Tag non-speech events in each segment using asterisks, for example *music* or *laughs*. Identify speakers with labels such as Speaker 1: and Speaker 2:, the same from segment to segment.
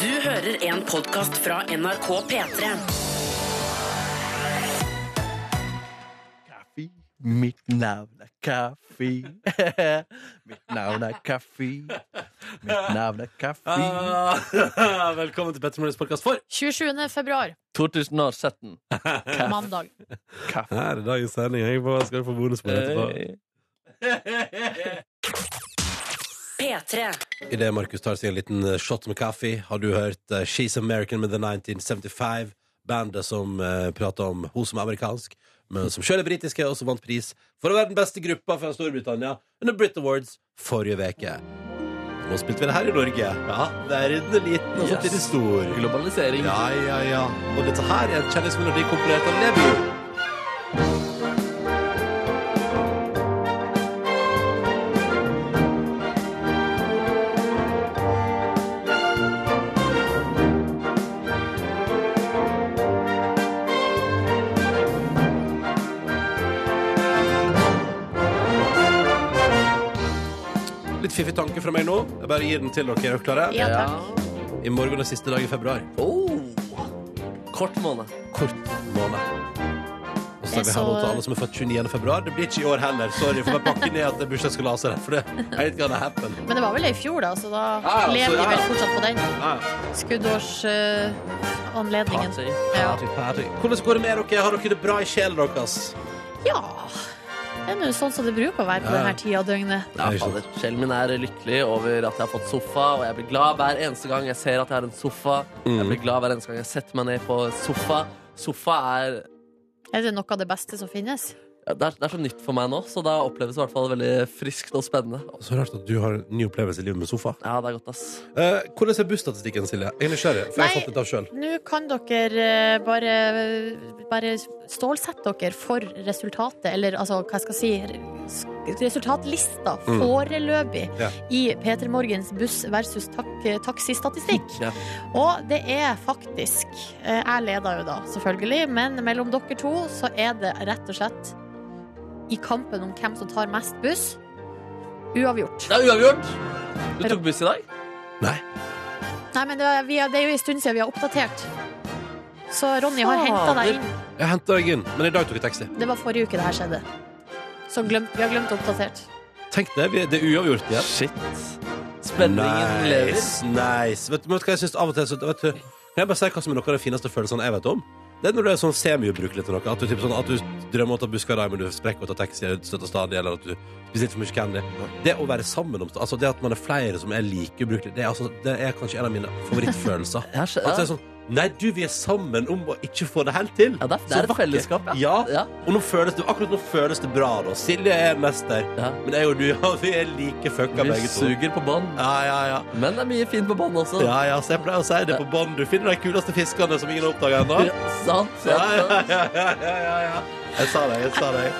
Speaker 1: Du hører en podcast fra NRK P3.
Speaker 2: Kaffi. Mitt navn er Kaffi. *laughs* Mitt navn er Kaffi. Mitt navn er Kaffi.
Speaker 3: Ah, *laughs* Velkommen til Petter Morgens podkast for
Speaker 4: 27. februar,
Speaker 3: *laughs*
Speaker 2: 2017.
Speaker 4: mandag.
Speaker 2: Kaffi.
Speaker 3: Her er dagens sending. Jeg får- skal du få bonuspoeng etterpå.
Speaker 2: Hey.
Speaker 1: P3.
Speaker 3: Idet Markus tar seg en liten eh, shot med kaffe, har du hørt eh, She's American med The 1975. Bandet som eh, prater om hun som er amerikansk, men som sjøl er britiske, og som vant pris for å være den beste gruppa fra Storbritannia under Brit Awards forrige uke. Nå spilte vi det her i Norge. Ja, Verden er liten, og samtidig
Speaker 2: Yes.
Speaker 3: stor.
Speaker 2: Globalisering.
Speaker 3: Ja, ja, ja. Og dette her er en kjendismelodi komponert av Nebio. Litt fiffig tanke fra meg nå. Jeg bare gir den til dere. Er dere klare?
Speaker 4: Ja,
Speaker 2: Ja.
Speaker 4: takk.
Speaker 3: I morgen er siste dag i februar.
Speaker 2: Oh. Kort måned.
Speaker 3: Kort måned. Og så er
Speaker 4: Det
Speaker 3: vi
Speaker 4: er
Speaker 3: her nå
Speaker 4: så-
Speaker 3: til alle som er født 29. februar. Det blir ikke i år heller. Sorry, for jeg pakker ned at det er bursdagskalaset der. For det er ikke gonna happen.
Speaker 4: Men det var vel i fjor, da, så da
Speaker 3: ja, så
Speaker 4: lever de
Speaker 3: ja.
Speaker 4: vel fortsatt på den
Speaker 3: Ja.
Speaker 4: skuddårsanledningen.
Speaker 2: Party.
Speaker 4: ja.
Speaker 3: Party, party. Hvordan går det med dere? Har dere det bra i sjelen deres?
Speaker 4: ja. Det er nå sånn som det bruker å være på
Speaker 3: Ja.
Speaker 4: denne tida av døgnet.
Speaker 2: Ja,
Speaker 3: Nei, ikke
Speaker 2: fader. Sjelen min er lykkelig over at jeg har fått sofa, og jeg blir glad hver eneste gang jeg ser at jeg har en sofa.
Speaker 3: Mm.
Speaker 2: Jeg blir glad hver eneste gang jeg setter meg ned på sofa. Sofa er
Speaker 4: Er det noe av det beste som finnes?
Speaker 2: ja, det er, det er så nytt for meg nå, så det oppleves i hvert fall veldig friskt og spennende.
Speaker 3: Så rart at du har en ny opplevelse i livet med sofa.
Speaker 2: Ja, det er godt, ass.
Speaker 3: Eh, hvordan er bursdagsstatistikken, Silje? Jeg er nysgjerrig, for jeg har
Speaker 4: Nei.
Speaker 3: fått litt av sjøl.
Speaker 4: Nå kan dere eh, bare, bare stålsette dere for resultatet, eller altså, hva skal jeg si, sk- resultatlista
Speaker 3: Mm.
Speaker 4: foreløpig
Speaker 3: Ja.
Speaker 4: i Peter Morgens buss versus tak taxistatistikk.
Speaker 2: Ja.
Speaker 4: Og det er faktisk eh, Jeg leder jo da, selvfølgelig, men mellom dere to så er det rett og slett i kampen om hvem som tar mest buss, uavgjort.
Speaker 2: Det er uavgjort! Du tok buss i dag?
Speaker 3: Nei.
Speaker 4: Nei, men det er, vi er, det er jo en stund siden vi har oppdatert. Så Ronny har henta deg inn.
Speaker 3: Jeg henta deg inn, men i dag tok jeg taxi.
Speaker 4: Det var forrige uke det her skjedde. Så glemt, vi har glemt oppdatert.
Speaker 3: Tenk det, vi- det er uavgjort igjen.
Speaker 2: Shit. Spenningen lever.
Speaker 3: Nice, nice. Vet du vet du hva jeg synes av og til så, vet du, Kan jeg bare si hva som er noe av de fineste følelsene jeg vet om? Det er når du er sånn semiubrukelig til noe. At du, typ, sånn, at du drømmer om å ta busskarai, men du sprekker og tar taxi, eller du støtter stadig, eller at du spiser litt for mye candy. Det å være sammen om Altså det at man er flere som er like ubrukelige, det, er altså, det er kanskje en av mine favorittfølelser.
Speaker 2: Jeg skj-
Speaker 3: At det
Speaker 2: *laughs* ja.
Speaker 3: er sånn Nei, du, vi er sammen om å ikke få det helt til.
Speaker 2: Ja, det er, det
Speaker 3: Så
Speaker 2: er et
Speaker 3: vakkert.
Speaker 2: fellesskap,
Speaker 3: Ja.
Speaker 2: ja.
Speaker 3: Og nå føles det, akkurat nå føles det bra, da. Silje er mester.
Speaker 2: Ja.
Speaker 3: Men jeg og du, *laughs* ja, vi er like fucka
Speaker 2: Vi
Speaker 3: begge to.
Speaker 2: suger på bånd,
Speaker 3: Ja, ja, ja.
Speaker 2: men det er mye fint på bånd også.
Speaker 3: Ja, ja, så jeg pleier å si det på bånd. Du finner de kuleste fiskene som ingen har oppdaga ennå.
Speaker 2: Ja, sant, sant,
Speaker 3: Ja, ja,
Speaker 2: sant.
Speaker 3: ja, ja, ja, ja, ja. Jeg sa det, jeg sa det.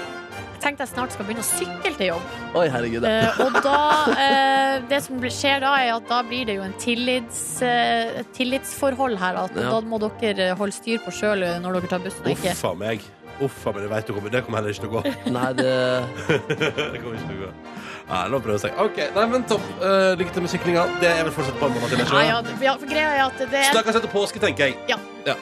Speaker 4: Jeg tenkte jeg snart skal begynne å sykle til jobb.
Speaker 2: Oi, herregud. ja.
Speaker 4: Eh, og da eh, Det som blir- skjer da, er at da blir det jo en tillits, eh, et tillitsforhold her. At
Speaker 2: Ja.
Speaker 4: Da må dere eh, holde styr på sjøl når dere tar bussen. og Ikke.
Speaker 3: Uff a meg. Uff a meg, det vet du kommer. Det kommer heller ikke til å gå.
Speaker 2: *laughs* Nei, det
Speaker 3: *laughs* Det kommer ikke til å gå. Nei, nå prøver jeg seg. OK, nei, men topp. Eh, lykke til med syklinga. Det er vel fortsatt bånd, Mathilde?
Speaker 4: Nei,
Speaker 3: Ja,
Speaker 4: ja, det- ja, for greia er at det
Speaker 3: Så da
Speaker 4: er,
Speaker 3: kan jeg sette påske, tenker jeg.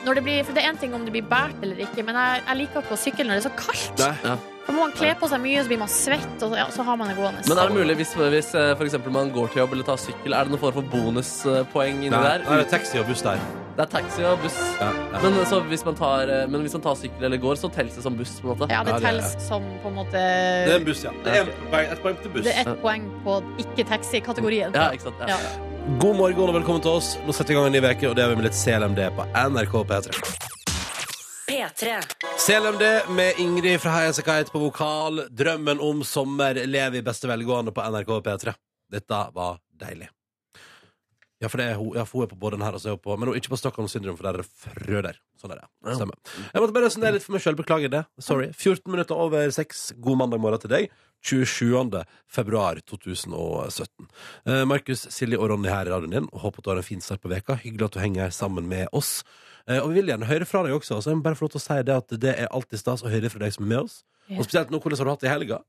Speaker 4: når det, blir, for det er en ting om det blir båret eller ikke, men jeg, jeg liker ikke å sykle når det er så kaldt.
Speaker 3: Nei.
Speaker 2: Ja.
Speaker 4: Da må man kle på seg mye, så blir man svett, og så- ja, så har man det gående.
Speaker 2: Men er det mulig hvis, hvis eh, for eksempel man går til jobb eller tar sykkel, er det noen form for bonuspoeng inni
Speaker 3: Nei,
Speaker 2: der?
Speaker 3: nei, det er taxi og buss der.
Speaker 2: Det er taxi og buss.
Speaker 3: Ja, ja.
Speaker 2: Men, eh, så hvis man tar, eh, men hvis man tar sykkel eller går, så telles det som buss. på en måte
Speaker 4: Ja,
Speaker 3: Ja,
Speaker 4: det
Speaker 3: det er-
Speaker 4: telles som på en måte
Speaker 3: Det er en buss, ja. Det er en, et poeng til buss.
Speaker 4: Det er ett poeng på ikke-taxi-kategorien.
Speaker 2: Ja, ikke sant? Ja.
Speaker 4: Ja.
Speaker 3: God morgen og velkommen til oss. Nå setter vi i gang en ny uke, og det er vi med litt CLMD på NRK P3.
Speaker 1: P3.
Speaker 3: CLMD med Ingrid fra Heia Sekait på vokal. Drømmen om sommer lever i beste velgående på NRK P3. Dette var deilig. Ja, for, det er hun, ja, for hun er på både den her og så er hun på Men hun er ikke på Stockholm Syndrom, for der er det frø der. Sånn er det. Stemmer. Jeg måtte bare resonnere litt for meg sjøl. Beklager det. Sorry. 14 minutter over 6. God mandag morgen til deg. 27. februar 2017. Eh, Markus, Silje og Ronny her i radioen din. Og Håper at du har en fin start på veka. Hyggelig at du henger her sammen med oss. Eh, Og vi vil gjerne høre fra deg også. Så jeg må bare få lov til å si det at det er alltid stas å høre fra deg som er med oss.
Speaker 4: Ja.
Speaker 3: Og spesielt nå, hvordan har du hatt det i helga?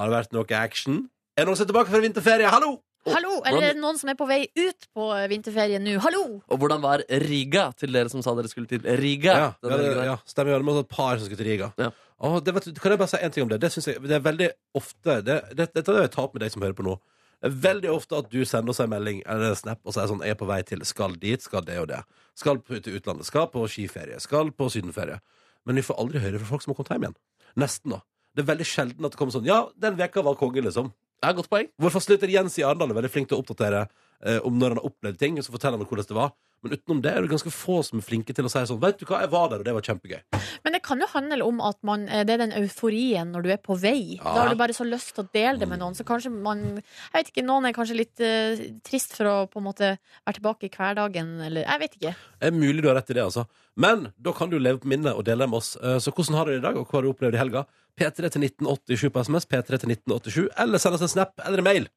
Speaker 3: Har det vært noe action? Er det noen som er tilbake fra vinterferie? Hallo!
Speaker 4: Hallo! Eller noen som er på vei ut på vinterferie nå. Hallo!
Speaker 2: Og hvordan var Riga til dere som sa dere skulle til Riga?
Speaker 3: Ja,
Speaker 2: Den
Speaker 3: ja, det,
Speaker 2: helgen der.
Speaker 3: ja stemmer. Det var også et par som skulle til Riga.
Speaker 2: Ja.
Speaker 3: Å, det, vet, du, kan jeg bare si en ting om det? Det synes jeg det er veldig ofte det, det, Dette vil jeg ta opp med deg som hører på nå. Det er veldig ofte at du sender oss en melding eller en snap og sier sånn 'Jeg er på vei til Skal dit, skal det og det'. Skal på, til utlandet, skal på skiferie, skal på sydenferie. Men vi får aldri høre fra folk som har kommet hjem igjen. Nesten, da. Det er veldig sjelden at det kommer sånn 'Ja, den veka var konge', liksom.
Speaker 2: Ja, godt poeng.
Speaker 3: Vår fastløyter Jens i Arendal er veldig flink til å oppdatere eh, om når han har opplevd ting. Og så forteller han hvordan det var Men utenom det er det ganske få som er flinke til å si sånn Vet du hva, jeg var der, og det var kjempegøy.
Speaker 4: Men det kan jo handle om at man, eh, det er den euforien når du er på vei.
Speaker 3: Ja.
Speaker 4: Da har du bare så lyst til å dele det med noen. Så kanskje man Jeg vet ikke, noen er kanskje litt eh, trist for å på en måte være tilbake i hverdagen, eller Jeg vet ikke.
Speaker 3: Det er mulig du har rett i det, altså. Men da kan du leve på minnet og dele det med oss. Eh, Så hvordan har du det i dag, og hva har du opplevd i helga? P3 til 1987 på SMS, P3 til 1987, eller send oss en snap eller en mail.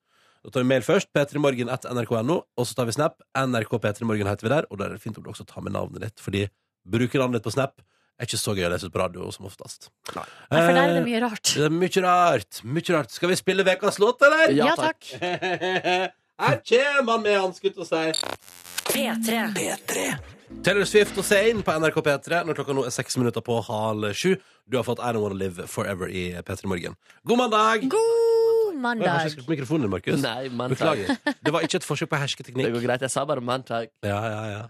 Speaker 3: Da tar vi mail først, p3morgen at nrk.no, og så tar vi snap. NRK p3morgen heter vi der, og da er det fint om du også tar med navnet ditt, fordi bruker navnet ditt på snap er ikke så gøy å lese ut på radio som oftest.
Speaker 4: Nei, for der er
Speaker 3: Eh,
Speaker 4: det mye rart.
Speaker 3: Det er mye rart. Mye rart. Skal vi spille ukas låt, eller?
Speaker 2: Ja,
Speaker 4: Ja takk.
Speaker 3: *laughs* Her kommer han med anskutt og sier
Speaker 1: P3.
Speaker 3: Taylor Swift og Zayn på NRK P3 når klokka nå er seks minutter på halv sju. Du har fått I Don't Wanna Live Forever i P3 Morgen. God mandag!
Speaker 4: God
Speaker 3: Oi, kanskje jeg
Speaker 4: mandag.
Speaker 3: skulle på mikrofonen, Markus.
Speaker 2: Nei, mandag.
Speaker 3: Beklager. Det var ikke et forsøk på
Speaker 2: Det
Speaker 3: hersketeknikk.
Speaker 2: går greit. Jeg sa bare *laughs* mandag.
Speaker 3: Ja, ja, ja.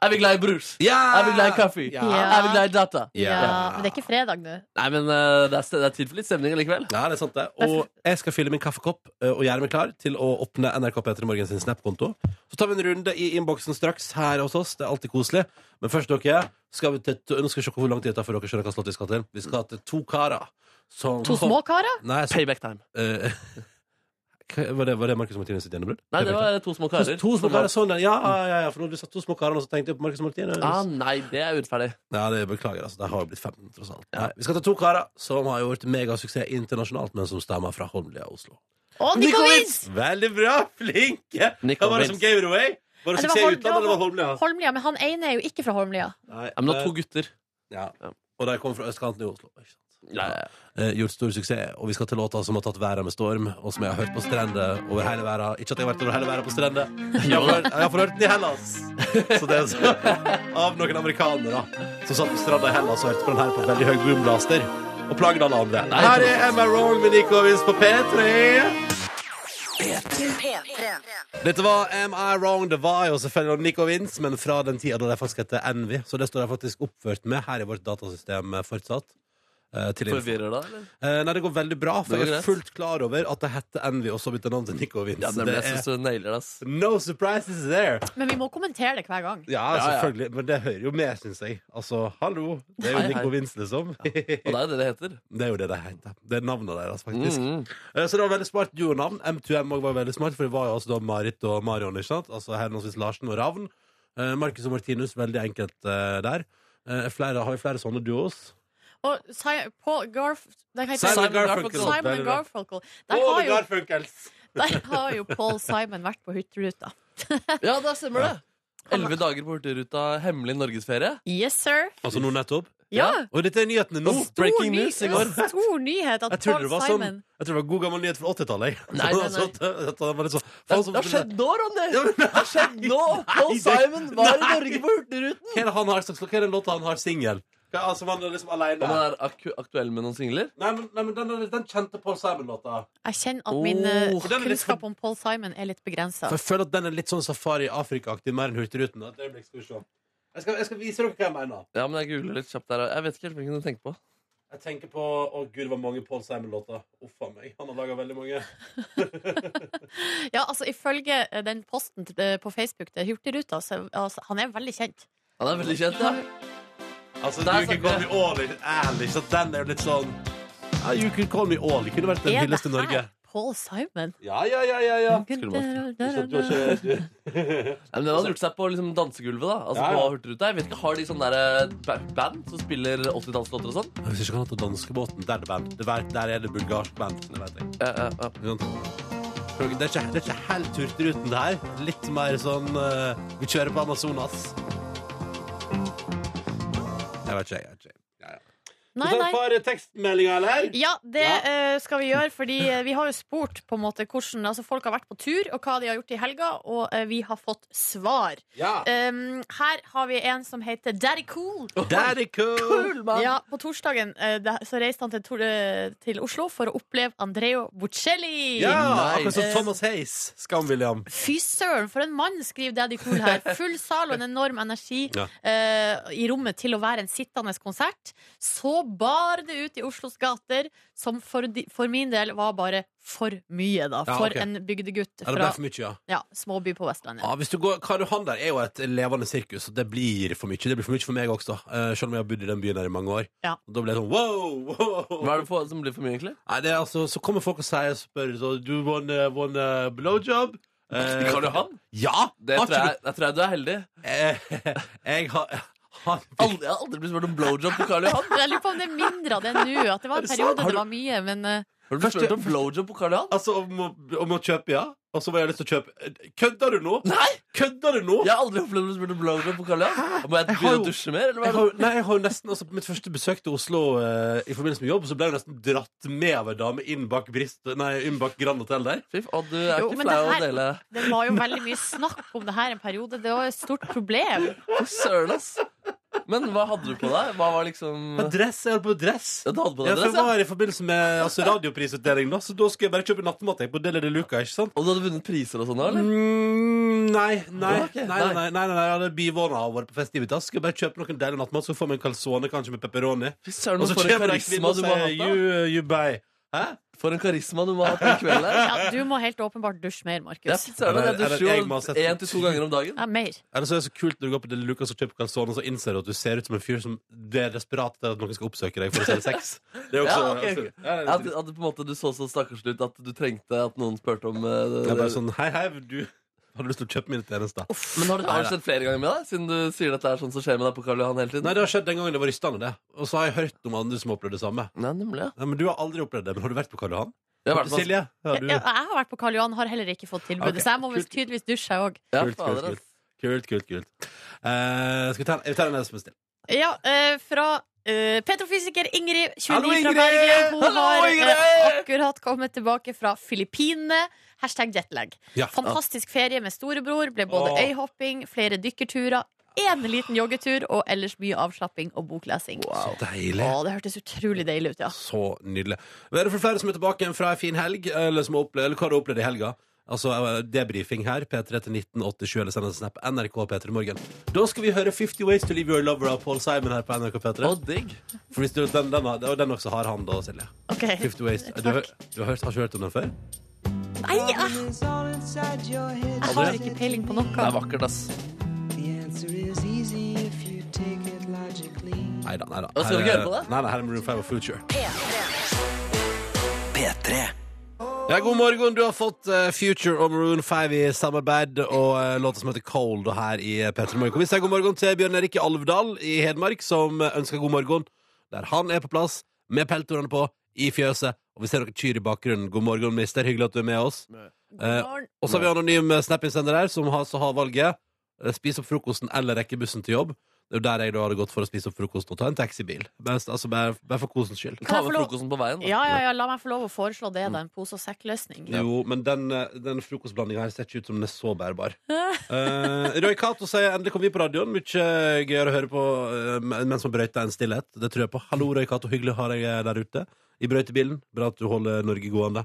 Speaker 2: Er vi glad i brus?
Speaker 3: ja!
Speaker 2: Er vi glad i kaffe?
Speaker 3: Ja.
Speaker 4: Ja.
Speaker 2: Er vi glad i data?
Speaker 4: Ja,
Speaker 3: Ja.
Speaker 4: men det er ikke fredag nå.
Speaker 2: Nei, men eh, det, er, st- det er tid for litt stemning likevel.
Speaker 3: Ja, det er sant det. Og jeg skal fylle min kaffekopp eh, og gjøre meg klar til å åpne NRK P3 Morgen sin Snap-konto. Så tar vi en runde i innboksen straks her hos oss. Det er alltid koselig. Men først, dere, skal vi til to- Nå skal vi se hvor lang tid det tar før dere skjønner hva slått vi skal til. Vi skal til to karer som
Speaker 4: To små karer?
Speaker 3: Nei, så,
Speaker 2: Payback time.
Speaker 3: eh, *laughs* hva- var det, var det Markus og Martinus sitt gjennombrudd?
Speaker 2: Nei, det var to små karer.
Speaker 3: To små karer, sånn, ja, ja, ja, ja, for når du sa to små karer, nå, så tenkte jeg på Marcus og Martinus.
Speaker 2: Ah, nei, det er urettferdig.
Speaker 3: Ja, det beklager, altså. Det har jo blitt 15, tross alt. Nei, vi skal ta to karer som har gjort megasuksess internasjonalt, men som stammer fra Holmlia og Oslo.
Speaker 4: Å, Nico Wins!
Speaker 3: Veldig bra! Flinke!
Speaker 2: Nico
Speaker 3: Hva var det
Speaker 2: Vince.
Speaker 3: som gave it away? Var det
Speaker 4: Ja, det var
Speaker 3: suksess i
Speaker 4: Holm-
Speaker 3: utlandet, eller var
Speaker 4: det var
Speaker 3: det Holmlia?
Speaker 4: Holmlia, men han ene er jo ikke fra Holmlia.
Speaker 3: Nei,
Speaker 2: Ja, men det
Speaker 3: eh,
Speaker 2: var to gutter.
Speaker 3: ja.
Speaker 2: Ja.
Speaker 3: Og de kom fra østkanten i Oslo. Ikke sant?
Speaker 2: Ja, ja, ja.
Speaker 3: Eh, gjort stor suksess, og vi skal til låta som har tatt verden med storm, og som jeg har hørt på strender over hele verden. Ikke at jeg har vært over hele verden på
Speaker 2: *laughs*
Speaker 3: strender. Jeg har hørt- jeg har fått hørt den i Hellas! Så det er så, av noen amerikanere som satt på stranda i Hellas og hørte på den her på veldig høy boomblaster, og plagde alle andre. Her er Am I Wrong med Nico Vince på P3.
Speaker 1: P3.
Speaker 3: Dette var Am I Wrong? Det var jo selvfølgelig om Nico Vince, men fra den tida da de faktisk het Envy. Så det står de faktisk oppført med her i vårt datasystem eh, fortsatt. Eh, til info.
Speaker 2: Forvirrer det, eller?
Speaker 3: Eh, nei, det går veldig bra, for
Speaker 2: Det går
Speaker 3: jeg er
Speaker 2: greit.
Speaker 3: fullt klar over at det heter Envy, og så bytta navn til Nico Vince.
Speaker 2: Ja, nemlig.
Speaker 3: det
Speaker 2: Jeg synes
Speaker 3: er
Speaker 2: du nailer det, ass.
Speaker 3: no surprises there!
Speaker 4: Men vi må kommentere det hver gang.
Speaker 3: Ja,
Speaker 2: ja.
Speaker 3: selvfølgelig. Men det hører jo med, syns jeg. Altså, hallo! Det er jo
Speaker 2: Hei, hei.
Speaker 3: Nico Vince, liksom. det
Speaker 2: Og det er jo det det heter.
Speaker 3: er jo det de heter. Det er navnet deres, faktisk.
Speaker 2: Mm.
Speaker 3: Eh, Så det var veldig smart duonavn. M2M også var veldig smart, for det var jo altså da Marit og Marion. ikke sant? Altså henholdsvis Larsen og Ravn. Eh, Markus og Martinus, veldig enkelt eh, der. Eh, flere, har vi flere sånne duos?
Speaker 4: Og Si- Paul Garf... det heter-
Speaker 2: Simon
Speaker 4: Simon
Speaker 2: Garfunkel.
Speaker 4: and Garfunkel. Der
Speaker 3: Paul
Speaker 4: har, jo,
Speaker 3: Garfunkels.
Speaker 4: der har jo Paul Simon vært på Hurtigruta.
Speaker 2: Ja, da stemmer det. Elleve dager på Hurtigruta, hemmelig norgesferie.
Speaker 4: *laughs* Yes, sir.
Speaker 3: Altså nå nettopp?
Speaker 4: Ja!
Speaker 3: Og dette er nyhetene nå!
Speaker 2: Stor
Speaker 3: Breaking
Speaker 4: Ny-
Speaker 3: news i går.
Speaker 4: *laughs* Stor nyhet at
Speaker 3: Jeg trodde
Speaker 4: Paul
Speaker 3: det var sånn
Speaker 4: Simon
Speaker 3: Jeg tror det var god gammel nyhet fra 80-tallet. jeg. *laughs*
Speaker 2: Nei, nei, nei.
Speaker 3: Så at- at det var litt sånn-
Speaker 2: Det,
Speaker 3: faen som-
Speaker 2: har skjedd nå, Ronny!
Speaker 3: Ja, men-
Speaker 2: Det har skjedd nå! Paul
Speaker 3: det-
Speaker 2: Simon var i
Speaker 3: Nei!
Speaker 2: Norge på Hurtigruten!
Speaker 3: Hva er det han har slags- Hva er den låta han har singel? Altså, man er liksom alene.
Speaker 2: Og man er akku- aktuell med noen singler.
Speaker 3: Nei, men, nei, men den, er- den kjente Paul Simon-låta.
Speaker 4: Jeg kjenner at min eh,
Speaker 2: Åh,
Speaker 3: den er litt
Speaker 4: kunnskap om Paul Simon er litt begrensa.
Speaker 3: For jeg føler at den er litt sånn safari Afrika-aktig, mer enn Hurtigruten. Et øyeblikk skal vi se. Jeg skal, jeg skal vise dere hva jeg mener.
Speaker 2: Ja, men jeg googler litt kjapt der. Jeg vet ikke helt hvilken du tenker på.
Speaker 3: Jeg tenker på Å gud, det var mange Paul Simon-låter. Uff a meg. Han har laga veldig mange.
Speaker 4: Ja, altså Ifølge eh, den posten til- eh, på Facebook til Hurtigruta, så altså, han er veldig kjent.
Speaker 2: Han er veldig kjent, ja.
Speaker 3: Altså,
Speaker 2: Der
Speaker 3: You Can
Speaker 2: snakker
Speaker 3: Call
Speaker 2: jeg.
Speaker 3: Me All i- ærlig, så den er jo litt sånn Ja, You Can Call Me All. Det kunne vært den
Speaker 4: Er det
Speaker 3: hylleste Norge.
Speaker 4: her Paul Simon?
Speaker 3: Ja, ja, ja, ja, ja.
Speaker 2: Skulle
Speaker 3: Du sa- du har
Speaker 4: Nei,
Speaker 3: ikke- du-
Speaker 2: Ja, Men den har gjort seg på liksom, dansegulvet, da. Altså
Speaker 3: Ja, ja.
Speaker 2: på Hurtigruta. Jeg vet ikke, Har de sånn derre ba- band som spiller *laughs* 80-tallslåter og sånn?
Speaker 3: Jeg husker ikke han het Danskebåten. Der er det band. Det er- Der er det bulgarsk band. Det vet jeg.
Speaker 2: Ja, ja, ja.
Speaker 3: Ikke sant? Det er ikke, det er ikke helt Hurtigruten, det her. Litt mer sånn eh, Vi kjører på Amazonas. Jeg vet ikke, jeg. Vet ikke.
Speaker 4: Nei, nei.
Speaker 3: for tekstmeldinga, eller?
Speaker 4: Ja, det eh, skal vi gjøre, fordi eh, vi har jo spurt på en måte hvordan altså, folk har vært på tur, og hva de har gjort i helga, og eh, vi har fått svar.
Speaker 3: Ja.
Speaker 4: Um, her har vi en som heter Daddy Cool.
Speaker 3: Daddy cool.
Speaker 2: Kul, mann!
Speaker 4: Ja, på torsdagen eh, det- så reiste han til, Tor- eh, til Oslo for å oppleve Andreo Bocelli.
Speaker 3: Ja,
Speaker 2: Nice.
Speaker 3: akkurat som Thomas Hayes. Skam-William.
Speaker 4: Fy søren, for en mann, skriver Daddy Cool her. Full sal og en enorm energi
Speaker 3: *laughs* Ja.
Speaker 4: eh, i rommet til å være en sittende konsert. Så bar det ut i Oslos gater, som for, de, for min del var bare for mye, da.
Speaker 3: Ja,
Speaker 4: for
Speaker 3: ok.
Speaker 4: en bygdegutt
Speaker 3: Ja, det ble
Speaker 4: fra
Speaker 3: for mye, ja.
Speaker 4: ja, småby på Vestlandet.
Speaker 3: Ja, hvis du går, Karl Johan der er jo et levende sirkus, og det blir for mye. Det blir for mye for meg også, eh, selv om jeg har bodd i den byen her i mange år.
Speaker 4: Ja.
Speaker 3: Og da blir det sånn wow, wow.
Speaker 2: Hva er det for, som blir for mye, egentlig?
Speaker 3: Nei, det er altså, Så kommer folk og sier spør så, Du want, eh, want a
Speaker 2: *laughs*
Speaker 3: blowjob? Eh,
Speaker 2: Karl Johan?
Speaker 3: ja!
Speaker 2: Det
Speaker 3: har
Speaker 2: tror
Speaker 3: ikke
Speaker 2: jeg, jeg tror jeg du er heldig.
Speaker 3: du- Eh, *laughs* jeg har, har
Speaker 2: Aldri, jeg har aldri blitt spurt om blowjob på Karl Johan.
Speaker 4: Jeg lurer på om det er mindre av det nå. At
Speaker 3: *laughs*
Speaker 4: det var en periode det var mye, men eh,
Speaker 2: Har du blitt spurt om blowjob på Karl Johan?
Speaker 3: Altså, om å, om å kjøpe, ja. Og så var jeg lyst til å kjøpe Kødder du nå?!
Speaker 2: Nei!
Speaker 3: Kødder du nå?!
Speaker 2: Jeg har aldri opplevd å bli spurt om blowjob på Karl Johan. Må jeg
Speaker 3: Jeg har
Speaker 2: begynne
Speaker 3: jo-
Speaker 2: å dusje mer, eller hva?
Speaker 3: Jeg
Speaker 2: er det?
Speaker 3: har, nei, jeg har jo nesten, altså På mitt første besøk til Oslo eh, i forbindelse med jobb, så ble jeg jo nesten dratt med av ei dame inn bak, brist, nei, inn bak Grand Hotel der.
Speaker 2: Fy faen, du er
Speaker 4: Jo,
Speaker 2: ikke
Speaker 4: men
Speaker 2: flau
Speaker 4: det
Speaker 2: å
Speaker 4: her-
Speaker 2: dele
Speaker 4: det var jo veldig mye snakk om det her en periode. Det var et stort problem.
Speaker 2: Fy søren, ass. Men hva hadde du på deg? Hva var liksom
Speaker 3: På dress, Jeg holdt på med dress.
Speaker 2: Ja, du hadde på
Speaker 3: Ja,
Speaker 2: deg
Speaker 3: for jeg
Speaker 2: dress, ja.
Speaker 3: var her i forbindelse med altså, radioprisutdelingen, da, så da skulle jeg bare kjøpe nattmat jeg, på Deli de Luca. ikke sant?
Speaker 2: Og du hadde vunnet priser og sånn, da? eller?
Speaker 3: Mm, nei, nei,
Speaker 2: Det var
Speaker 3: nei,
Speaker 2: ikke-
Speaker 3: nei, nei, nei, nei, jeg hadde bivåna og vært på festivitas. Skulle bare kjøpe noen deilig nattmat, så får vi en calzone kanskje med pepperoni.
Speaker 2: Fy søren,
Speaker 3: Og så
Speaker 2: for en
Speaker 3: kommer det en kvinne
Speaker 2: karisma
Speaker 3: og
Speaker 2: du må ha
Speaker 3: sier
Speaker 2: hatt da.
Speaker 3: you, uh, you buy. Hæ?
Speaker 2: For en karisma du må ha hatt den
Speaker 3: *laughs*
Speaker 2: kvelden her.
Speaker 4: Ja, du må helt åpenbart dusje mer,
Speaker 2: Ja,
Speaker 4: Markus.
Speaker 2: fy søren, jeg
Speaker 3: Eller- eller jeg må ha
Speaker 2: dusjer
Speaker 3: sett
Speaker 2: jo
Speaker 3: den.
Speaker 2: én til to ganger om dagen.
Speaker 4: Ja, mer.
Speaker 3: Eller så er det så kult når du går på Deli Luca og kjøper calzone, og så innser du at du ser ut som en fyr som det er desperat etter at noen skal oppsøke deg for å selge sex. Det er også,
Speaker 2: Ja, ok, ok.
Speaker 3: altså, ja, det er
Speaker 2: At,
Speaker 3: litt-
Speaker 2: at du på en måte du så så stakkars ut at du trengte at noen spurte om eh,
Speaker 3: det er bare sånn Hei, hei, du har du lyst til å kjøpe mine tjenester?
Speaker 2: Men har det, har det skjedd flere ganger med deg? Siden du sier at det er sånn som skjer med deg på Karl Johan hele tiden?
Speaker 3: Nei, det har skjedd den gangen det var rystende, det. Og så har jeg hørt om andre som har opplevd det samme.
Speaker 2: Nei, nemlig. Ja.
Speaker 3: Nei, men Du har aldri opplevd det, men har du vært på Karl Johan?
Speaker 2: Jeg har vært på
Speaker 3: Silje? Ja,
Speaker 4: *laughs* Jeg,
Speaker 3: du.
Speaker 4: jeg har vært på Karl Johan, har heller ikke fått tilbudet,
Speaker 3: Ok,
Speaker 4: så jeg må vel
Speaker 3: kult.
Speaker 4: tydeligvis dusje, jeg òg.
Speaker 2: ja,
Speaker 3: Kult, kult,
Speaker 2: fader, altså. ass.
Speaker 3: Kult, kult, kult. Eh, skal vi ta, vi tar en som er stille?
Speaker 4: Ja, eh, fra eh, petrofysiker Ingrid, 29
Speaker 3: Hallo,
Speaker 4: fra
Speaker 3: Ingrid!
Speaker 4: Bergen. Hun
Speaker 2: Hallo,
Speaker 4: har eh,
Speaker 2: Ingrid!
Speaker 4: akkurat kommet tilbake fra Filippinene. Hashtag jetlag.
Speaker 3: Ja.
Speaker 4: Fantastisk ferie med storebror. Ble både
Speaker 3: Åh.
Speaker 4: øyhopping, flere dykkerturer, én liten joggetur og ellers mye avslapping og boklesing.
Speaker 3: Så deilig.
Speaker 4: Å, det hørtes utrolig deilig ut, ja.
Speaker 3: Så nydelig. Men er det for flere som er tilbake igjen fra ei en fin helg, eller, som har opplevd, eller hva har du opplevd i helga? Altså eh, debrifing her. P3 til 1987 eller send en snap. NRK P3 Morgen. Da skal vi høre 50 Ways to Leave Your Lover av Paul Simon her på NRK P3.
Speaker 2: Å, digg.
Speaker 3: For hvis du, den, den, har- og den også har han, da, Silje.
Speaker 4: Ok.
Speaker 3: 50 Ways. Du, har- du har, hørt, har ikke hørt om den før?
Speaker 4: Nei, jeg, jeg har ikke peiling på
Speaker 2: Det
Speaker 4: noe.
Speaker 2: er vakkert, ass.
Speaker 3: Nei da. nei da.
Speaker 2: Hva, skal vi ikke høre på det?
Speaker 3: Nei, nei, her er Maroon 5 og Future. Ja, god morgen. Du har fått eh, Future og Maroon 5 i samarbeid og uh, låta som heter Cold og her i P3 Morgen. Vi sier god morgen til Bjørn Erik i Alvdal i Hedmark, som eh, ønsker god morgen. Der han er på plass med peltorene på i fjøset, og vi ser noen kyr i bakgrunnen. God morgen, mister. Hyggelig at du er med oss. Eh, og så har vi anonym eh, snap-innsender her, som har, så har valget. eh, Spis opp frokosten eller rekke bussen til jobb. Det er jo der jeg da hadde gått for å spise opp frokosten og ta en taxibil. Bare, altså, bare, bare for kosens skyld.
Speaker 2: Ta
Speaker 4: jeg få
Speaker 2: med
Speaker 4: lov-
Speaker 2: frokosten på veien. Da.
Speaker 4: Ja, ja, ja, la meg få lov å foreslå det, da. En pose- og sekkløsning.
Speaker 3: Mm. Jo, men den, eh, den frokostblandinga her ser ikke ut som den er så bærbar. Eh, Roy Cato sier endelig kom vi på radioen. Mye gøyere å høre på eh, mens man brøyter enn stillhet. Det tror jeg på. Hallo, Roy Cato. Hyggelig å ha deg eh, der ute i brøytebilen. Bra at du holder Norge gående.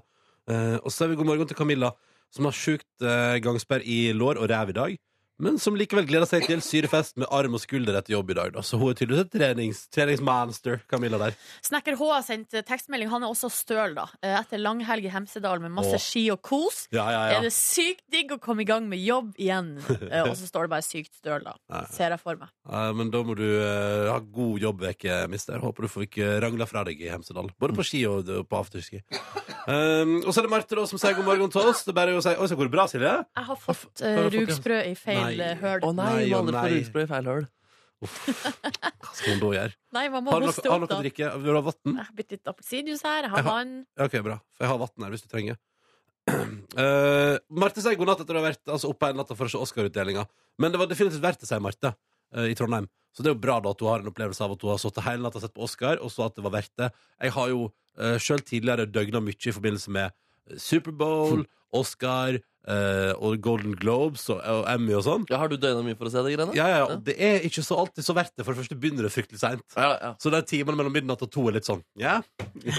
Speaker 3: Eh, og så sier vi god morgen til Camilla, som har sjukt eh, gangsperr i lår og ræv i dag. Men som likevel gleder seg til syrefest med arm og skulder etter jobb i dag. Da. Så hun er tydeligvis et trenings, treningsmonster, Camilla der.
Speaker 4: Snekker H har sendt eh, tekstmelding. Han er også støl, da. Eh, Etter langhelg i Hemsedal med masse
Speaker 3: Åh.
Speaker 4: ski og kos.
Speaker 3: Ja, ja,
Speaker 4: Er det sykt digg å komme i gang med jobb
Speaker 3: *laughs*
Speaker 4: igjen? Eh, Og så står det bare 'sykt støl', da.
Speaker 3: Nei.
Speaker 4: Ser jeg for meg.
Speaker 3: Ja, men da må du eh, ha god jobbveke, mister. Håper du får ikke rangla fra deg i Hemsedal. Både på ski og og på afterski. Um, og så er det Marte da som sier god morgen til oss. Det er bare å si Oi, så går det bra, Silje?
Speaker 4: Jeg har fått
Speaker 3: har du
Speaker 4: uh,
Speaker 3: fått, ja?
Speaker 4: rugsprø i feil
Speaker 3: Nei.
Speaker 4: eh, høl.
Speaker 2: Å nei,
Speaker 3: Nei,
Speaker 2: vi
Speaker 3: å
Speaker 2: aldri får
Speaker 3: nei.
Speaker 2: rugsprø i feil høl.
Speaker 3: Hva skal hun da gjøre?
Speaker 4: *laughs* Nei, man må
Speaker 3: Har du
Speaker 4: hoste
Speaker 3: noe, har
Speaker 4: opp,
Speaker 3: noe
Speaker 4: da.
Speaker 3: å drikke? Vil du ha vann?
Speaker 4: Jeg har bitt litt appelsinjuice her. Jeg
Speaker 3: Jeg
Speaker 4: har
Speaker 3: har-
Speaker 4: vann.
Speaker 3: Ja, OK, bra. For jeg har vann her hvis du trenger. *clears throat* Eh, Marte sier god natt etter å ha vært altså, oppe hele natta for å se Oscar-utdelinga. Men det var definitivt verdt det, sier Marte eh, i Trondheim. Så det er jo bra da at hun har en opplevelse av at hun har sittet hele natta og sett på Oscar, og så at det var verdt det. Jeg har jo uh, sjøl tidligere døgna mye i forbindelse med Superbowl, Oscar eh, og Golden Globes og, og Emmy og sånn.
Speaker 2: Ja, har du døgna mye for å se de greiene?
Speaker 3: Ja, ja, ja, og det er ikke så alltid så verdt det. For det første begynner det fryktelig seint.
Speaker 2: ja, ja.
Speaker 3: Så de timene mellom midnatt og to er litt sånn Ja,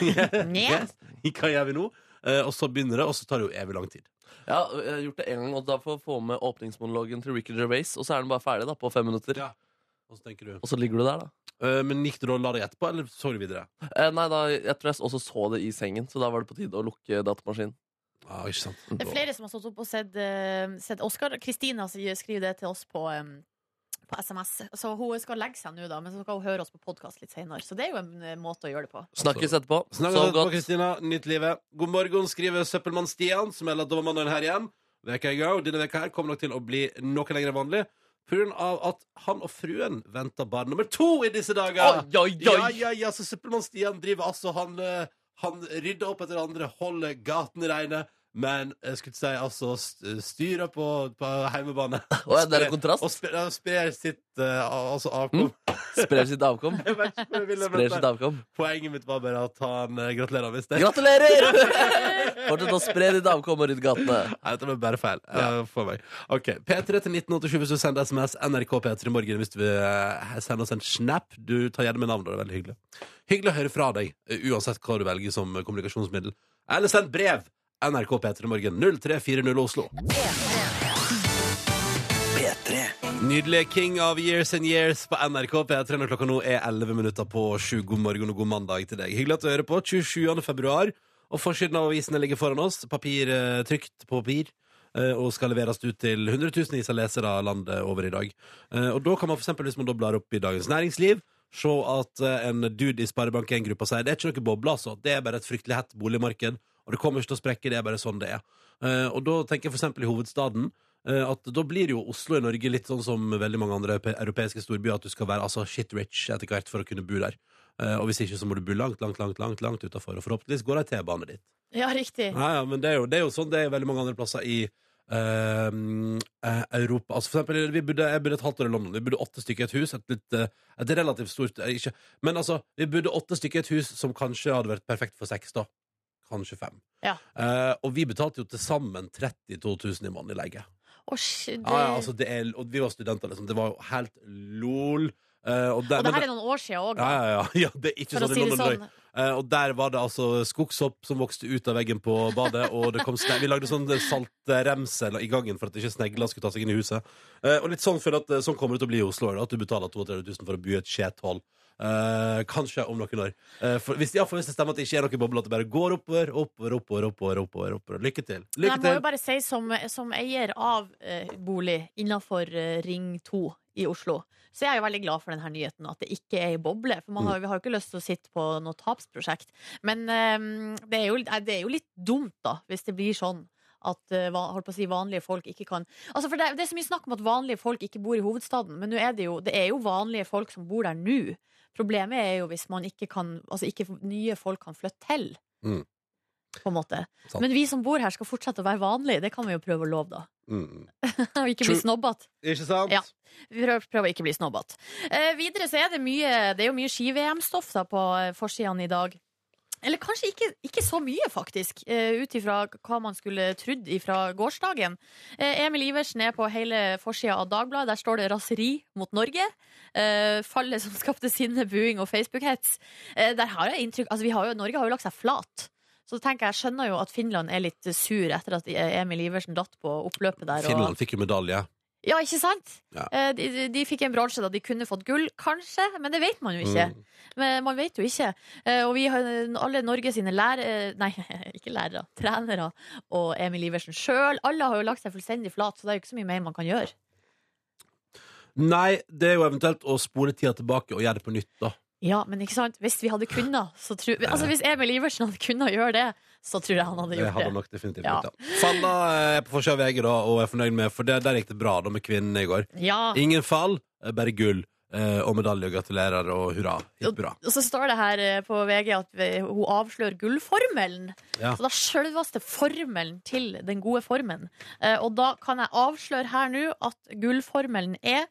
Speaker 4: Nja.
Speaker 3: *laughs* hva gjør vi nå? Eh, og så begynner det, og så tar det jo evig lang tid.
Speaker 2: Ja, jeg har gjort det en gang, og da får jeg få med åpningsmonologen til Ricky Gervais, og så er den bare ferdig da, på fem minutter.
Speaker 3: Ja. Og så tenker du
Speaker 2: Og så ligger du der, da.
Speaker 3: eh, Men gikk du da og la deg etterpå, eller så du videre?
Speaker 2: Eh, nei, da, jeg tror jeg også så det i sengen, så da var det på tide å lukke datamaskinen. Mm.
Speaker 3: Ja, Ah, ikke sant
Speaker 4: Det er flere som har stått opp og sett, eh, sett Oscar. Kristina skriver det til oss på, eh, på SMS. Så hun skal legge seg nå, da, men så skal hun høre oss på podkast litt senere. Så det er jo en eh, måte å gjøre det på.
Speaker 2: Snakkes etterpå. Sov
Speaker 3: Snakkes etterpå,
Speaker 2: godt.
Speaker 3: Kristina. Nytt livet. God morgen, skriver Søppelmann Stian, som melder at det var mandagen her igjen. Veka i går, og Denne veka her kommer nok til å bli noe lenger enn vanlig. På grunn av at han og fruen venter barn nummer to i disse dager.
Speaker 2: Oi, oi,
Speaker 3: Ja,
Speaker 2: oi!
Speaker 3: ja, ja, så Søppelmann Stian driver altså Han, eh, han rydder opp etter andre, holder gatene reine. Men jeg skulle si altså st- styrer på, på heimebane.
Speaker 2: Å, ja, det er en kontrast. Mm.
Speaker 3: Og sprer, og sprer sitt eh, al- altså avkom.
Speaker 2: Sprer sitt
Speaker 3: *laughs*
Speaker 2: avkom.
Speaker 3: Jeg vet ikke hvor jeg ville med
Speaker 2: Sprer
Speaker 3: dette.
Speaker 2: sitt avkom.
Speaker 3: Poenget mitt var bare at han eh, gratulerer hvis det.
Speaker 2: Gratulerer!
Speaker 3: *laughs*
Speaker 2: Fortsett å spre ditt avkom og rydd gatene.
Speaker 3: Nei, dette ble bare feil eh, for meg. Ok, P3 til 1987 hvis du sender SMS. NRK P3 i morgen hvis du vil eh, sende oss en snap. Du tar gjerne med navnet, det er veldig hyggelig. Hyggelig å høre fra deg, eh, uansett hva du velger som eh, kommunikasjonsmiddel. Eller send brev! NRK P3 i morgen. 0340 Oslo. Nydelig King of Years and Years på NRK P3 når klokka nå er 11 minutter på 7. God morgen og god mandag til deg. Hyggelig at du hører på. 27. februar. Og forsiden av avisene ligger foran oss. Papir eh, trykt på papir. eh, Og skal leveres ut til hundretusenvis av lesere landet over i dag. Eh, Og da kan man for eksempel, hvis man da blar opp i Dagens Næringsliv, se at eh, en dude i Sparebank1-gruppa sier det er ikke noe boble, altså. Det er bare et fryktelig hett boligmarked. Og det kommer ikke til å sprekke, det er bare sånn det er. Eh, Og da tenker jeg for eksempel i hovedstaden eh, at da blir jo Oslo i Norge litt sånn som veldig mange andre europe- europeiske storbyer, at du skal være altså shit rich etter hvert for å kunne bo der. Eh, Og hvis ikke så må du bo langt, langt, langt, langt, langt utafor. Og forhåpentligvis går det ei T-bane dit.
Speaker 4: Ja, riktig.
Speaker 3: Ja, ja, men det er, jo, det er jo sånn det er veldig mange andre plasser i eh, eh, Europa. Altså for eksempel, vi bodde, jeg bodde et halvt år i London. Vi bodde åtte stykker i et hus. Et, litt, eh, et relativt stort eh, ikke, Men altså, vi bodde åtte stykker i et hus som kanskje hadde vært perfekt for seks, da. Kanskje fem.
Speaker 4: Ja.
Speaker 3: Eh, og vi betalte jo til sammen 32 000 i måneden i leie.
Speaker 4: Og, sh- det,
Speaker 3: Ja, ja, altså, det er, og vi var studenter, liksom. Det var jo helt lol. Eh, og, der,
Speaker 4: og det
Speaker 3: men
Speaker 4: her er noen år siden òg,
Speaker 3: ja, ja, ja, *laughs* ja, det er ikke
Speaker 4: for å
Speaker 3: sånn i
Speaker 4: si det
Speaker 3: London.
Speaker 4: sånn.
Speaker 3: Eh, Og der var det altså skogshopp som vokste ut av veggen på badet. Og det kom sne- Vi lagde sånn saltremse i gangen for at ikke snegler skulle ta seg inn i huset. Eh, Og litt sånn føler jeg at eh, sånn kommer det til å bli i Oslo. da, At du betaler 32 000 for å bo i et skjethold. Eh, kanskje om noen år. Eh, for, hvis, ja, for hvis det stemmer at det ikke er noen boble, at det bare går oppover, oppover, oppover. oppover, oppover, oppover. Lykke til.
Speaker 4: Men jeg
Speaker 3: Lykke
Speaker 4: må jo
Speaker 3: til.
Speaker 4: bare si som, som eier av eh, bolig innenfor eh, Ring 2 i Oslo, så jeg er jo veldig glad for denne nyheten, at det ikke er ei boble. For
Speaker 3: Mm.
Speaker 4: man har, vi har jo ikke lyst til å sitte på noe tapsprosjekt. Men eh, det, er jo, eh, det er jo litt dumt, da, hvis det blir sånn. At eh, va- holdt på å si, vanlige folk ikke kan Altså for det, det er så mye snakk om at vanlige folk ikke bor i hovedstaden, men nå er det, jo, det er jo vanlige folk som bor der nå. Problemet er jo hvis man ikke kan Altså ikke nye folk kan flytte til.
Speaker 3: Mm.
Speaker 4: På en måte.
Speaker 3: Sant.
Speaker 4: Men vi som bor her, skal fortsette å være vanlige. Det kan vi jo prøve å love, da. *laughs*
Speaker 3: Mm.
Speaker 4: Og ikke bli
Speaker 3: True.
Speaker 4: snobbete.
Speaker 3: Ikke sant?
Speaker 4: Ja. Vi prøver, prøver å ikke bli snobbete. Eh, videre så er det mye Det er jo mye ski-VM-stoff da på eh, forsidene i dag. Eller kanskje ikke, ikke så mye, faktisk, uh, ut ifra hva man skulle trodd ifra gårsdagen. Eh, Emil Iversen er på hele forsida av Dagbladet. Der står det 'Raseri mot Norge'. Eh, fallet som skapte sinne, buing og Facebook-hets. Eh, der har jeg inntrykk Altså, vi har jo, Norge har jo lagt seg flat. Så tenker jeg, jeg skjønner jo at Finland er litt sur etter at eh, Emil Iversen datt på oppløpet der. og-
Speaker 3: Finland fikk jo medalje.
Speaker 4: ja, ikke sant?
Speaker 3: Ja.
Speaker 4: Eh, De, de, de fikk en bronse da de kunne fått gull, kanskje, men det vet man jo ikke.
Speaker 3: Mm.
Speaker 4: Men man vet jo ikke. Eh, Og vi har alle Norge sine lærere Nei, *laughs* ikke lærere. Trenere og Emil Iversen sjøl. Alle har jo lagt seg fullstendig flat, så det er jo ikke så mye mer man kan gjøre.
Speaker 3: Nei, det er jo eventuelt å spole tida tilbake og gjøre det på nytt, da.
Speaker 4: Ja, men ikke sant? Hvis vi hadde kunnet, så tror Altså hvis Emil Iversen hadde kunnet gjøre det, så tror jeg han hadde
Speaker 3: Det
Speaker 4: gjort
Speaker 3: hadde
Speaker 4: det.
Speaker 3: nok definitivt
Speaker 4: Ja.
Speaker 3: gjort, ja. Falla eh, på forsida av VG, da, og er fornøyd med For det, der gikk det bra da med kvinnen i går.
Speaker 4: Ja.
Speaker 3: Ingen fall, eh, bare gull. eh, Og medalje og gratulerer og hurra. Gikk bra.
Speaker 4: Og så står det her eh, på VG at vi- hun avslører gullformelen.
Speaker 3: Ja.
Speaker 4: Så da selveste formelen til den gode formen. Eh, Og da kan jeg avsløre her nå at gullformelen er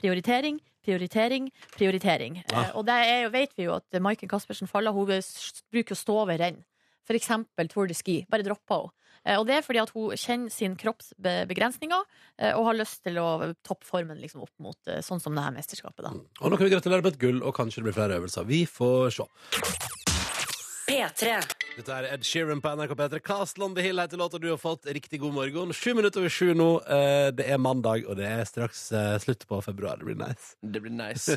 Speaker 4: prioritering, prioritering, prioritering.
Speaker 3: Ja.
Speaker 4: Eh, og det er, jo- vet vi jo at Maiken Caspersen Falla hun s- bruker å stå ved renn. For eksempel Tour de Ski. Bare dropper hun. Eh, og det er fordi at hun kjenner sin kroppsbegrensninger eh, og har lyst til å toppe formen liksom, opp mot eh, sånn som det her mesterskapet. Da.
Speaker 3: Og nå kan vi gratulere med et gull, og kanskje det blir flere øvelser. Vi får se.
Speaker 1: P3.
Speaker 3: Dette er Ed Sheeran på NRK P3. Castle on the Hill heter låta du har fått. Riktig god morgen. Sju minutter over sju nå. Eh, Det er mandag, og det er straks eh, slutt på februar. Det blir nice.
Speaker 2: Det blir
Speaker 3: *laughs*
Speaker 2: nice.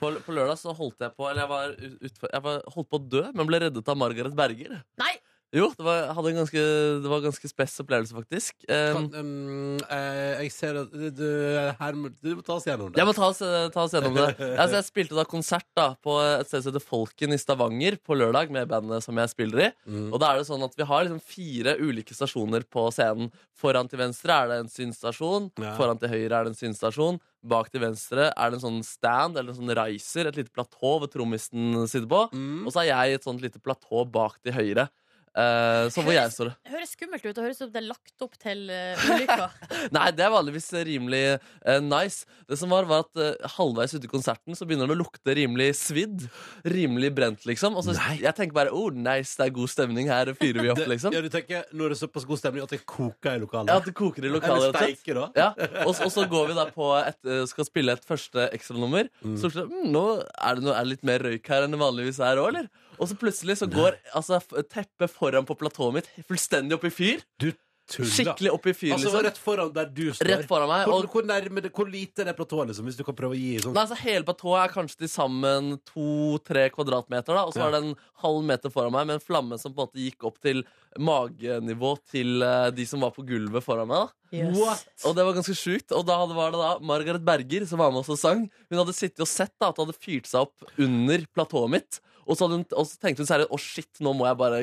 Speaker 2: På, på lørdag så holdt jeg på Eller jeg var, ut, utfor- jeg var holdt på å dø, men ble reddet av Margaret Berger.
Speaker 4: Nei!
Speaker 2: Jo, det var, jeg hadde en ganske, det var en ganske spess opplevelse, faktisk.
Speaker 3: Kan,
Speaker 2: Um,
Speaker 3: um, eh, jeg ser at du, du, her, må- du må ta oss gjennom det.
Speaker 2: jeg må ta oss, eh, ta oss gjennom
Speaker 3: *laughs*
Speaker 2: det. Altså, jeg spilte da konsert da på et sted som heter Folken i Stavanger på lørdag med bandet som jeg spiller i.
Speaker 3: Mm. *laughs*
Speaker 2: Og da er det sånn at Vi har liksom fire ulike stasjoner på scenen. Foran til venstre er det en synstasjon.
Speaker 3: Ja.
Speaker 2: Foran til høyre er det en synstasjon. Bak til venstre er det en sånn stand eller en sånn riser, et lite platå hvor trommisen sitter på.
Speaker 3: Mm.
Speaker 2: Og så er jeg i et sånt lite platå bak til høyre. eh, så hvor jeg står
Speaker 4: Det høres skummelt ut. Det høres ut som det er lagt opp til uh, ulykker.
Speaker 2: Nei, det er vanligvis rimelig eh, nice. Det som var, var at eh, halvveis ute i konserten så begynner det å lukte rimelig svidd. Rimelig brent, liksom. Og så
Speaker 3: Nei.
Speaker 2: jeg tenker bare oh, nice, det er god stemning, her fyrer vi opp,
Speaker 3: *laughs* Det-
Speaker 2: liksom.
Speaker 3: Ja, du tenker, nå er det såpass god stemning at det koker i lokalet.
Speaker 2: Ja, at det koker i
Speaker 3: Eller
Speaker 2: lokalet. rett og slett.
Speaker 3: steiker, da.
Speaker 2: Ja, og, så- og så
Speaker 3: *laughs*
Speaker 2: går vi da på et, eh, skal spille et første ekstranummer. Så plutselig, mm, nå er det, noe, er det litt mer røyk her enn det vanligvis er òg, eller? Og så plutselig så går altså, f- teppet foran på platået mitt fullstendig opp i fyr.
Speaker 3: Du tuller.
Speaker 2: Skikkelig opp i fyr,
Speaker 3: altså,
Speaker 2: liksom.
Speaker 3: Rett foran der du står.
Speaker 2: Rett foran meg.
Speaker 3: Hvor,
Speaker 2: Og
Speaker 3: hvor, nærme, det- hvor lite er det platået, liksom, hvis du kan prøve å gi sånn
Speaker 2: Nei, så Hele platået er kanskje til sammen to-tre kvadratmeter. da Og så
Speaker 3: Ja.
Speaker 2: var det en halv meter foran meg med en flamme som på en måte gikk opp til magenivå til eh, de som var på gulvet foran meg. da
Speaker 4: Yes.
Speaker 2: Og det var ganske sjukt. Og da hadde- var det da Margaret Berger som var med oss og sang. Hun hadde sittet og sett da at det hadde fyrt seg opp under platået mitt. Og så, hadde hun, og så tenkte hun særlig å shit, nå må jeg bare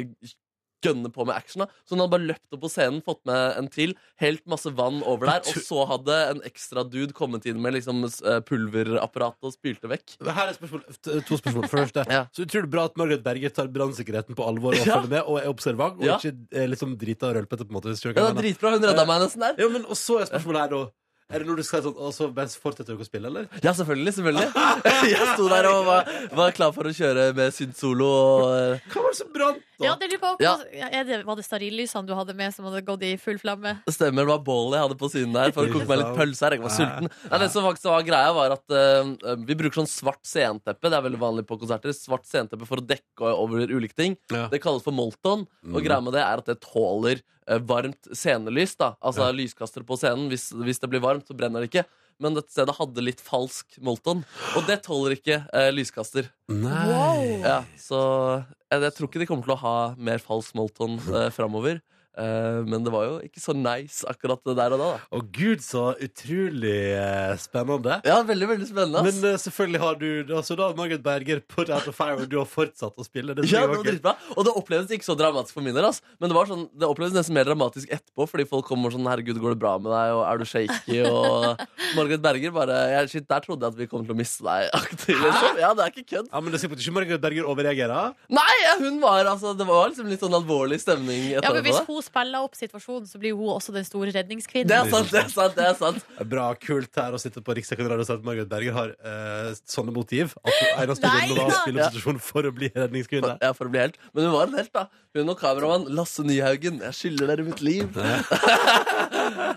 Speaker 2: gønne på med action. da Så hun hadde bare løpt opp på scenen, fått med en til, helt masse vann over der. Og så hadde en ekstra dude kommet inn med liksom s- eh, pulverapparat og spylte vekk.
Speaker 3: Her er spørsmål, t- to spørsmål. For det første,
Speaker 2: *laughs* Ja.
Speaker 3: så utrolig bra at Margaret Berger tar brannsikkerheten på alvor og
Speaker 2: Ja.
Speaker 3: følger med, og er observant, og
Speaker 2: Ja.
Speaker 3: ikke eh, liksom drita og rølpete, på en måte. Hvis du skjønner hva
Speaker 2: Ja,
Speaker 3: jeg
Speaker 2: det var
Speaker 3: mener.
Speaker 2: dritbra. Hun redda meg nesten der.
Speaker 3: ja, men, og så er spørsmålet her, da. Er det når du skal sånn, og så best fortsetter dere å spille, eller?
Speaker 2: Ja, selvfølgelig.
Speaker 3: *laughs*
Speaker 2: selvfølgelig Jeg sto der og var, var klar for å kjøre med synth-solo og
Speaker 3: *laughs*
Speaker 2: eh,
Speaker 3: Hva var det som brant, da?
Speaker 4: Ja, det lurer på,
Speaker 2: Ja.
Speaker 4: hva- er det, Var det stearinlysene du hadde med, som hadde gått i full flamme?
Speaker 2: Stemmer, det var bålet jeg hadde på siden der for å
Speaker 3: Ikke
Speaker 2: koke meg litt
Speaker 3: sant?
Speaker 2: pølse her. Jeg var
Speaker 3: Ja,
Speaker 2: sulten. Nei, det som faktisk var greia, var at eh, vi bruker sånn svart senteppe. Det er veldig vanlig på konserter. Svart senteppe for å dekke over ulike ting.
Speaker 3: Ja. Mm.
Speaker 2: Det kalles for molton, og greia med det er at det tåler eh, varmt scenelys. da Altså lyskastere på scenen. Hvis, hvis det blir varmt, så brenner det ikke. Men dette stedet hadde litt falsk molton, og det tåler ikke eh, lyskaster.
Speaker 3: Nei.
Speaker 2: Ja, så jeg, jeg tror ikke de kommer til å ha mer falsk molton eh, framover. Eh, men det var jo ikke så nice akkurat det der og da. da.
Speaker 3: Og gud, så utrolig eh, spennende.
Speaker 2: Ja, veldig, veldig spennende.
Speaker 3: Men
Speaker 2: ass.
Speaker 3: eh, selvfølgelig har du altså da har Margaret Berger put out of fire, og du har fortsatt å spille. Det,
Speaker 2: ja,
Speaker 3: ja,
Speaker 2: det var dritbra Og det opplevdes ikke så dramatisk for min del. ass. Men det var sånn, det opplevdes nesten mer dramatisk etterpå, fordi folk kommer sånn 'Herregud, går det bra med deg?' og 'Er du shaky?' og Margaret Berger bare ja, 'Shit, der trodde jeg at vi kom til å miste deg'. aktig, Liksom. Ja, det er ikke kødd.
Speaker 3: ja, men det er sikkert ikke Margaret Berger overreagerer.
Speaker 2: Nei, ja, hun var altså Det var liksom litt sånn alvorlig stemning
Speaker 4: Ja, men
Speaker 2: etterpå.
Speaker 4: Hvis
Speaker 2: da.
Speaker 4: hun spiller opp situasjonen, så blir hun også den store redningskvinnen.
Speaker 2: det er sant, det er sant. det er sant
Speaker 3: Det er Bra kult her å sitte på Riksdekken Radio og si at Margaret Berger har eh, sånne motiv. At hun eneste
Speaker 4: Nei
Speaker 3: grunn til å
Speaker 4: da!
Speaker 3: spille posisjon for å bli redningskvinne.
Speaker 2: ja, for å bli helt. Men hun var en helt, da. Hun og kameramann Lasse Nyhaugen. Jeg skylder dere mitt liv. *laughs*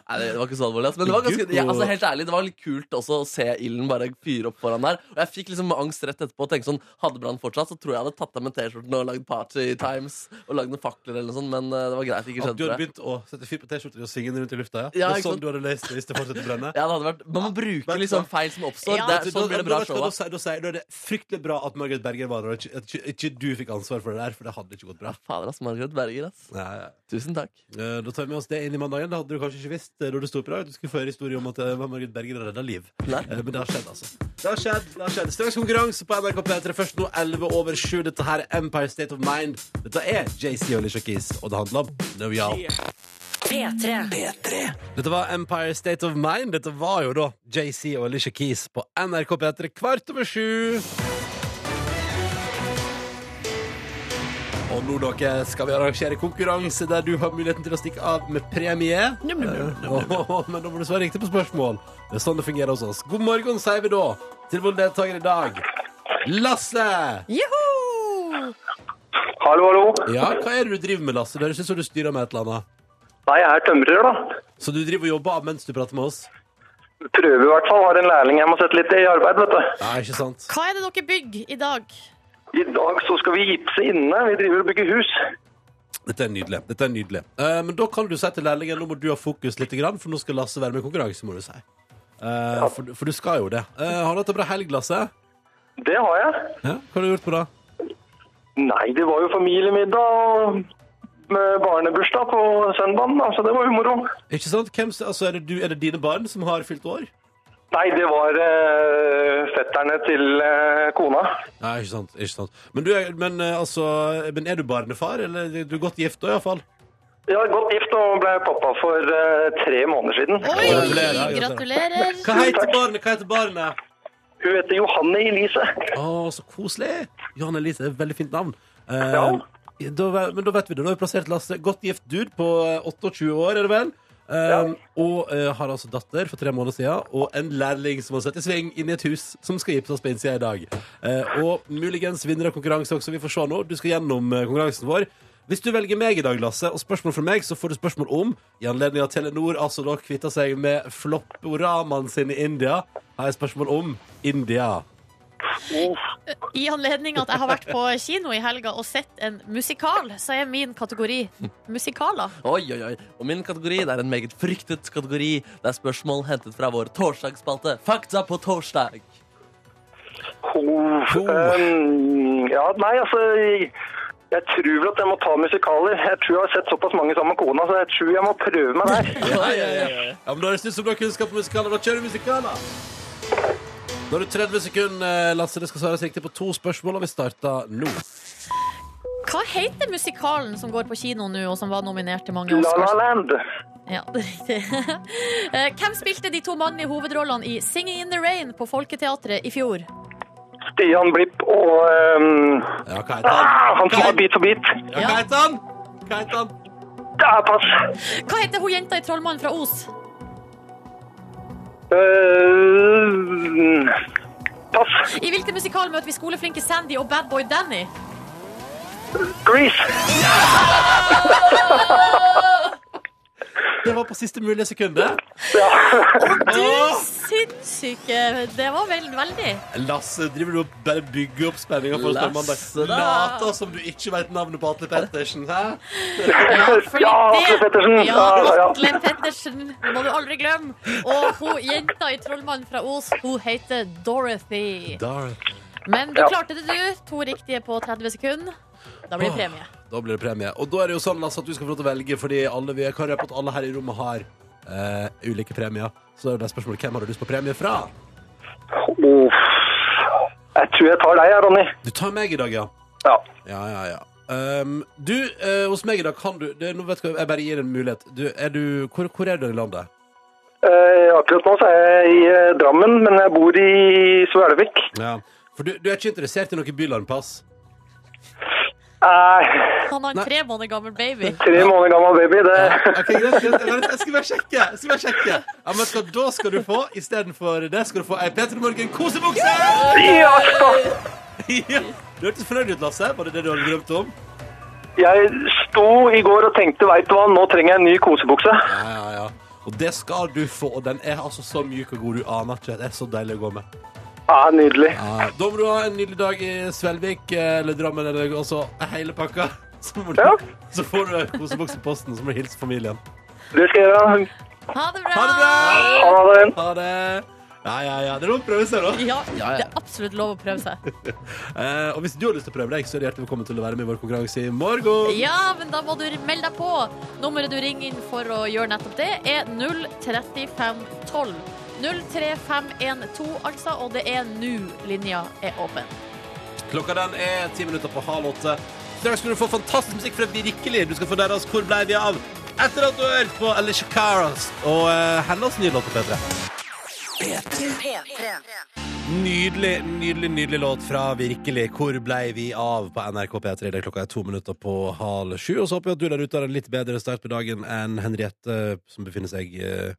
Speaker 2: Nei, det var ikke så alvorlig. ass. Men det var ganske, ja, altså, helt ærlig, det var litt kult også å se ilden bare fyre opp foran der. Og jeg fikk liksom angst rett etterpå og tenkte sånn Hadde brann fortsatt, så tror jeg jeg hadde tatt av meg T-skjorten og lagd Party Times og lagd noen fakler eller noe sånt, men eh, det var greit. Ikke
Speaker 3: At du
Speaker 2: skjønte
Speaker 3: hadde
Speaker 2: det.
Speaker 3: begynt å sette fyr på T-skjorter og synge den rundt i lufta. Ja,
Speaker 2: Ja,
Speaker 3: det er
Speaker 2: ikke
Speaker 3: sånn
Speaker 2: sant?
Speaker 3: du hadde løst det hvis det fortsetter å brenne.
Speaker 2: Ja, det hadde vært, man må bruke
Speaker 3: Vet du
Speaker 2: liksom
Speaker 3: hva?
Speaker 2: feil som oppstår.
Speaker 4: Ja.
Speaker 2: Det
Speaker 3: Da-
Speaker 2: er, sånn
Speaker 3: da-
Speaker 2: blir det
Speaker 3: da-
Speaker 2: bra
Speaker 3: vet du
Speaker 2: show.
Speaker 3: hva, Da
Speaker 2: ass.
Speaker 3: sier- da sier- da er det fryktelig bra at Margaret Berger var der, og ikke, at ikke, ikke du fikk ansvar for det der, for det hadde ikke gått bra.
Speaker 2: Fader, ass. Margaret Berger, ass.
Speaker 3: Nei, ja.
Speaker 2: Tusen takk.
Speaker 3: Eh, Da tar vi med oss det inn i mandagen. Det hadde du kanskje ikke visst eh, da du sto opp i dag. Du skulle få høre historie om at eh, Margaret Berger redda liv.
Speaker 2: Nei.
Speaker 3: Eh, Men det har skjedd, altså. Det har skjedd. det har skjedd Straks konkurranse på NRK P3. Først nå 11 over 7. Dette her er Empire State of Mind. Dette er JC og Alicia Keys, og det handler om New York.
Speaker 1: P3.
Speaker 3: Dette var Empire State of Mind. Dette var jo da JC og Alicia Keys på NRK P3 kvart over sju. Og nå dere, skal vi arrangere konkurranse der du har muligheten til å stikke av med premie. *laughs* Eh, Men da må du svare riktig på spørsmål. Det er sånn det fungerer hos oss. God morgen, sier vi da til vår deltaker i dag. Lasse!
Speaker 4: Juhu!
Speaker 5: Hallo, hallo.
Speaker 3: Ja, hva er det du driver med, Lasse? Det høres ut som du styrer med et eller annet.
Speaker 5: Nei, jeg er tømrer, da.
Speaker 3: Så du driver og jobber av mens du prater med oss?
Speaker 5: Prøver i hvert fall. Har en lærling jeg må sette litt i arbeid, vet du.
Speaker 3: Ja, ikke sant?
Speaker 4: Hva er det dere bygger i dag?
Speaker 5: I dag så skal vi gipse inne. Vi driver og bygger hus.
Speaker 3: Dette er nydelig. Dette er nydelig. Eh, men da kan du si til lærlingen nå må du ha fokus litt, grann, for nå skal Lasse være med i konkurranse, må du si. Eh, for, for du skal jo det. Eh, har du hatt en bra helg, Lasse?
Speaker 5: Det har jeg.
Speaker 3: Ja, hva har du gjort på da?
Speaker 5: Nei, det var jo familiemiddag og med barnebursdag på søndagen, da, så det var jo moro.
Speaker 3: Ikke sant? Hvem, s- altså, er, det du, er det dine barn som har fylt år?
Speaker 5: Nei, det var eh, fetterne til eh, kona.
Speaker 3: Nei, ikke sant. Ikke sant. Men, du er, men, eh, altså, men er du barnefar? Eller du er godt gift da, iallfall?
Speaker 5: Jeg er godt gift og ble pappa for eh, tre måneder siden.
Speaker 4: Oi!
Speaker 3: Gratulerer, gratulerer.
Speaker 4: Gratulerer.
Speaker 3: Hva heter barnet? Hva heter barnet?
Speaker 5: Hun heter Johanne Elise.
Speaker 3: Å, så koselig! Johan Elise er et veldig fint navn. Eh,
Speaker 5: Ja.
Speaker 3: da, ve- men da vet vi det. Da har vi plassert Lasse. Godt gift dude på eh, 28 år, er det vel? Eh, Og eh, har altså datter for tre måneder siden og en lærling som har satt i sving inn i et hus som skal gipses på innsida i dag. Eh, og muligens vinner av konkurranse også. Vi får se nå. Du skal gjennom eh, konkurransen vår. Hvis du velger meg i dag, Lasse, og spørsmål fra meg, så får du spørsmål om i anledning av Telenor altså da kvitta seg med flopporamaen sin i India, har jeg spørsmål om India.
Speaker 4: I anledning at jeg har vært på kino i helga og sett en musikal, så er min kategori musikaler.
Speaker 2: Oi, oi, oi. Og min kategori det er en meget fryktet kategori. Det er spørsmål hentet fra vår torsdagsspalte Fakta på torsdag.
Speaker 5: Ho. Ehm, ja, nei, altså jeg, jeg tror vel at jeg må ta musikaler. Jeg tror jeg har sett såpass mange sammen med kona, så jeg tror jeg må prøve meg der.
Speaker 3: Ja, ja, ja, ja. ja men Da høres det ut som du har kunnskap om musikaler. Da kjører vi musikaler! Da har du 30 sekunder, eh, Lasse. Det skal svares riktig på to spørsmål, og vi starter nå.
Speaker 4: Hva heter musikalen som går på kino nå, og som var nominert til mange
Speaker 5: La La
Speaker 4: Oscars?
Speaker 5: Land.
Speaker 4: Ja, det er riktig. *laughs* Eh, Hvem spilte de to mannlige hovedrollene i 'Singing in the Rain' på Folketeatret i fjor?
Speaker 5: Stian Blipp og ehm,
Speaker 3: Ja, hva heter
Speaker 5: ah,
Speaker 3: han?
Speaker 5: Han som var Beat for beat.
Speaker 3: Ja, hva heter han? Hva heter han?
Speaker 5: Det er pass.
Speaker 4: Hva heter hun jenta i 'Trollmannen fra Os'?
Speaker 5: Ehm, pass.
Speaker 4: I hvilken musikal møter vi skoleflinke Sandy og badboy Danny?
Speaker 5: Grease.
Speaker 3: Det var på siste mulige sekundet.
Speaker 4: Du sinnssyke! Det var vel veldig.
Speaker 3: Lasse, driver du og bare bygger opp spenninga for oss på mandag?
Speaker 2: Lasse, da.
Speaker 3: Later som du ikke veit navnet på Atle Pettersen, hæ?
Speaker 4: Fordi
Speaker 5: Ja,
Speaker 4: det-
Speaker 5: Atle Pettersen.
Speaker 4: Ja,
Speaker 5: Ja, ja, ja.
Speaker 4: Atle Pettersen det må du aldri glemme. Og hun jenta i 'Trollmannen fra Os', hun heter Dorothy.
Speaker 3: Darth.
Speaker 4: Men du
Speaker 5: Ja.
Speaker 4: klarte det, du. To riktige på 30 sekunder. Da blir det premie.
Speaker 3: Da blir det premie. Og da er det jo sånn Lasse, at du skal få lov til å velge, fordi alle, vi, jeg kan røpe at alle her i rommet har eh, ulike premier. Så da er det spørsmålet hvem har du lyst på premie fra?
Speaker 5: Uff. Jeg tror jeg tar deg, ja, Ronny.
Speaker 3: Du tar meg i dag, ja.
Speaker 5: Ja.
Speaker 3: Ja, ja, ja. Ehm, du, eh, hos meg i dag kan du det, Nå vet du hva, Jeg bare gir en mulighet. Du, er du, hvor, hvor er du i landet?
Speaker 5: Eh, akkurat nå så er jeg i eh, Drammen, men jeg bor i Svelvik.
Speaker 3: Ja. For du, du er ikke interessert i noe bylandpass?
Speaker 5: Nei,
Speaker 4: Han har en tre måneder gammel baby.
Speaker 5: tre måneder gammel baby, det
Speaker 3: Ok, greit, greit. Jeg bare- jeg skal bare sjekke. Jeg skal bare sjekke. Ja, men skal, da skal du få, istedenfor det, skal du få ei Peter Morgen-kosebukse!
Speaker 5: Ja, stopp!
Speaker 3: Ja. Du hørtes fornøyd ut, Lasse. Var det det du hadde drømt om?
Speaker 5: Jeg sto i går og tenkte, veit du hva, nå trenger jeg en ny kosebukse.
Speaker 3: Ja, ja, ja. Og det skal du få. Og den er altså så myk og god. Du aner ikke. Det er så deilig å gå med.
Speaker 5: Ja, nydelig.
Speaker 3: Ja, da må du ha en nydelig dag i Svelvik eh, eller Drammen eller også hele pakka. *laughs* Så, må du,
Speaker 5: Ja.
Speaker 3: så får du en koseboks i posten, så må du hilse familien.
Speaker 5: Det skal jeg gjøre.
Speaker 4: Ha det bra!
Speaker 3: Ha det bra!
Speaker 5: Ha det.
Speaker 3: Ha det! Ja, ja, ja. Det er lov å prøve seg, da.
Speaker 4: Ja,
Speaker 2: Ja, ja.
Speaker 4: det er absolutt lov å prøve seg.
Speaker 3: *laughs* Eh, og hvis du har lyst til å prøve deg, så er du hjertelig velkommen til å være med i vår konkurranse i morgen.
Speaker 4: Ja, men da må du melde deg på. Nummeret du ringer inn for å gjøre nettopp det, er 03512. 03512, altså, og det er nå linja er åpen.
Speaker 3: Klokka den er ti minutter på halv åtte. Straks skal du få fantastisk musikk fra Virkelig. Du skal få deres Hvor blei vi av? Etter at du har hørt på Alicia Caras og eh, hennes nye låt, Petre.
Speaker 1: P3.
Speaker 3: Nydelig, nydelig, nydelig låt fra Virkelig. Hvor blei vi av på NRK P3? Det er klokka er to minutter på halv sju. Og så håper vi at du der ute har en litt bedre start på dagen enn Henriette, som befinner seg eh,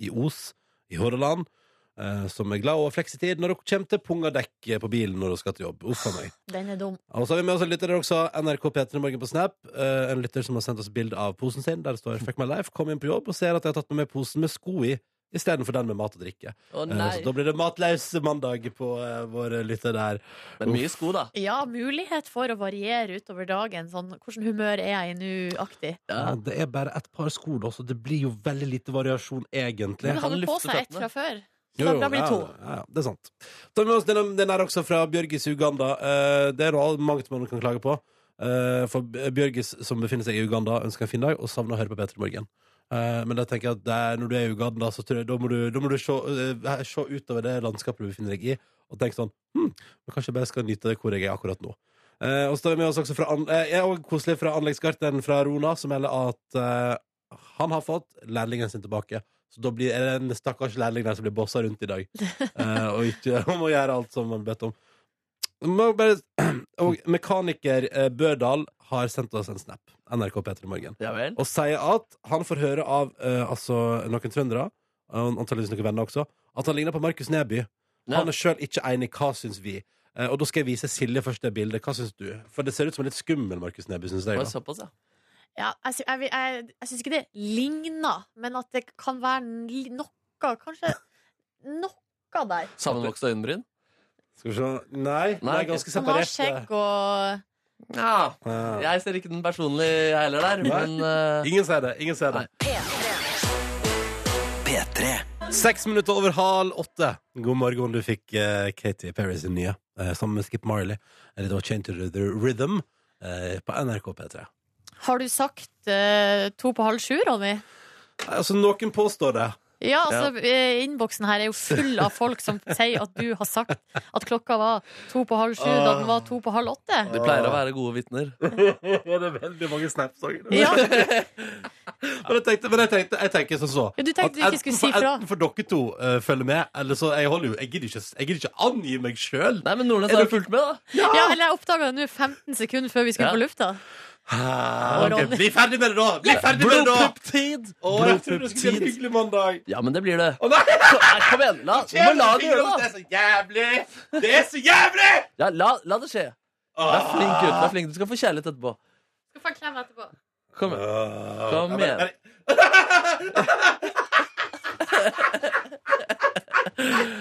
Speaker 3: i Os i Hordaland. Eh, eh, som er glad og fleksitid når hun kommer til pungardekk på bilen når hun skal til jobb. Uff a meg.
Speaker 4: Den er dum.
Speaker 3: Og så har vi med oss en lytter der også, NRK P3 Morgen på Snap. Eh, en lytter som har sendt oss bilde av posen sin, der det står 'Fuck my life'. Kom inn på jobb og ser at jeg har tatt med meg posen med sko i istedenfor den med mat og drikke.
Speaker 2: Å
Speaker 3: Eh,
Speaker 2: nei.
Speaker 3: så da blir det matløs mandag på eh, vår lytter der.
Speaker 2: Det er mye sko, da.
Speaker 4: Ja, mulighet for å variere utover dagen. Sånn, hvordan humør er jeg i nå-aktig.
Speaker 3: Ja, det er bare et par sko, da, så det blir jo veldig lite variasjon, egentlig.
Speaker 4: Men
Speaker 2: han
Speaker 4: hadde du på
Speaker 2: lufter
Speaker 4: seg ett
Speaker 2: føttene.
Speaker 4: fra før? Så
Speaker 3: Jo, jo,
Speaker 4: da blir det to.
Speaker 3: Ja, ja, ja, det er sant. Ta med oss den, den er også fra Bjørgis i Uganda. Eh, det er noe mangt man kan klage på. Eh, for Bjørgis, som befinner seg i Uganda, ønsker en fin dag og savner å høre på Petter i morgen. Eh, men da tenker jeg at der, når du er i Uganda, så tror jeg, da må du, da må du se, eh, se utover det landskapet du befinner deg i, og tenke sånn hm, men Kanskje jeg bare skal nyte det hvor jeg er akkurat nå. Eh, og så tar vi med oss også fra an eh, jeg er også koselig fra anleggsgartneren fra Rona, som melder at eh, han har fått lærlingen sin tilbake. Så da blir er det en stakkars lærling der som blir bossa rundt i dag. Eh, og ikke *laughs* om å gjøre alt som man bedt om. Må bare, *clears throat* og mekaniker eh, Bødal har sendt oss en snap, NRK P3 Morgen,
Speaker 2: Ja vel.
Speaker 3: og sier at han får høre av eh, altså, noen trøndere, og antakeligvis Eh, noen venner også, at han ligner på Markus Neby. Han er sjøl ikke enig. Hva syns vi? Eh, og da skal jeg vise Silje først det bildet. Hva syns du? For det ser ut som en litt skummel Markus Neby, syns jeg.
Speaker 2: Oi,
Speaker 3: Da.
Speaker 2: såpass, ja.
Speaker 4: Ja, jeg, sy- jeg, vil- jeg, jeg syns ikke det ligner, men at det kan være li- noe Kanskje noe der.
Speaker 2: Sammenvokste øyenbryn?
Speaker 3: Skal vi se Nei, det er
Speaker 2: Nei,
Speaker 3: ganske
Speaker 4: Han har
Speaker 3: separert.
Speaker 4: skjegg og
Speaker 2: Ja.
Speaker 3: Ja.
Speaker 2: Jeg ser ikke den personlig jeg heller der,
Speaker 3: Nei.
Speaker 2: men eh,
Speaker 3: Ingen sier det. Ingen sier det.
Speaker 2: Nei.
Speaker 3: Seks minutter over halv åtte. God morgen, du fikk eh, Katy Perry sin nye, eh, sammen med Skip Marley. Eller det var Change to the Rhythm eh, på NRK P3.
Speaker 4: Har du sagt eh, to på halv sju, Ronny?
Speaker 3: Altså, noen påstår det.
Speaker 4: Ja, altså, eh, innboksen her er jo full av folk som sier at du har sagt at klokka var to på halv sju da den var to på halv åtte.
Speaker 2: de pleier å være gode
Speaker 3: *laughs*
Speaker 2: vitner.
Speaker 3: det er veldig mange snaps òg.
Speaker 4: Ja,
Speaker 3: *laughs* Men jeg tenkte, men jeg tenkte, jeg tenker sånn så
Speaker 4: Ja, du tenkte
Speaker 3: at
Speaker 4: du ikke skulle si
Speaker 3: for,
Speaker 4: fra.
Speaker 3: enten for dere to eh, følger med, eller så Jeg holder jo Jeg gidder ikke, jeg gidder ikke angi meg sjøl.
Speaker 2: Nei, men Nordnes
Speaker 3: Er
Speaker 2: har
Speaker 3: du-
Speaker 2: jo fulgt med, da.
Speaker 4: ja eller jeg oppdaga det nå 15 sekunder før vi skulle
Speaker 2: Ja.
Speaker 4: på lufta. Ronny.
Speaker 3: bli ferdig med det, da! Bli ferdig med det, da!
Speaker 2: Blodpupptid!
Speaker 3: Å, jeg trodde det skulle bli en
Speaker 2: Blodpupptid.
Speaker 3: hyggelig mandag.
Speaker 2: Ja, men det blir det.
Speaker 3: Å, nei!
Speaker 2: Nei, kom igjen, la, du må la det gjøre
Speaker 3: Det
Speaker 2: det,
Speaker 3: er så jævlig! Det er så jævlig!
Speaker 2: da. Ja, la, la det skje. Du er flink gutt. Du er flink. Du skal få kjærlighet etterpå.
Speaker 4: Skal få en klem etterpå.
Speaker 2: Kom igjen.
Speaker 3: Hva
Speaker 2: Kom igjen.
Speaker 3: *laughs*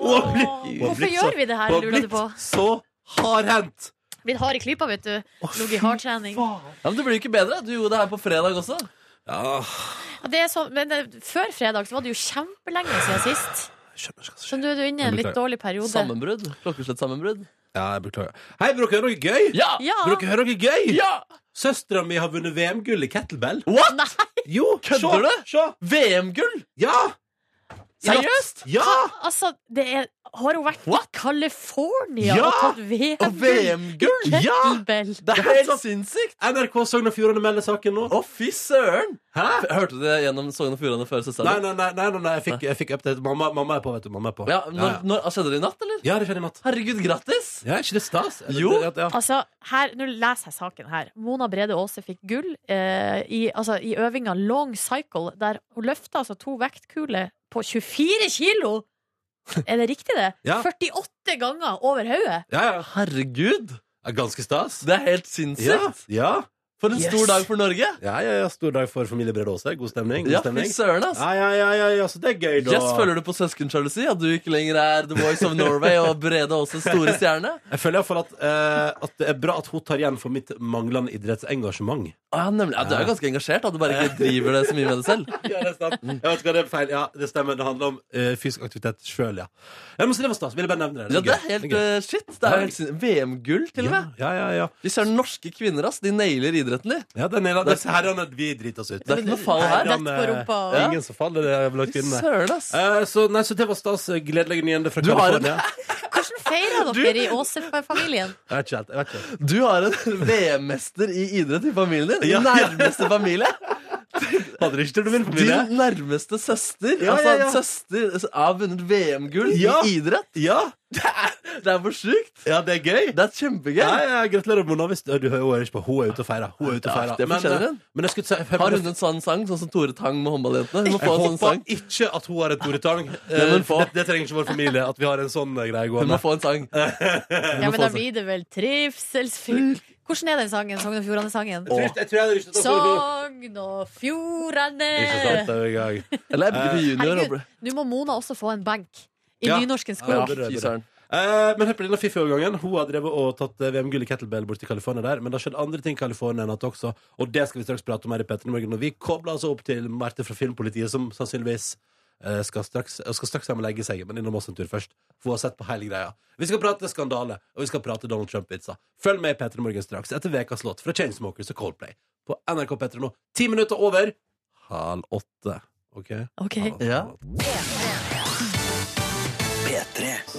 Speaker 4: Hvorfor gjør vi det her, lurer du på?
Speaker 3: Så hardhendt!
Speaker 4: Vi har i klypa, vet du. Ligget i hardtrening.
Speaker 2: Ja, men Du blir jo ikke bedre. Du gjorde det her på fredag også.
Speaker 3: Ja,
Speaker 4: Ja, Det er sånn- men eh, før fredag så var det jo kjempelenge siden sist.
Speaker 3: jeg skjønner ikke hva som skjer.
Speaker 4: Så nå er du inne i en litt dårlig periode.
Speaker 2: Sammenbrudd. Klokkeslettsammenbrudd.
Speaker 3: Ja, jeg beklager. Hei, vil dere høre noe gøy?
Speaker 2: Ja!
Speaker 4: Ja.
Speaker 3: Vil dere høre noe gøy?
Speaker 2: Ja!
Speaker 3: Søstera mi har vunnet VM-gull i kettlebell.
Speaker 2: What?!
Speaker 3: Jo,
Speaker 2: Kødder
Speaker 3: se,
Speaker 2: du?
Speaker 3: Se!
Speaker 2: VM-gull!
Speaker 3: Ja!
Speaker 2: Seriøst?
Speaker 3: Ja!
Speaker 4: Altså, det er Har hun vært i California
Speaker 3: Ja!
Speaker 4: og tatt VM?
Speaker 2: Og VM-gull!
Speaker 3: Ja!
Speaker 4: Kettlebell.
Speaker 2: Det er helt sinnssykt!
Speaker 3: NRK Sogn og Fjordane melder saken nå.
Speaker 2: Å, fy søren!
Speaker 3: Hæ?
Speaker 2: Hørte du det gjennom Sogn og Fjordane før
Speaker 3: Nei,
Speaker 2: sesongen?
Speaker 3: nei, nei, nei, nei, nei. Jeg, fikk, jeg fikk update. Mamma, mamma er på, vet du. Mamma er på.
Speaker 2: Ja,
Speaker 3: ja,
Speaker 2: når, når, skjedde det i natt, eller?
Speaker 3: ja. ja det skjedde i natt.
Speaker 2: Herregud, grattis!
Speaker 3: Ja, er ikke det stas? Er det-
Speaker 2: Jo.
Speaker 3: det- ja.
Speaker 4: Altså, her, Nå leser jeg saken her. Mona Brede Aase fikk gull eh, i, altså, i øvinga long cycle, der hun løfta altså, to vektkuler på 24 kilo!
Speaker 3: *laughs*
Speaker 4: Er det riktig, det?
Speaker 3: Ja.
Speaker 4: 48 ganger over hodet!
Speaker 3: Ja, ja.
Speaker 2: Herregud!
Speaker 3: Ja, Ganske stas.
Speaker 2: Det er helt
Speaker 3: Ja,
Speaker 2: sinnssykt!
Speaker 3: ja.
Speaker 2: For en
Speaker 4: Yes.
Speaker 2: stor dag for Norge!
Speaker 3: ja, ja, ja. Stor dag for familie Brede Aase. God stemning. God
Speaker 2: Ja, fy
Speaker 3: stemning.
Speaker 2: søren, ass!
Speaker 3: Ja, ja, ja, ja, ja, så det er gøy, da.
Speaker 2: Yes, Føler du på søskensjalusi? At du ikke lenger er The Voice of Norway og Brede Aase store stjerne?
Speaker 3: Jeg føler iallfall at, eh, at det er bra at hun tar igjen for mitt manglende idrettsengasjement.
Speaker 2: Ah, ja, nemlig. Ja, du er ganske engasjert, da. Du bare ikke driver det så mye med det selv.
Speaker 3: *laughs* Ja, det er sant. Jeg vet ikke hva det er feil. Ja, det stemmer. Det handler om eh, fysisk aktivitet sjøl, ja. ja men så det var stas. Ville bare nevne det.
Speaker 2: Ja, det er
Speaker 3: gøy.
Speaker 2: helt
Speaker 3: gøy.
Speaker 2: eh, shit. Det er jo helt sin- VM-gull, til og med.
Speaker 3: Ja, ja, ja. ja.
Speaker 2: Vi ser norske kvinner, ass. De nailer idretten, de.
Speaker 3: ja det er nede, disse herrene, vi driter oss ut.
Speaker 2: Det er ikke noe fall her.
Speaker 4: Rett på rumpa.
Speaker 3: Ja. Ingen som faller, det er blant
Speaker 2: Fy
Speaker 3: kvinnene.
Speaker 2: Søren, ass.
Speaker 3: Eh, så, nei, så det var stas. Gledelige nyheter fra
Speaker 2: Du har en-
Speaker 3: California.
Speaker 4: Hvordan feira dere i Aase-familien?
Speaker 3: Jeg vet ikke helt. Jeg vet ikke helt.
Speaker 2: Du har en *laughs* VM-mester i idrett i familien din. Din
Speaker 3: Ja.
Speaker 2: nærmeste familie.
Speaker 3: Hadde det ikke til min *laughs* familie?
Speaker 2: Din nærmeste søster.
Speaker 3: Ja, ja, ja.
Speaker 2: Altså, søster har vunnet VM-gull
Speaker 3: Ja.
Speaker 2: i idrett.
Speaker 3: Ja!
Speaker 2: *laughs* Det er for sjukt!
Speaker 3: Ja, det er gøy.
Speaker 2: Det er kjempegøy!
Speaker 3: Ja, ja, Gratulerer, Mona. Hvis du hører hun er ikke på. Hun er ute og feirer. Hun er ute og
Speaker 2: Ja,
Speaker 3: feirer.
Speaker 2: det
Speaker 3: Men,
Speaker 2: fortjener
Speaker 3: eh,
Speaker 2: hun.
Speaker 3: men jeg skulle si jeg-
Speaker 2: Har hun en sånn sang, sånn som Tore Tang med håndballjentene? Hun må
Speaker 3: Jeg
Speaker 2: få en sånn
Speaker 3: håper
Speaker 2: sang.
Speaker 3: ikke at hun har et Tore
Speaker 2: *laughs*
Speaker 3: Tang.
Speaker 2: Det må hun få.
Speaker 3: det, det trenger ikke vår familie. At vi har en sånn eh, greie
Speaker 2: Hun må
Speaker 3: gående.
Speaker 2: få en
Speaker 3: *laughs*
Speaker 2: sang.
Speaker 4: Ja, men
Speaker 2: få
Speaker 4: da
Speaker 2: seg-
Speaker 4: blir det vel trivselsfyll. Hvordan er den sangen? Sogn og
Speaker 3: Jeg
Speaker 4: Fjordane-sangen?
Speaker 3: tror ikke- jeg tror heller ikke at hun-
Speaker 4: Sogn og
Speaker 3: Ikke sant,
Speaker 4: Fjordane!
Speaker 3: det er jo Eh, gøy.
Speaker 2: Eller er Bygde Junior og
Speaker 4: Eh. Herregud, nå må Mona også få en benk i
Speaker 3: Ja.
Speaker 4: nynorskens
Speaker 2: Ja,
Speaker 3: Ja,
Speaker 4: skog.
Speaker 3: det er det.
Speaker 2: fy søren.
Speaker 3: Eh, men hør på denne fiffige overgangen. Hun har drevet og tatt eh, VM-gull i kettlebell bort til California der. Men det har skjedd andre ting i California enn at også. Og det skal vi straks prate om her i Petter i morgen. Og vi kobler oss opp til Marte fra Filmpolitiet, som sannsynligvis eh, skal straks, eh, skal straks hjem og legge seg, men innom oss en tur først. For hun har sett på hele greia. Vi skal prate skandale, og vi skal prate Donald Trump-vitser. Følg med i Petter i morgen straks etter ukas låt fra Chainsmokers og Coldplay på NRK Petter nå. Ti minutter over halv åtte. OK?
Speaker 4: Ok.
Speaker 3: Halv åtte,
Speaker 2: Ja.
Speaker 3: halv åtte.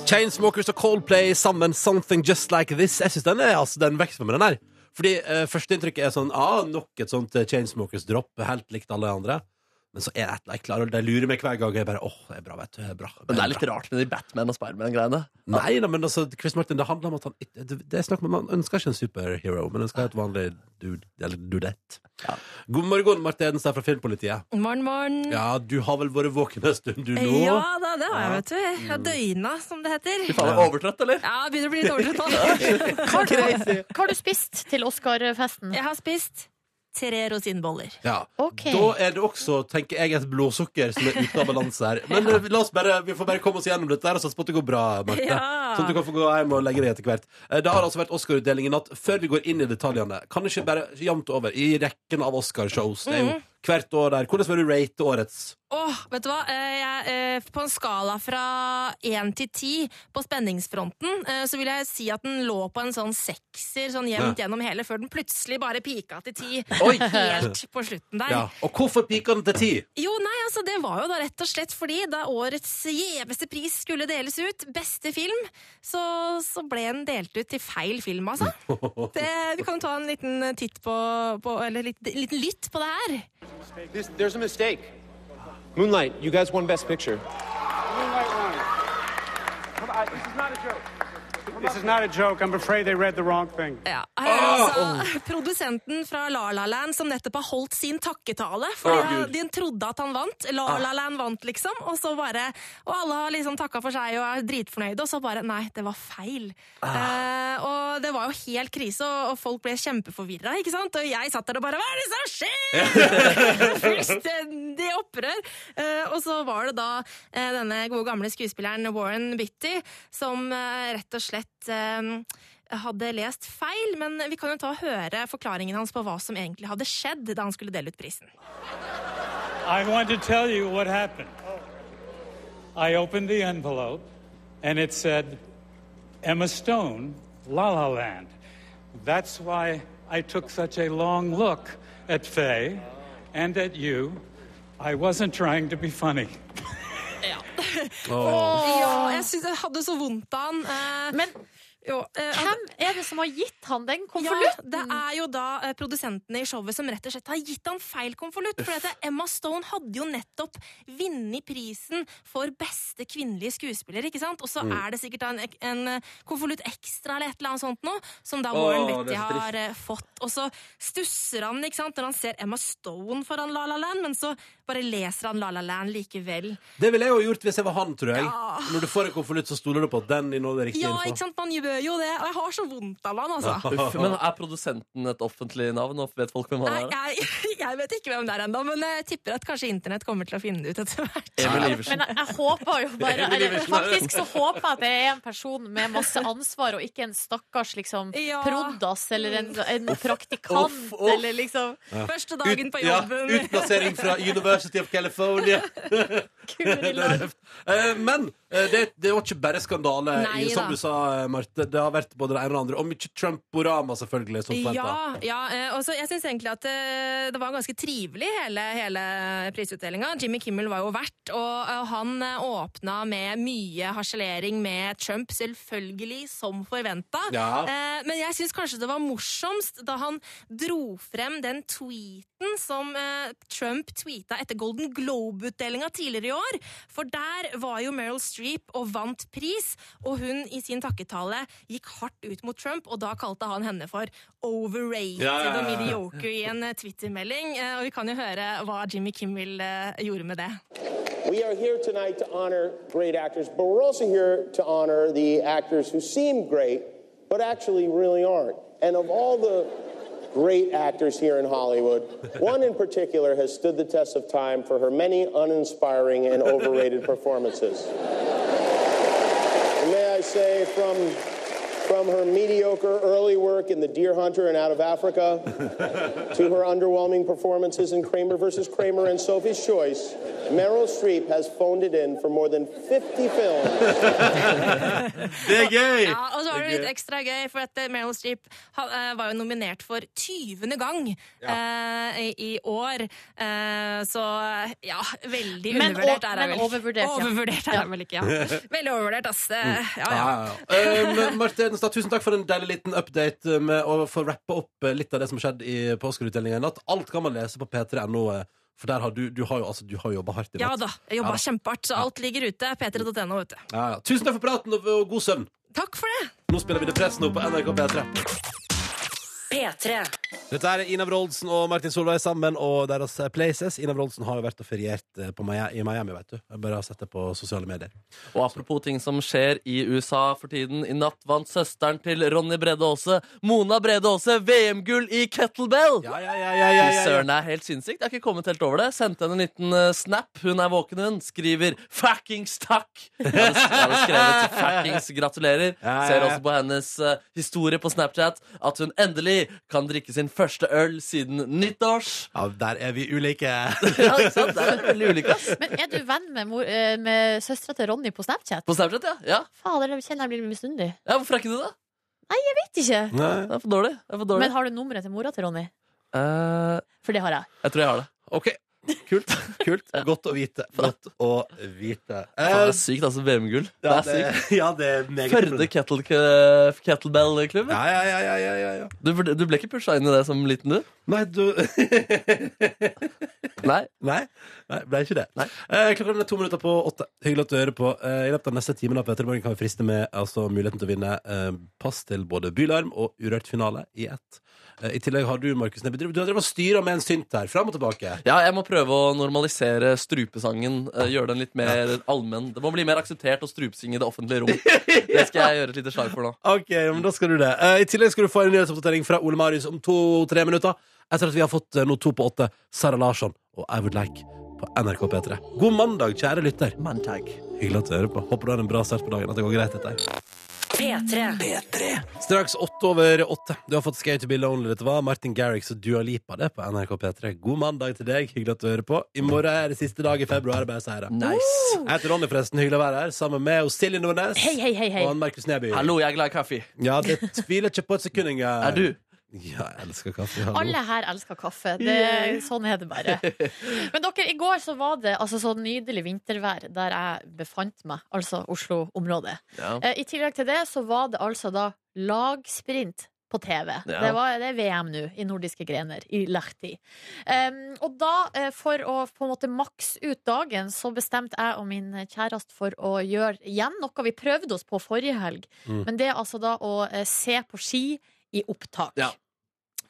Speaker 3: Chainsmokers og Coldplay sammen Something Just Like This. Jeg synes den er altså, den vekster med den her. Fordi eh, førsteinntrykket er sånn ah, nok et sånt eh, Chainsmokers-dropp, helt likt alle de andre. Men så er det et eller annet klar, og de lurer meg hver gang. og Jeg bare, åh, det er bra, vet du. Det er bra.
Speaker 2: Men det er
Speaker 3: bra.
Speaker 2: litt rart med de Batman og Spiderman-greiene.
Speaker 3: Nei da, men altså, Chris Martin, det handler om at han ikke- det, det er snakk om, Man ønsker ikke en superhero, men ønsker et vanlig dude, eller dudett. God morgen, Marte Edenstad fra Filmpolitiet.
Speaker 6: Morgen, morgen.
Speaker 3: Ja, du har vel vært våken en stund, du Mm. nå?
Speaker 6: Ja da, det har jeg, vet du. Jeg har døgna, som det heter.
Speaker 2: Fy faen, er jeg overtrøtt, eller?
Speaker 6: Ja, jeg begynner å bli
Speaker 2: *laughs*
Speaker 3: *laughs*
Speaker 6: litt overtrøtt nå.
Speaker 4: Hva har du- hva har du spist til Oscar-festen?
Speaker 6: Jeg har spist tre rosinboller.
Speaker 3: Ja.
Speaker 4: Ok.
Speaker 3: Da er det også, tenker jeg, et blodsukker som er ute av balanse her. Men eh, la oss bare, vi får bare komme oss gjennom dette her og satse på at det går bra, Marte.
Speaker 6: Ja.
Speaker 3: Sånn at du kan få gå hjem og legge deg etter hvert. Eh, Det har altså vært Oscar-utdeling i natt. Før vi går inn i detaljene, kan du ikke bare jevnt over i rekken av Oscar-shows? Det er
Speaker 6: Mhm.
Speaker 3: jo hvert år der. Hvordan vil du rate årets?
Speaker 6: Åh, vet du hva? Eh, Jeg, eh, på en skala fra 1 til 10 på spenningsfronten, eh, så vil jeg si at den lå på en sånn sekser sånn jevnt gjennom hele, før den plutselig bare pika til 10
Speaker 3: Oi.
Speaker 6: helt på slutten der.
Speaker 3: Ja. Og hvorfor piker den til ti?
Speaker 6: Jo, nei, altså Det var jo da rett og slett fordi da årets gjeveste pris skulle deles ut, beste film, så, så ble den delt ut til feil film, altså. Det, vi kan jo ta en liten titt på, på Eller litt, liten lytt på det her.
Speaker 7: This, there's a mistake. Moonlight, you guys won Best Picture.
Speaker 8: Come on, this is not a joke. This is not a joke. I'm afraid they read the wrong thing.
Speaker 6: Ja, her er altså Produsenten fra La La Land som nettopp har holdt sin takketale. Fordi han, de trodde at han vant. La La Land vant, liksom. Og så bare Og alle har liksom takka for seg og er dritfornøyde, og så bare Nei, det var feil. Eh, og det var jo helt krise, og, og folk ble kjempeforvirra, ikke sant? Og jeg satt der og bare Hva er det som skjer?! *laughs* Fullstendig opprør. Eh, og så var det da eh, denne gode gamle skuespilleren Warren Bitty som eh, rett og slett eh, hadde lest feil, men vi kan jo ta og høre forklaringen hans på hva som egentlig hadde skjedd da han skulle dele ut prisen.
Speaker 9: I want to tell you what happened. I opened the envelope and it said Emma Stone, La La Land. That's why I took such a long look at Faye and at you. I wasn't trying to be funny.
Speaker 4: *laughs*
Speaker 6: Ja, jeg synes jeg hadde så vondt av han. eh,
Speaker 4: Men
Speaker 6: jo, eh, altså-
Speaker 4: hvem er det som har gitt han den
Speaker 6: Ja,
Speaker 4: konvolutten?
Speaker 6: det er jo da eh, produsentene i showet som rett og slett har gitt han feil konvolutt. For at eh, Emma Stone hadde jo nettopp vunnet prisen for beste kvinnelige skuespiller, ikke sant? Og så er det sikkert da en, ek- en eh, konvolutt ekstra eller et eller annet sånt nå, som da Warren Betty har eh, fått. Og så stusser han, ikke sant, når han ser Emma Stone foran La La Land, men så bare leser han La La Land likevel.
Speaker 3: Det ville jeg jo gjort hvis jeg var han, tror jeg. Når du får en konvolutt, så stoler du på at den inneholder riktig
Speaker 6: Ja,
Speaker 3: info.
Speaker 6: ikke sant, man gjør jo det. Og jeg har så vondt av han,
Speaker 3: *laughs*
Speaker 6: altså.
Speaker 2: Uff, *laughs* men er produsenten et offentlig navn, og vet folk hvem han
Speaker 6: Nei,
Speaker 2: er?
Speaker 6: jeg, jeg *laughs* vet ikke hvem det er ennå, men jeg tipper at kanskje internett kommer til å finne det ut etter hvert.
Speaker 2: Emil
Speaker 4: Men
Speaker 2: Iversen.
Speaker 4: jeg, jeg håper jo
Speaker 3: *laughs*
Speaker 4: bare eller, Faktisk så håper jeg at det er en person med masse ansvar, og ikke en stakkars liksom
Speaker 6: Ja.
Speaker 4: prod.ass eller en, en
Speaker 2: Uff,
Speaker 4: praktikant
Speaker 2: uff.
Speaker 4: eller liksom
Speaker 6: Første dagen på
Speaker 3: Ja,
Speaker 6: jobben.
Speaker 3: utplassering fra University of
Speaker 6: *laughs*
Speaker 3: California.
Speaker 4: kul i
Speaker 3: Det er
Speaker 4: lag.
Speaker 3: røft. Eh, Men eh, det, det var ikke bare skandale,
Speaker 6: Nei
Speaker 3: i, som
Speaker 6: da.
Speaker 3: du sa, eh, Marte. Det har vært både det ene og det andre. Og mye Trumporama, selvfølgelig. Som
Speaker 6: Ja,
Speaker 3: forventet.
Speaker 6: ja. eh, Og så jeg syns egentlig at eh, det var ganske trivelig, hele, hele prisutdelinga. Jimmy Kimmel var jo vert, og eh, han eh, åpna med mye harselering med Trump, selvfølgelig som forventa.
Speaker 3: Ja.
Speaker 6: Eh, Men jeg syns kanskje det var morsomst da han dro frem den tweeten som eh, Trump tweeta etter Golden Globe-utdelinga tidligere i år. For der var jo Meryl Streep Streep og vant pris. Og hun i sin takketale gikk hardt ut mot Trump, og da kalte han henne for overrated
Speaker 3: Ja, ja, ja.
Speaker 6: og mediocre i en eh, Twitter-melding. Eh, Og vi kan jo høre hva Jimmy Kimmel eh, gjorde med det.
Speaker 7: We are here tonight to honor great actors, but we're also here to honor the actors who seem great, but actually really aren't. And of all the great actors here in Hollywood, one in particular has stood the test of time for her many uninspiring and overrated performances. And may I say, from, from her mediocre early work in The Deer Hunter and Out of Africa to her underwhelming performances in Kramer versus Kramer and Sophie's Choice, Meryl Streep has phoned it in for more than 50 films.
Speaker 3: Det er gøy!
Speaker 6: Ja, og så var
Speaker 3: Det
Speaker 6: det
Speaker 3: er
Speaker 6: litt
Speaker 3: gøy.
Speaker 6: ekstra gøy, for at eh, Meryl Streep han, eh, var jo nominert for 20. gang eh, i, i år. Eh, så ja, veldig
Speaker 4: Men
Speaker 6: undervurdert er
Speaker 4: o-
Speaker 6: hun
Speaker 4: men
Speaker 6: vel.
Speaker 4: overvurdert, ja.
Speaker 6: Overvurdert er hun vel ikke, ja. *laughs* Veldig overvurdert, ass. Eh, Ja, ja.
Speaker 3: Mm. Ja, ja, ja. Um, Marte Edenstad, tusen takk for en deilig liten update eh, med å få rappe opp eh, litt av det som skjedde i påskeutdelinga i natt. Alt kan man lese på p3.no, eh, for der har du, du har jo altså, du har jobba hardt i
Speaker 6: Ja
Speaker 3: natt.
Speaker 6: da, jeg jobba
Speaker 3: Ja da.
Speaker 6: kjempehardt, så alt ligger ute. p3.no, vet du.
Speaker 3: Ja, ja. Tusen takk for praten og og god søvn.
Speaker 6: Takk for det!
Speaker 3: Nå spiller vi Det Press nå på NRK P3.
Speaker 1: P3.
Speaker 3: Dette er Ina Wroldsen og Martin Solveig sammen og deres Places. Ina Wroldsen har jo vært og feriert eh, på Maya, i Miami, vet du. Jeg bare har sett det på sosiale medier.
Speaker 2: Og apropos ting som skjer i USA for tiden. I natt vant søsteren til Ronny Brede Aase, Mona Brede Aase, VM-gull i kettlebell!
Speaker 3: Ja, ja, ja, ja, ja,
Speaker 2: Fy
Speaker 3: ja, ja.
Speaker 2: Søren, det er helt sinnssykt. Jeg har ikke kommet helt over det. Sendte henne en liten eh, snap. Hun er våken, hun. Skriver 'fuckings takk'. Jeg hadde sk- jeg hadde skrevet 'fuckings gratulerer'.
Speaker 3: ja, ja.
Speaker 2: Ser også på hennes eh, historie på Snapchat at hun endelig kan drikke sin første øl siden nyttårs.
Speaker 3: Ja, der er vi ulike.
Speaker 2: *laughs* Ja, ikke sant? Det er veldig ulikt, ass.
Speaker 4: Men er du venn med, mor- eh, med søstera til Ronny på Snapchat?
Speaker 2: På Snapchat, ja. ja.
Speaker 4: Fader, jeg kjenner jeg blir misunnelig.
Speaker 2: ja hvorfor er ikke du det?
Speaker 4: Vet ikke.
Speaker 3: Nei.
Speaker 2: Det er for dårlig. Det er for dårlig.
Speaker 4: Men har du nummeret til mora til Ronny?
Speaker 2: Eh,
Speaker 4: For det har jeg.
Speaker 2: jeg tror jeg har det.
Speaker 3: OK. Kult.
Speaker 2: *laughs*
Speaker 3: Kult. Godt å vite. Godt å vite.
Speaker 2: Faen,
Speaker 3: Eh,
Speaker 2: det er sykt, altså. VM-gull. Det
Speaker 3: ja,
Speaker 2: er sykt.
Speaker 3: *laughs* ja, det er meget
Speaker 2: Førde
Speaker 3: imponerende.
Speaker 2: kettle, kettlebell-klubb.
Speaker 3: Ja, ja, ja, ja, ja, ja, ja.
Speaker 2: Du, vurd- du ble ikke pusha inn i det som liten, du?
Speaker 3: Nei, du
Speaker 2: Nei.
Speaker 3: Nei, nei, ble ikke det. Eh, klokka er to minutter på åtte. Hyggelig at du hører på. Eh, I løpet av neste timen av Petter Morgen kan vi friste med altså, muligheten til å vinne eh, pass til både Bylarm og Urørt finale i ett. Eh, I tillegg har du, Markus Neby, du har drevet og styra med en synt her, fram og tilbake.
Speaker 2: *laughs* Ja, jeg må prøve å normalisere strupesangen. eh, Gjøre den litt mer allmenn. Det må bli mer akseptert å strupesynge i det
Speaker 3: *laughs*
Speaker 2: offentlige rom. Det skal jeg gjøre et lite slag for nå.
Speaker 3: Ok, men da skal du det. Eh, I tillegg skal du få en nyhetsoppdatering fra Ole Marius om to-tre minutter. Etter at vi har fått eh, nå to på åtte, Sara Larsson og I Would Like på NRK P3. God mandag, kjære lytter. Hyggelig at du hører på. Håper du har en bra start på dagen. At det går greit, dette her.
Speaker 1: P3.
Speaker 3: Straks åtte over åtte. Du har fått Skate to be lonely. Dette var Martin Garrix og Dua Lipa det på NRK P3. God mandag til deg. Hyggelig at du hører på. I morgen er det siste dag i februar. Bare si det.
Speaker 2: Nice.
Speaker 3: Jeg heter Ronny, forresten. Hyggelig å være her sammen med og Silje Nordnes
Speaker 4: Hei, hei, hei, hei.
Speaker 3: og han Markus Neby.
Speaker 2: Hallo, jeg er glad i kaffe.
Speaker 3: Ja, det tviler ikke på et sekund engang.
Speaker 2: Er du?
Speaker 3: Ja, jeg elsker kaffe. Hallo.
Speaker 4: Alle her elsker kaffe. Det, Sånn er det
Speaker 2: *laughs*
Speaker 4: bare. Men dere, i går så var det altså, så nydelig vintervær der jeg befant meg, altså Oslo-området.
Speaker 2: Ja.
Speaker 4: Eh, I tillegg til det så var det altså da lagsprint på TV.
Speaker 2: Ja.
Speaker 4: Det, var, det er VM nå i nordiske grener, i Lahti. Em, og da, eh, for å på en måte makse ut dagen, så bestemte jeg og min kjæreste for å gjøre igjen noe vi prøvde oss på forrige helg.
Speaker 3: Mm.
Speaker 4: Men det er altså da å eh, se på ski i opptak.
Speaker 2: Ja.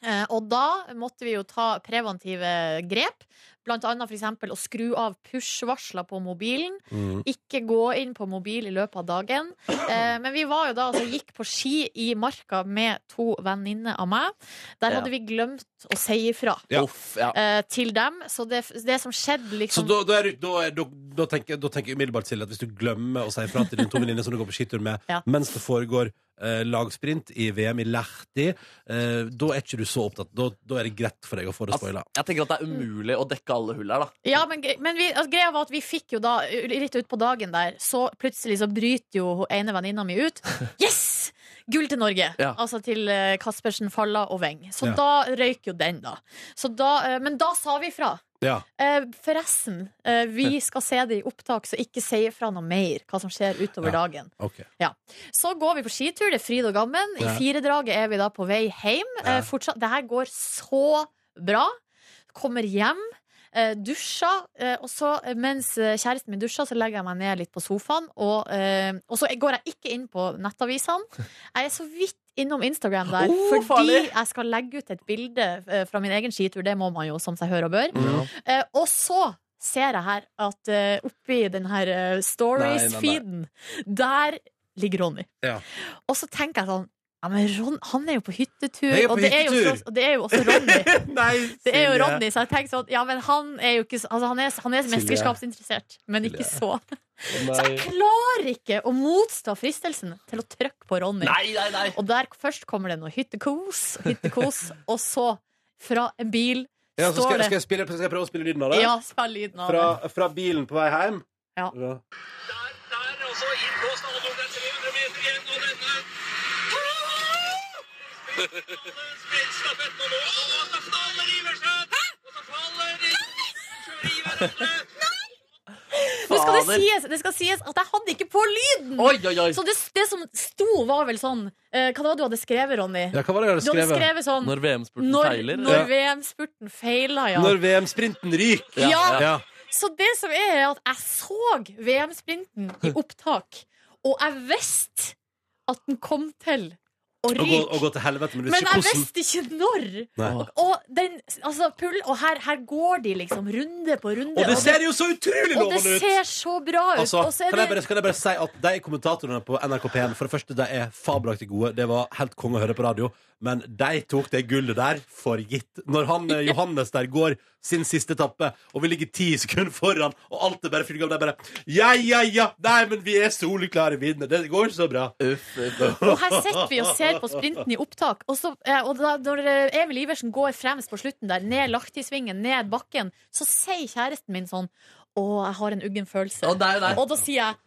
Speaker 4: Eh, og da måtte vi jo ta preventive grep, blant annet for eksempel å skru av push-varsler på mobilen,
Speaker 3: Mm.
Speaker 4: ikke gå inn på mobil i løpet av dagen. Eh, men vi var jo da altså gikk på ski i marka med to venninner av meg. Der hadde
Speaker 2: Ja.
Speaker 4: vi glemt å si ifra.
Speaker 3: Ja.
Speaker 2: Uff, ja.
Speaker 4: eh, Til dem. Så det, det som skjedde,
Speaker 3: Så
Speaker 4: liksom
Speaker 3: da, da, er, du- da, er, da, da, tenker, da tenker jeg umiddelbart Silje, at hvis du glemmer å si fra til dine to venninner som du går på skitur med,
Speaker 4: Ja.
Speaker 3: mens det foregår eh, lagsprint i VM i Lahti, eh, da er ikke du så opptatt. Da, da er det greit for deg å få det
Speaker 2: Altså,
Speaker 3: spoila.
Speaker 2: jeg tenker at det er umulig å dekke alle hull her, da.
Speaker 4: Ja, men, gre- men vi, altså, greia var at vi fikk jo da u- Litt ut på dagen der Så plutselig så bryter jo hun ene venninna mi
Speaker 3: *laughs*
Speaker 4: ut Yes! Gull til Norge
Speaker 2: Ja.
Speaker 4: Altså til eh, Kaspersen, Falla og Veng Så
Speaker 3: Ja.
Speaker 4: da røyk jo den da, Så da eh, Men da sa vi fra
Speaker 3: Ja.
Speaker 4: Eh, Forresten, eh, vi skal se det i opptak Så ikke si fra noe mer Hva som skjer utover
Speaker 3: Ja.
Speaker 4: dagen
Speaker 3: ok.
Speaker 4: Så går vi på skitur, det er fryd og gammen I
Speaker 3: Ja.
Speaker 4: firedraget er vi da på vei hjem
Speaker 3: Ja.
Speaker 4: eh, fortsatt, Det her går så bra Kommer hjem eh, dusjer, eh, og så eh, mens eh, kjæresten min dusjer, så legger jeg meg ned litt på sofaen. Og, eh, og så går jeg ikke inn på
Speaker 3: *laughs*
Speaker 4: nettavisene. Jeg er så vidt innom Instagram der,
Speaker 2: Oh,
Speaker 4: fordi
Speaker 2: farlig.
Speaker 4: jeg skal legge ut et bilde eh, fra min egen skitur. Det må man jo, som seg hør og bør. Eh, og så ser jeg her at eh, oppi den her eh, stories-feeden, der ligger Ronny.
Speaker 3: Ja.
Speaker 4: Og så tenker jeg sånn ja, men Ron, Han er jo på hyttetur,
Speaker 3: Jeg er på
Speaker 4: og, det er jo,
Speaker 3: hyttetur.
Speaker 4: så- og det er jo også Ronny.
Speaker 3: *laughs* Nei,
Speaker 4: Det er jo
Speaker 3: Silje.
Speaker 4: Ronny, så jeg tenker sånn Ja, men han er jo ikke så- altså, han, er, han er mesterskapsinteressert, men ikke så. Så
Speaker 3: *laughs*
Speaker 4: jeg klarer ikke å motstå fristelsen til å trykke på Ronny.
Speaker 2: Nei, nei, nei!
Speaker 4: Og der først kommer det noe hyttekos,
Speaker 3: *laughs*
Speaker 4: hyttekos, og så, fra en bil,
Speaker 3: Ja, så skal, skal,
Speaker 4: står det
Speaker 3: jeg spille, skal jeg prøve å spille lyden av det?
Speaker 4: Ja, spill lyden av
Speaker 3: Fra,
Speaker 4: det.
Speaker 3: fra bilen på vei hjem?
Speaker 4: Ja. Nå skal det sies, det skal sies at jeg hadde ikke på lyden!
Speaker 2: Oi, oi, oi!
Speaker 4: Så det, det som sto, var vel sånn eh, Hva var det du hadde skrevet, Ronny?
Speaker 3: Ja, hva var det jeg hadde
Speaker 4: Du hadde
Speaker 3: skrevet?
Speaker 4: skrevet sånn
Speaker 2: Når VM-spurten
Speaker 4: Når,
Speaker 2: feiler.
Speaker 4: når
Speaker 3: Ja.
Speaker 4: VM-spurten feila, ja.
Speaker 3: Når VM-sprinten ryker!
Speaker 4: ja.
Speaker 2: Ja,
Speaker 3: Ja.
Speaker 4: Så det som er, er at jeg så VM-sprinten
Speaker 3: *laughs*
Speaker 4: i opptak, og jeg visste at den kom til å
Speaker 3: Og, gå,
Speaker 4: ryke.
Speaker 3: og gå til helvete, men du
Speaker 4: Men
Speaker 3: visste
Speaker 4: jeg
Speaker 3: ikke hvordan.
Speaker 4: visste ikke når!
Speaker 3: Nei.
Speaker 4: Og, den, altså, pull, og her, her går de liksom runde på runde.
Speaker 3: Og det ser jo så utrolig
Speaker 4: og det
Speaker 3: lovende ut!
Speaker 4: ser så bra ut!
Speaker 3: Altså,
Speaker 4: og
Speaker 3: kan,
Speaker 4: så er
Speaker 3: jeg bare,
Speaker 4: det
Speaker 3: kan jeg bare si at De kommentatorene på NRK P1 For det første, de er fabelaktig gode. Det var helt konge å høre på radio. Men de tok det gullet der for gitt. Når han, eh, Johannes der går sin siste etappe, og vi ligger ti sekunder foran, og alt er bare fylke av, de bare Ja, ja, ja! Nei, men vi er soleklare vinnere. Det går så bra.
Speaker 2: Uff, uff, uff.
Speaker 4: Og her sitter vi og ser på sprinten i opptak. Og, så, eh, og da, når eh, Emil Iversen går fremst på slutten der, ned Lahtisvingen, ned bakken, så sier kjæresten min sånn Å, jeg har en uggen følelse.
Speaker 2: Å, nei, nei.
Speaker 4: Og da sier jeg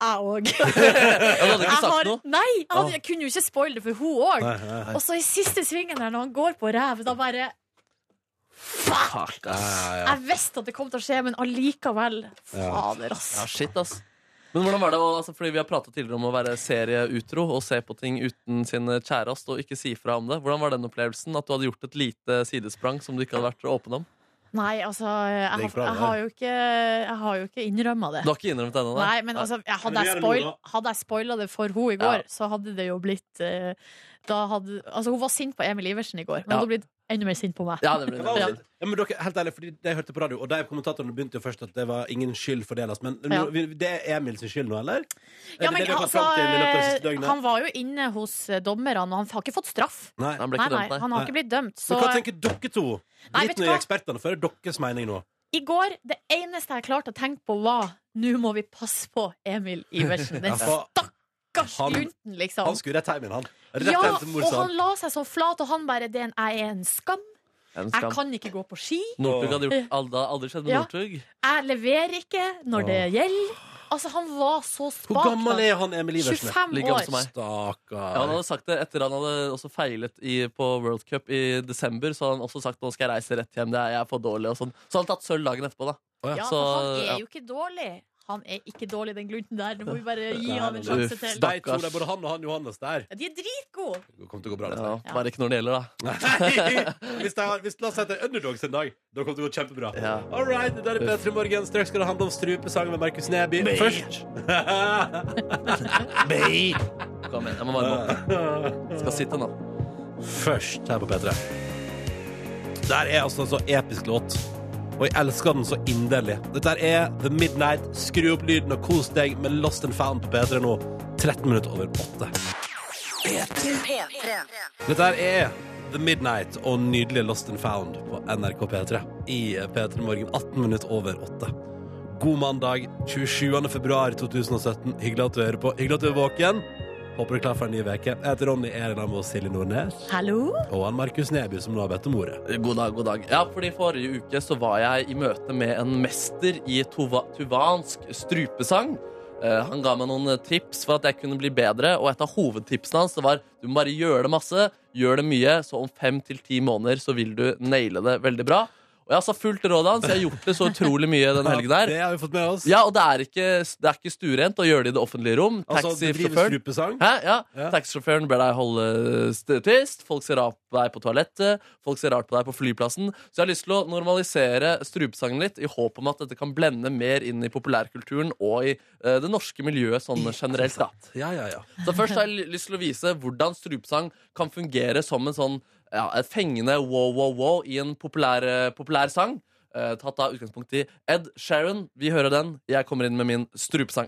Speaker 4: jeg òg.
Speaker 3: *laughs*
Speaker 2: Jeg hadde ikke
Speaker 4: Jeg
Speaker 2: sagt
Speaker 4: har-
Speaker 2: noe.
Speaker 4: Nei, jeg, hadde, jeg kunne jo ikke spoile det for hun
Speaker 3: Ah.
Speaker 4: òg.
Speaker 3: Nei, nei, nei.
Speaker 4: Og så i siste svingen der, når han går på ræv, da bare
Speaker 2: Fuck, ass.
Speaker 4: Jeg visste at det kom til å skje, men allikevel. Fader,
Speaker 2: Ja,
Speaker 4: ass.
Speaker 2: shit, ass. Men hvordan var det, å- altså, fordi Vi har pratet tidligere om å være serieutro og se på ting uten sin kjæreste og ikke si fra om det. Hvordan var den opplevelsen? At du hadde gjort et lite sidesprang som du ikke hadde vært åpen om?
Speaker 4: Nei, altså, jeg har,
Speaker 3: gikk bra,
Speaker 4: jeg
Speaker 3: det
Speaker 4: har jo ikke, jeg har jo ikke innrømma det.
Speaker 2: Du har ikke innrømt det ennå? da?
Speaker 4: Nei, men altså, jeg hadde,
Speaker 3: Men vi
Speaker 4: jeg
Speaker 3: gjør det
Speaker 4: spoil,
Speaker 3: nå,
Speaker 4: hadde jeg spoila det for henne i går, så hadde det jo blitt eh, da hadde, Altså, hun var sint på Emil Iversen i går, men
Speaker 2: Ja.
Speaker 4: hun hadde blitt enda mer sint på meg.
Speaker 2: Ja, det blir
Speaker 3: Ja,
Speaker 2: det.
Speaker 3: men dere, helt ærlig, fordi det jeg hørte på radio, og de kommentatorene begynte jo først at det var ingen skyld fordeles, men
Speaker 4: Ja.
Speaker 3: nå- vi- det er Emil sin skyld nå, eller? Er
Speaker 4: Ja,
Speaker 3: det
Speaker 4: men
Speaker 3: det vi har kommet
Speaker 4: altså,
Speaker 3: fram til i løpet av det siste døgnet?
Speaker 4: han var jo inne hos eh, dommerne, og han har ikke fått straff.
Speaker 3: Nei.
Speaker 2: Han ble
Speaker 4: Nei,
Speaker 2: ikke
Speaker 4: nei,
Speaker 2: dømt, nei.
Speaker 4: han har ikke blitt dømt. Så
Speaker 3: Men hva tenker dere to?
Speaker 4: Nei,
Speaker 3: Drit
Speaker 4: vet du
Speaker 3: nå i
Speaker 4: hva?
Speaker 3: ekspertene, for det er deres mening nå.
Speaker 4: i går, det eneste jeg klarte å tenke på, var nå må vi passe på Emil Iversen. Den
Speaker 3: *laughs* Ja, for-
Speaker 4: stakkars
Speaker 3: Han-
Speaker 4: lunten,
Speaker 3: Altså,
Speaker 4: liksom.
Speaker 3: Han skulle rett hjem igjen, han. Rett
Speaker 4: Ja,
Speaker 3: hjem til mor,
Speaker 4: og
Speaker 3: sa
Speaker 4: han
Speaker 3: han.
Speaker 4: la seg så flat, og han bare det er en, 'Jeg er en skam.
Speaker 2: Det er en
Speaker 4: Jeg
Speaker 2: skam.
Speaker 4: kan ikke gå på ski.
Speaker 2: Northug hadde gjort aldri, det hadde aldri skjedd med
Speaker 4: Ja.
Speaker 2: Northug.
Speaker 4: Jeg leverer ikke når det gjelder. Altså, han var så spak.
Speaker 3: Hvor gammel
Speaker 4: da.
Speaker 3: er han Emil Iversen?
Speaker 4: 25
Speaker 2: Like gammel som
Speaker 4: år.
Speaker 2: meg. Ja, han
Speaker 3: Stakkar.
Speaker 2: hadde sagt det etter han hadde også feilet i, på World Cup i desember. Så hadde han også sagt nå skal jeg reise rett hjem, det er, jeg er for dårlig og sånn. Så han hadde tatt sølv dagen etterpå, da.
Speaker 4: Ja,
Speaker 2: Så,
Speaker 4: men han
Speaker 2: ja.
Speaker 4: er jo ikke dårlig. Han er ikke dårlig, den glunten der. Nå må vi bare gi han en
Speaker 3: Uff,
Speaker 4: sjanse
Speaker 2: stakkars.
Speaker 4: til.
Speaker 3: De to, det er både han og han Johannes der.
Speaker 4: Ja, De er dritgode.
Speaker 3: Det kommer til å gå bra.
Speaker 2: Ja,
Speaker 3: dette.
Speaker 2: bare ikke når det gjelder, da.
Speaker 3: Nei, hvis, de har, hvis La oss si at det er underdogs en dag. Da kommer det til å gå kjempebra.
Speaker 2: Ja.
Speaker 3: All right, da er det P3 Morgen. Straks skal det handle om strupesang med Markus Neby.
Speaker 2: *laughs*
Speaker 3: Først
Speaker 2: Kom igjen, jeg må varme opp. Jeg skal sitte nå.
Speaker 3: Først her på P3. Der er altså en så episk låt. Og jeg elsker den så inderlig. Dette her er The Midnight. Skru opp lyden og kos deg med Lost and Found på P3 nå. 13 minutter over 8.
Speaker 1: P3.
Speaker 3: Dette her er The Midnight og nydelige Lost and Found på NRK P3 i P3 Morgen. 18 minutter over 8. God mandag 27. februar 2017. Hyggelig at du hører på. Hyggelig at du er våken. Håper du er klar for en ny uke. Jeg heter Ronny Erland og Silje Nordnes.
Speaker 4: Hallo?
Speaker 3: Og han Markus Neby, som nå har bedt om ordet.
Speaker 2: God dag, god dag. Ja, fordi Forrige uke så var jeg i møte med en mester i tuva tuvansk strupesang. Eh, han ga meg noen eh, tips for at jeg kunne bli bedre, og et av hovedtipsene hans det var du må bare gjøre det masse, gjør det mye, så om fem til ti måneder så vil du naile det veldig bra. Og Og jeg har altså fulgt rådet hans. Jeg har gjort det så utrolig mye
Speaker 3: *laughs*
Speaker 2: den helgen der.
Speaker 3: Det har vi fått med oss.
Speaker 2: Ja, og det er ikke, det er ikke stuerent å gjøre det i det offentlige rom.
Speaker 3: altså, det drives
Speaker 2: Taxisjåføren
Speaker 3: strupesang.
Speaker 2: Hæ? Ja.
Speaker 3: Ja.
Speaker 2: Taxisjåføren ber deg holde statist, folk ser rart på deg på toalettet, folk ser rart på deg på flyplassen. Så jeg har lyst til å normalisere strupesangen litt, i håp om at dette kan blende mer inn i populærkulturen og i eh, det norske miljøet sånn generelt. da.
Speaker 3: Ja, ja, ja.
Speaker 2: Så først har jeg lyst til å vise hvordan strupesang kan fungere som en sånn ja, et fengende wow-wow-wow i en populær, eh, populær sang. Eh, tatt av utgangspunkt i Ed Sheeran. Vi hører den. Jeg kommer inn med min strupesang.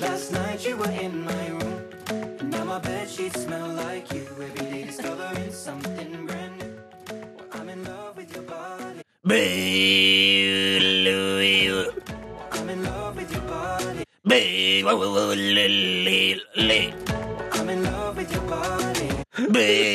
Speaker 10: Last night you were in my room. Now my bed sheets smell like you. Every day discovering something brand new. Well, I'm in love with your body. I'm in love with your body. I'm in love with your body. I'm in love with your body.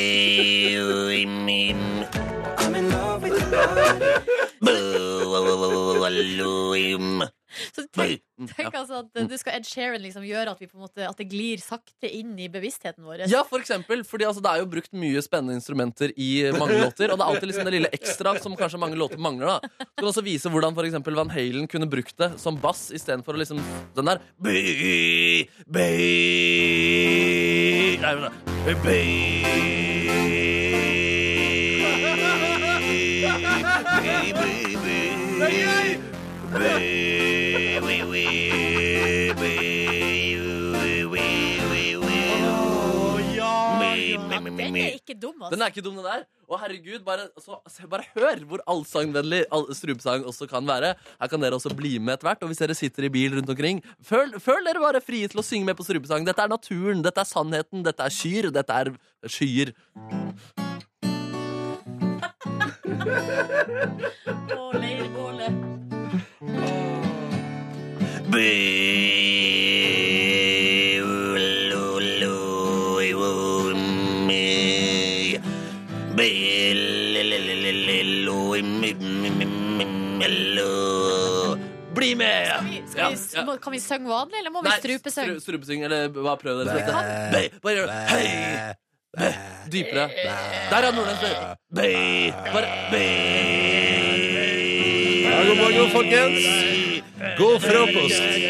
Speaker 4: Så tenk, *laughs*
Speaker 2: mm,
Speaker 4: tenk altså at eh, du skal Ed Sheeran liksom gjøre at, vi på en måte, at det glir sakte inn i bevisstheten vår.
Speaker 2: Ja, for eksempel. Fordi altså, det er jo brukt mye spennende instrumenter i mange låter. Og det er alltid liksom det lille ekstra som kanskje mange låter mangler. da Du kan også vise hvordan for eksempel Van Halen kunne brukt det som bass istedenfor å liksom den der Be, be, Nei, men da.
Speaker 4: Ja, den er ikke dum, altså.
Speaker 2: Den er ikke dum, den der. Og herregud, bare, så, se- bare hør hvor allsangvennlig all, strupesang også kan være. Her kan dere også bli med etter hvert. Og hvis dere sitter i bil rundt omkring, føl, føl dere bare frie til å synge med på strupesang. Dette er naturen, dette er sannheten, dette er kyr, dette er skyer.
Speaker 4: Å, leirbålet.
Speaker 2: Bli med!
Speaker 4: Skal vi, skal vi,
Speaker 2: Ja, ja.
Speaker 4: må- Kan vi synge vanlig, eller må vi
Speaker 2: Nei,
Speaker 4: strupesøng?
Speaker 2: stru- strupesynge, eller hva prøv dere
Speaker 3: Bæ,
Speaker 2: beste. Bæ, Bare gjør det. Hei! Bæ. Dypere. Der er Nordnes. Bæ. Bæ. Bare bæ.
Speaker 3: Ja, god morgen, folkens. God frokost.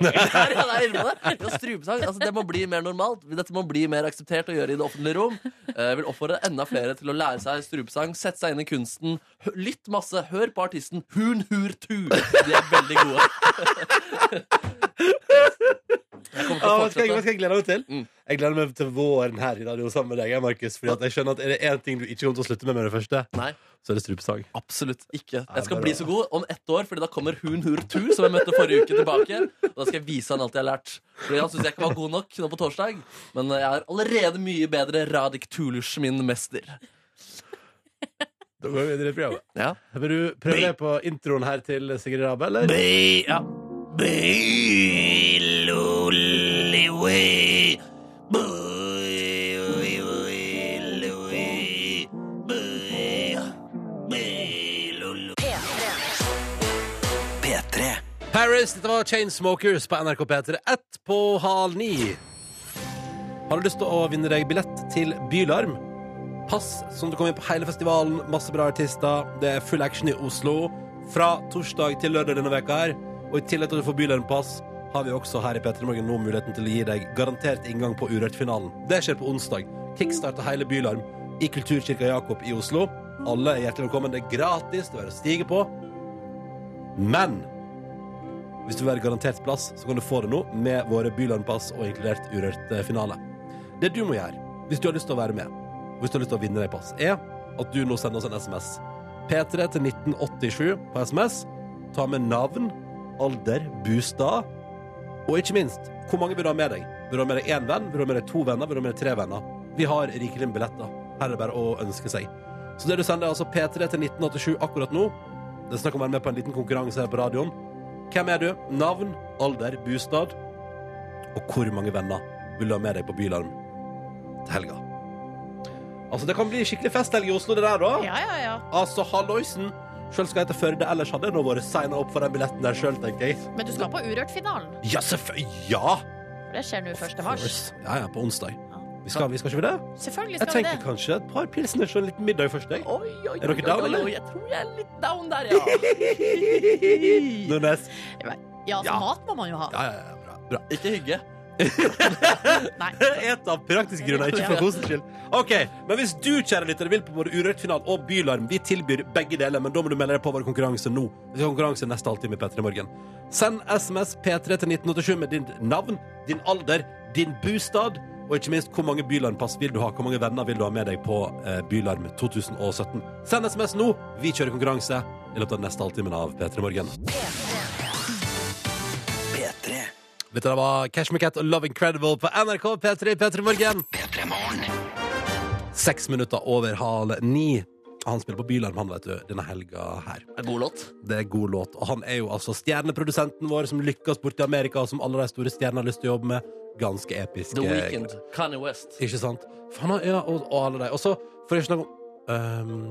Speaker 2: Der, *laughs* ja, der inne på det. Ja, strupesang, altså, det må bli mer normalt. Dette må bli mer akseptert å gjøre i det offentlige rom. Eh, Jeg vil oppfordre enda flere til å lære seg strupesang, sette seg inn i kunsten, hø- lytt masse, hør på artisten Hun Hur Tu. De er veldig gode. *laughs* Jeg kommer til
Speaker 3: Ja,
Speaker 2: å
Speaker 3: vet du hva jeg- vet du
Speaker 2: fortsette.
Speaker 3: hva jeg gleder meg til?
Speaker 2: Mm.
Speaker 3: Jeg gleder meg til våren her i radio sammen med deg, jeg, Markus. Fordi at jeg skjønner at er det én ting du ikke kommer til å slutte med med det første,
Speaker 2: Nei.
Speaker 3: så er det strupesang.
Speaker 2: Absolutt ikke. Jeg
Speaker 3: det
Speaker 2: skal
Speaker 3: er
Speaker 2: bli
Speaker 3: bra.
Speaker 2: så god om ett år, Fordi da kommer Hun Hur Tu, som jeg møtte forrige uke, tilbake. Og da skal jeg vise han alt jeg har lært. Fordi han syns jeg ikke var god nok nå på torsdag. Men jeg er allerede mye bedre Radik Tulusj, min mester.
Speaker 3: Da går vi videre i programmet.
Speaker 2: Ja.
Speaker 3: Vil du prøve deg på introen her til Sigrid Rabe, eller?
Speaker 2: ja.
Speaker 3: Paris, dette var Chainsmokers på NRK P3 ett på halv ni. Har du lyst til å vinne deg billett til Bylarm? Pass som du kommer inn på hele festivalen. Masse bra artister. Det er full action i Oslo fra torsdag til lørdag denne veka her. Og i tillegg til å få Bylarm-pass har vi også her i P3 Morgen nå muligheten til å gi deg garantert inngang på Urørt-finalen. Det skjer på onsdag. Kickstarter hele Bylarm i Kulturkirka Jakob i Oslo. Alle er hjertelig velkommen. Det er gratis, det er å stige på. Men hvis du vil være garantert plass, så kan du få det nå med våre Bylandpass og inkludert urørt eh, finale. Det du må gjøre, hvis du har lyst til å være med, og hvis du har lyst til å vinne deg pass, er at du nå sender oss en SMS. P3 til 1987 på SMS. Ta med navn, alder, bostad, og ikke minst, hvor mange vil du ha med deg? Vil du ha med deg én venn? Vil du ha med deg to venner? Vil du ha med deg tre venner? Vi har rikelig med billetter. Her er det bare å ønske seg. Så det du sender, er altså P3 til 1987 akkurat nå. Det er snakk om å være med på en liten konkurranse her på radioen. Hvem er du? Navn, alder, bostad og hvor mange venner vil du ha med deg på Bylarm til helga? Altså, det kan bli skikkelig festhelg i Oslo, det der, da.
Speaker 4: Ja, ja, ja.
Speaker 3: Altså, halloisen! Sjøl skal jeg til Førde, ellers hadde jeg nå vært signa opp for den billetten der sjøl, tenker jeg.
Speaker 4: Men du skal på Urørt-finalen.
Speaker 3: Ja, selvfølgelig! Ja!
Speaker 4: For Det skjer nå 1. mars.
Speaker 3: Ja, ja, på onsdag. Vi skal, vi skal ikke vi det?
Speaker 4: Selvfølgelig
Speaker 3: Jeg
Speaker 4: skal vi
Speaker 3: tenker
Speaker 4: det.
Speaker 3: kanskje et par pilsners og en liten middag først. Jeg.
Speaker 2: Oi, oi,
Speaker 3: Er dere
Speaker 2: oi,
Speaker 3: down,
Speaker 2: oi,
Speaker 3: eller?
Speaker 2: oi, Jeg tror jeg er litt down der, *laughs* ja.
Speaker 3: Nordnes.
Speaker 4: Ja, så
Speaker 3: Ja.
Speaker 4: mat må man jo ha.
Speaker 3: Ja, ja, ja, bra. bra.
Speaker 2: Ikke
Speaker 3: *laughs*
Speaker 2: hygge.
Speaker 4: Nei.
Speaker 3: Et av praktiske grunner, ikke for kosens skyld. Ok, Men hvis du kjære lytter, vil på både Urørt-final og Bylarm, vi tilbyr begge deler, men da må du melde deg på vår konkurranse nå. Vi har konkurranse neste halvtime i P3 Morgen. Send SMS P3 til 1987 med ditt navn, din alder, din bostad, og ikke minst hvor mange Bylarm-pass vil du ha, hvor mange venner vil du ha med deg på eh, Bylarm 2017. Send SMS nå. Vi kjører konkurranse i løpet av neste halvtimen av P3 Morgen. Dette der var Cash Macat og Love Incredible på NRK P3 P3 Morgen. Seks minutter over halv ni. Han spiller på Bylarm han, vet du, denne helga her.
Speaker 2: God låt.
Speaker 3: Det er god låt. Og han er jo altså stjerneprodusenten vår som lykkes borti Amerika, og som alle de store stjernene har lyst til å jobbe med. Ganske episk.
Speaker 2: The
Speaker 3: eh,
Speaker 2: Weekend. Kanye West.
Speaker 3: Ikke sant? For han har, ja, og, og alle de. Og så, for ikke å snakke om ehm,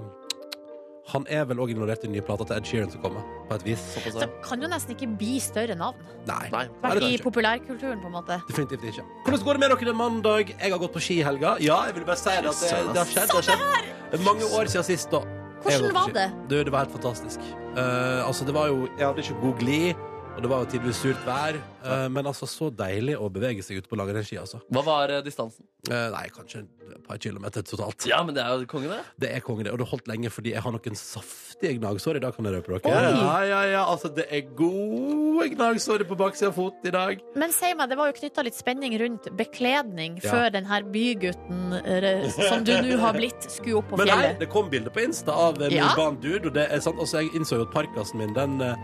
Speaker 3: Han er vel òg involvert i den nye plata til Ed Sheeran som kommer, på et vis.
Speaker 2: Såpass,
Speaker 4: Så
Speaker 2: ja.
Speaker 4: kan jo nesten ikke bli større navn.
Speaker 3: Nei.
Speaker 2: Nei.
Speaker 3: Nei, det kan
Speaker 4: I
Speaker 3: ikke.
Speaker 4: populærkulturen, på en måte.
Speaker 3: Definitivt ikke. Hvordan går det med dere det er mandag? Jeg har gått på ski i helga. Ja, jeg vil bare si det at det, det har skjedd. Det har skjedd. Det er mange år siden sist, da. Jeg har
Speaker 4: Sånn Hvordan
Speaker 3: gått på
Speaker 4: var
Speaker 3: ski.
Speaker 4: det?
Speaker 3: Du, det var helt fantastisk. Eh, altså, det var jo Jeg hadde ikke god glid, og det var jo tidvis surt vær, eh, men altså, så deilig å bevege seg ute på langrennsski, altså.
Speaker 2: Hva var eh, distansen?
Speaker 3: Eh, nei, kanskje et par kilometer totalt.
Speaker 2: Ja, men det er jo kongen, det.
Speaker 3: Det er konge, det. Og det holdt lenge, fordi jeg har noen saftige gnagsår i dag, kan jeg røpe dere.
Speaker 4: Oi!
Speaker 3: Ja, ja, ja. Altså, det er gode gnagsår på baksida av foten i dag.
Speaker 4: Men si meg, det var jo knytta litt spenning rundt bekledning
Speaker 3: Ja.
Speaker 4: før den her bygutten eh, som du nå har blitt, skulle opp på
Speaker 3: Men nei,
Speaker 4: fjellet.
Speaker 3: det kom bilder på Insta av eh, en
Speaker 4: Ja.
Speaker 3: urban dude, og det er sant. Også jeg innså jo at parkasen min, den eh,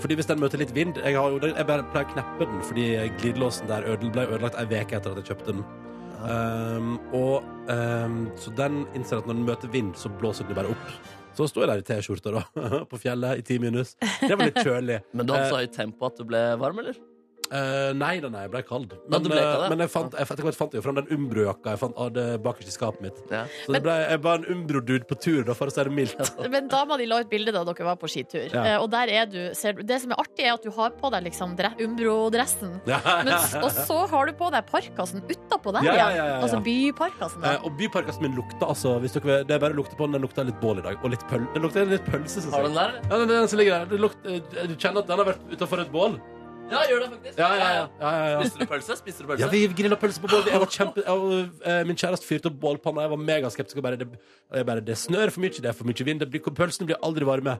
Speaker 3: fordi Hvis den møter litt vind Jeg, har jo, den- jeg bare pleier å kneppe den fordi glidelåsen der ødel, ble ødelagt ei uke etter at jeg kjøpte den. Um, og um, Så den innser at når den møter vind, så blåser den jo bare opp. Så står jeg der i T-skjorta da, *laughs* på fjellet i ti minus. Det var litt kjølig.
Speaker 2: *laughs* Men du hadde så høyt tempo at du ble varm, eller?
Speaker 3: Eh, nei, nei, nei, jeg ble kald.
Speaker 2: Ja,
Speaker 3: Men,
Speaker 2: du ble kald, ja.
Speaker 3: eh, men jeg fant, jeg, fant- etter hvert fant jeg jo fram den Umbro-jakka jeg fant av det bakerst i skapet mitt.
Speaker 2: Ja.
Speaker 3: Så det ble, jeg var en Umbro-dude på tur, da, for å si det mildt.
Speaker 4: *laughs* Men da må de la ut bilde da dere var på skitur.
Speaker 3: Ja.
Speaker 4: Eh, Og der er du, ser du Det som er artig, er at du har på deg liksom dre- Umbro-dressen. Men, s- og så har du på deg parkasen utapå der
Speaker 3: Ja,
Speaker 4: igjen.
Speaker 3: ja, ja, ja.
Speaker 4: Altså byparkasen.
Speaker 3: Eh,
Speaker 4: Da.
Speaker 3: og byparkasen min lukta altså hvis dere, vil- Det er bare å lukte på den. Den lukta litt bål i dag. Og litt, pøl, den lukter litt pølse. synes
Speaker 2: Har du
Speaker 3: jeg.
Speaker 2: den der? eller?
Speaker 3: Ja, den, den som ligger der. Det lukter- du kjenner at den har vært utafor et bål?
Speaker 2: Ja, gjør det faktisk.
Speaker 3: Ja, ja, ja. ja, ja, ja.
Speaker 2: Spiser du pølse? Spiser du pølse?
Speaker 3: Ja, vi grilla pølse på bål. Jeg var kjempe, jeg, var- eh, min kjæreste fyrte opp bålpanna. Jeg var megaskeptisk. og Bare, det, jeg bare, det snør for mye, det er for mye vind. Det blir, pølsene blir aldri varme.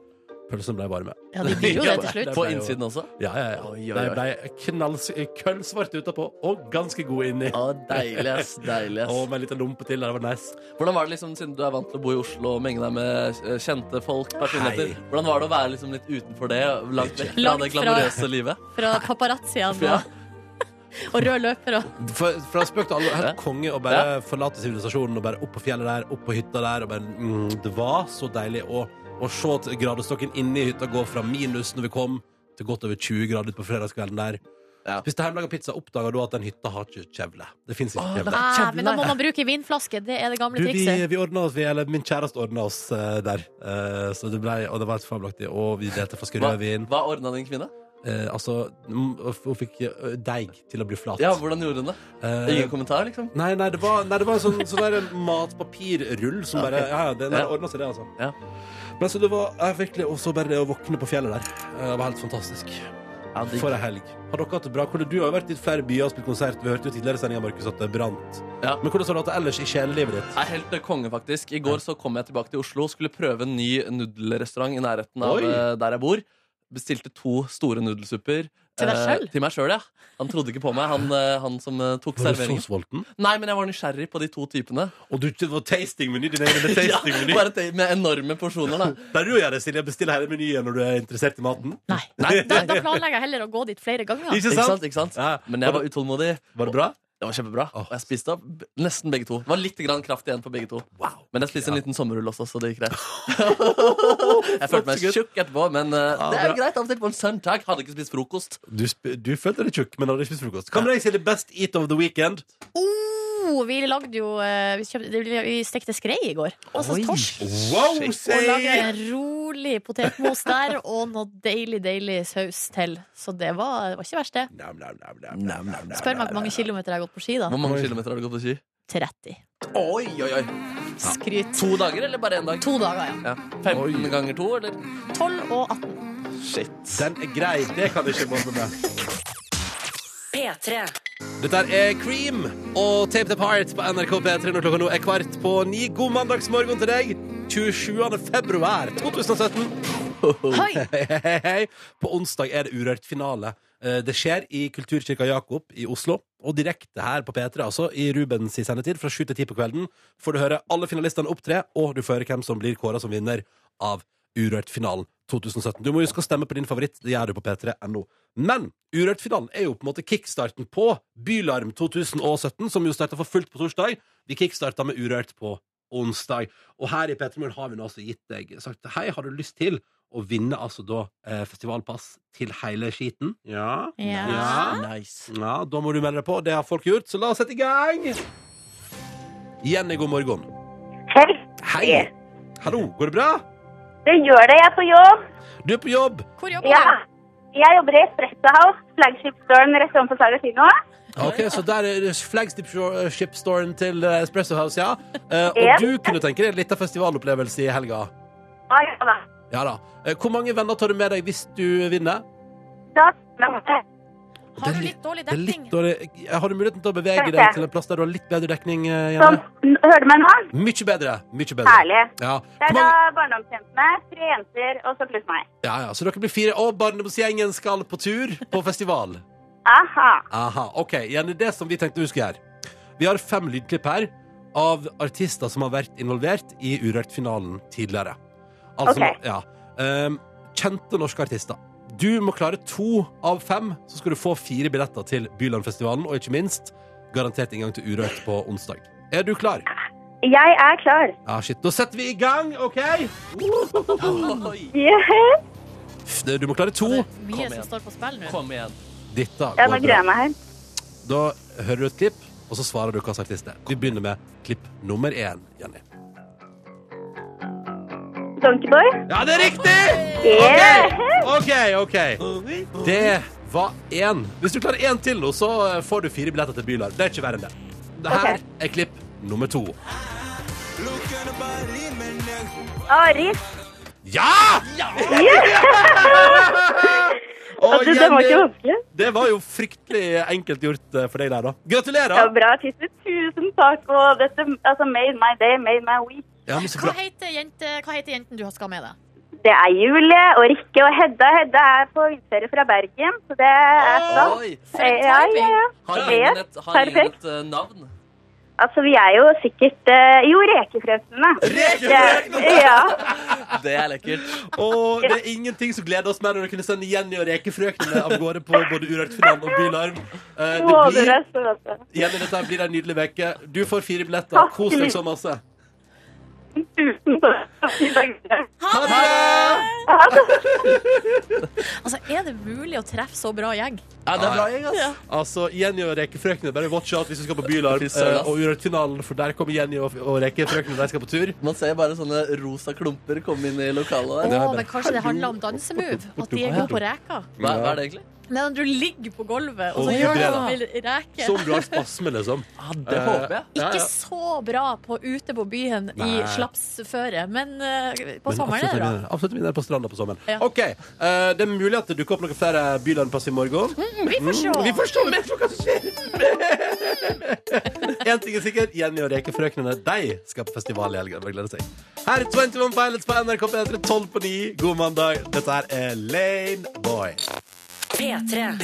Speaker 3: Pølsene ble varme.
Speaker 4: Ja, de
Speaker 3: *laughs*
Speaker 4: blir jo det til slutt.
Speaker 2: På innsiden også?
Speaker 3: Ja, ja, ja.
Speaker 2: Oi, oi,
Speaker 3: De ble knalls, køllsvarte utapå og ganske gode inni.
Speaker 2: Å, deilig, ass. Deilig, ass.
Speaker 3: Og med en liten lompe til. Det var nice.
Speaker 2: Hvordan var det liksom, Siden du er vant til å bo i Oslo og menge deg med eh, kjente folk, personligheter,
Speaker 3: Hei.
Speaker 2: hvordan var det å være liksom, litt utenfor det? Langt vekk fra
Speaker 4: Langt
Speaker 2: det
Speaker 4: fra-
Speaker 2: glamorøse livet?
Speaker 4: Fra paparazziene
Speaker 2: Ja.
Speaker 4: og, og *laughs* rød løper og
Speaker 3: For, fra spøk til alvor,
Speaker 2: Ja.
Speaker 3: helt konge å bare forlate sivilisasjonen og bare opp på fjellet der, opp på hytta der. Og bare, mm, det var så deilig å, å se at gradestokken inne i hytta gå fra minus når vi kom, til godt over 20 grader utpå fredagskvelden der.
Speaker 2: Ja.
Speaker 3: Spiste hjemmelaga pizza, oppdaga da at den hytta har ikke kjevle. Det fins ikke
Speaker 2: Å,
Speaker 3: kjevle.
Speaker 2: nei.
Speaker 4: Nei, Ah, Men da må man bruke vinflaske. Det er det gamle
Speaker 3: Du, vi,
Speaker 4: trikset.
Speaker 3: vi ordna oss, vi, eller min kjæreste ordna oss eh, der. Eh, så det ble, og det var helt fabelaktig. Og vi delte flasker
Speaker 2: Hva,
Speaker 3: rødvin.
Speaker 2: hva ordna din kvinne?
Speaker 3: Eh, altså, mm, og f- hun fikk eh, deig til å bli flat.
Speaker 2: Ja, Hvordan gjorde hun det?
Speaker 3: Eh,
Speaker 2: Ingen kommentar, liksom?
Speaker 3: Nei, nei, det var, nei, det var en sånn, sånn der matpapirrull som bare Ja, ja, det
Speaker 2: Ja.
Speaker 3: ordna seg, det, altså.
Speaker 2: Ja.
Speaker 3: Men så det var jeg virkelig Og så bare det å våkne på fjellet der. eh, Det var helt fantastisk.
Speaker 2: Ja, digg.
Speaker 3: For ei helg. Har dere hatt det bra? Hvordan, du har jo vært i flere byer og spilt konsert. Vi hørte jo tidligere i sendinga, Markus, at det brant.
Speaker 2: Ja.
Speaker 3: Men hvordan har du hatt det ellers i sjelelivet ditt?
Speaker 2: Nei, helt eh, konge, faktisk. I går så kom jeg tilbake til Oslo skulle prøve en ny nudelrestaurant i nærheten av
Speaker 3: Oi.
Speaker 2: eh, der jeg bor. Bestilte to store nudelsupper.
Speaker 4: Til deg
Speaker 2: Eh,
Speaker 4: selv?
Speaker 2: Til meg sjøl, ja. Han trodde ikke på meg, han, eh, han som eh, tok
Speaker 3: Var du så
Speaker 2: serveringen.
Speaker 3: sulten?
Speaker 2: Nei, men jeg var nysgjerrig på de to typene.
Speaker 3: Og du det var tastingmeny? Din egen
Speaker 2: *laughs* Ja,
Speaker 3: tastingmeny?
Speaker 2: bare te- med enorme porsjoner, da.
Speaker 3: Pleier du å gjøre det, Silje? Bestille hele menyen når du er interessert i maten?
Speaker 4: Nei. Da, da planlegger jeg heller å gå dit flere ganger.
Speaker 3: Ikke
Speaker 2: Ikke
Speaker 3: sant?
Speaker 2: sant? Ikke sant?
Speaker 3: Ja.
Speaker 2: Men jeg var utålmodig.
Speaker 3: Var det bra?
Speaker 2: Det var kjempebra.
Speaker 3: Åh.
Speaker 2: Og jeg spiste opp b- nesten begge to. Det var litt grann kraft igjen på begge to.
Speaker 3: Wow.
Speaker 2: Men jeg spiste en
Speaker 3: Ja.
Speaker 2: liten sommerrull også, så det gikk
Speaker 3: *laughs*
Speaker 2: greit. jeg følte meg
Speaker 3: så
Speaker 2: tjukk etterpå, men eh,
Speaker 3: Ja,
Speaker 2: det er
Speaker 3: bra.
Speaker 2: jo greit. Av og til på en søndag hadde ikke spist frokost.
Speaker 3: Du, sp- du følte deg tjukk, men hadde ikke spist frokost. Hva med deg, Silje? Best eat of the weekend?
Speaker 4: Oh, vi lagde jo eh, Vi, kjøpte, det ble- vi stekte skrei i går. Altså torsk.
Speaker 3: Wow,
Speaker 4: Og
Speaker 3: say!
Speaker 4: lagde en rolig potetmos der og noe deilig, deilig saus til. Så det var, det var ikke verst, det.
Speaker 3: Nam, nam, nam, nam, nam, nam, nam,
Speaker 4: Spør meg
Speaker 3: nam,
Speaker 4: hvor mange
Speaker 3: nam.
Speaker 4: kilometer jeg har gått på ski, da.
Speaker 2: Hvor mange kilometer har du gått på ski?
Speaker 4: 30.
Speaker 2: Oi, oi, oi.
Speaker 4: Skryt.
Speaker 2: To dager eller bare én dag?
Speaker 4: To dager, ja.
Speaker 2: Ja. 15 ganger to, eller?
Speaker 4: 12 og 18.
Speaker 2: Shit.
Speaker 3: Den er grei, det kan du ikke mobbe med.
Speaker 1: P3.
Speaker 3: Dette er Cream og Tape the Part på NRK P3 når klokka nå er kvart på ni. God mandagsmorgen til deg. 27. februar 2017. *laughs*
Speaker 4: Hei!
Speaker 3: Hei, hei, hei, hei. På onsdag er det urørt finale. Eh, Det skjer i Kulturkirka Jakob i Oslo, og direkte her på P3, altså, i Rubens i sendetid fra 7 til 10 på kvelden, får du høre alle finalistene opptre, og du får høre hvem som blir kåra som vinner av Urørt-finalen 2017. Du må huske å stemme på din favoritt, det gjør du på p3.no. Men Urørt-finalen er jo på en måte kickstarten på Bylarm 2017, som jo starta for fullt på torsdag. Vi kickstarta med Urørt på onsdag. Og her i Petermorgen har vi nå altså gitt deg sagt hei, har du lyst til å vinne altså da eh, festivalpass til hele skiten? Ja.
Speaker 4: Ja.
Speaker 2: Nice.
Speaker 3: ja. Da må du melde deg på. Det har folk gjort, så la oss sette i gang. Jenny, god morgen.
Speaker 11: Hei,
Speaker 3: Hei. Hallo, går det bra?
Speaker 11: det gjør det. Jeg er på jobb.
Speaker 3: Du er på jobb.
Speaker 4: Hvor jobber
Speaker 11: Ja.
Speaker 4: du?
Speaker 11: Jeg jobber i Espresso House, flaggskipsdøren rett overfor Sarasino.
Speaker 3: Ok, Så der er flagship-storen eh, til eh, Espresso House, ja. Eh,
Speaker 11: Ja.
Speaker 3: og du kunne tenke deg litt av festivalopplevelse i helga.
Speaker 11: Ah, ja, da.
Speaker 3: Ja da. Eh, hvor mange venner tar du med deg hvis du vinner?
Speaker 11: Da, da-
Speaker 4: Har du litt dårlig
Speaker 3: Det er litt
Speaker 4: dekning?
Speaker 3: dårlig. Har du muligheten til å bevege
Speaker 11: Kanskje.
Speaker 3: deg til en plass der du har litt bedre dekning? eh,
Speaker 11: sånn,
Speaker 3: Jenny?
Speaker 11: n- hører du meg nå?
Speaker 3: Mye bedre. Mye bedre.
Speaker 11: Herlig.
Speaker 3: Ja.
Speaker 11: Det er
Speaker 3: Hvor mange-
Speaker 11: da barndomsjentene, tre jenter og så pluss meg.
Speaker 3: ja, ja. Så dere blir fire, og barndomsgjengen skal på tur på festival.
Speaker 11: Aha.
Speaker 3: Aha, ok. Jenny, det som vi tenkte vi skulle gjøre. Vi har fem lydklipp her av artister som har vært involvert i Urørt-finalen tidligere. Altså,
Speaker 11: Ok.
Speaker 3: ja. Ehm, kjente norske artister. Du må klare to av fem, så skal du få fire billetter til Bylandfestivalen, og ikke minst garantert inngang til Urørt på onsdag. Er du klar?
Speaker 11: Jeg er klar.
Speaker 3: Ja, shit. Da setter vi i gang, OK?
Speaker 11: Yeah.
Speaker 3: Du må klare to.
Speaker 4: Mye
Speaker 2: Kom
Speaker 4: som
Speaker 2: igjen.
Speaker 4: står på spill nå.
Speaker 2: Kom igjen.
Speaker 3: Dette
Speaker 11: Ja, nå
Speaker 3: går
Speaker 11: gruer
Speaker 3: bra.
Speaker 11: jeg meg her.
Speaker 3: Da hører du et klipp, og så svarer du hva slags artist det er. Vi begynner med klipp nummer én, Jenny.
Speaker 11: Donkeyboy.
Speaker 3: Ja, det er riktig!
Speaker 11: Yeah.
Speaker 3: OK, OK. Det var én. Hvis du klarer én til nå, så eh, får du fire billetter til Bylarm. Det er ikke verre enn det. Det her
Speaker 11: Ok.
Speaker 3: er klipp nummer to.
Speaker 11: Ari.
Speaker 3: Ja!
Speaker 11: *laughs*
Speaker 3: Å,
Speaker 11: Altså, det var
Speaker 3: Jenny,
Speaker 11: ikke vanskelig.
Speaker 3: det var jo fryktelig enkelt gjort eh, for deg der, da.
Speaker 11: Det var
Speaker 3: Gratulerer!
Speaker 11: bra, Tisse. Tusen takk. Og dette altså, made my day, made my week.
Speaker 3: Ja, men så
Speaker 4: Hva
Speaker 3: bra.
Speaker 4: heter, jente, hva heter jenten du skal med deg?
Speaker 11: Det er Julie og Rikke og Hedda. Hedda er på utferie fra Bergen, så det er stas.
Speaker 2: Oi.
Speaker 11: Ja, ja, ja.
Speaker 2: Har
Speaker 11: Ja,
Speaker 2: gjengen et, har gjengen
Speaker 11: Perfekt.
Speaker 2: et eh, navn?
Speaker 11: Altså, vi er jo sikkert eh, Jo, rekefrøsene.
Speaker 3: Rekefrøsene!
Speaker 11: Det- Ja.
Speaker 2: Det er lekkert.
Speaker 3: Og det er ingenting som gleder oss mer enn å kunne sende Jenny og rekefrøknene av gårde på både Urørt-finalen og Bylarm. Eh, det
Speaker 11: Å,
Speaker 3: blir-
Speaker 11: dere er søte.
Speaker 3: Jenny, dette her blir en nydelig veke. Du får fire billetter.
Speaker 11: Takk.
Speaker 3: Kos deg så masse.
Speaker 11: Tusen takk.
Speaker 3: Ha det!
Speaker 4: Altså, Er det mulig å treffe så bra gjeng?
Speaker 2: Ja, det er bra gjeng, ass.
Speaker 3: Altså, Jenny og rekefrøkene, bare watch out hvis du skal på Bylarm
Speaker 2: Fy søren,
Speaker 3: eh,
Speaker 2: ass.
Speaker 3: og Urørt-finalen, for der kommer Jenny og, og rekefrøkene. De skal på tur.
Speaker 2: Man ser bare sånne rosa klumper komme inn i lokalet der.
Speaker 4: Å, men Kanskje det handler om dansemove? At de er gode på reker?
Speaker 2: Hva, hva er det egentlig?
Speaker 4: Nei, når du ligger på gulvet, og
Speaker 3: Og
Speaker 4: så gjør du
Speaker 3: vibrerer.
Speaker 4: som en reke.
Speaker 3: Som du har sånn spasme,
Speaker 2: *laughs*
Speaker 3: liksom. Eh,
Speaker 2: Ah, det håper jeg.
Speaker 3: Ja,
Speaker 4: Ikke
Speaker 3: ja.
Speaker 4: så bra på ute på byen
Speaker 3: Nei.
Speaker 4: i slapsføre, men eh, på
Speaker 3: Men absolutt
Speaker 4: sommeren er det bra.
Speaker 3: vinner. Absolutt vinner på stranda på sommeren.
Speaker 4: Ja.
Speaker 3: OK. eh, det er mulig at det dukker opp noen flere Bylarmpass i morgen.
Speaker 4: Vi får se.
Speaker 3: Mm, Vi får se om jeg tror hva som skjer. En ting er sikkert, Jenny og rekefrøknene De skal på festival i helgen. Bare gleder seg. Her er 21 Pilots på NRK P3 12 på 9. God mandag. Dette her er Lane Boy.
Speaker 1: P3.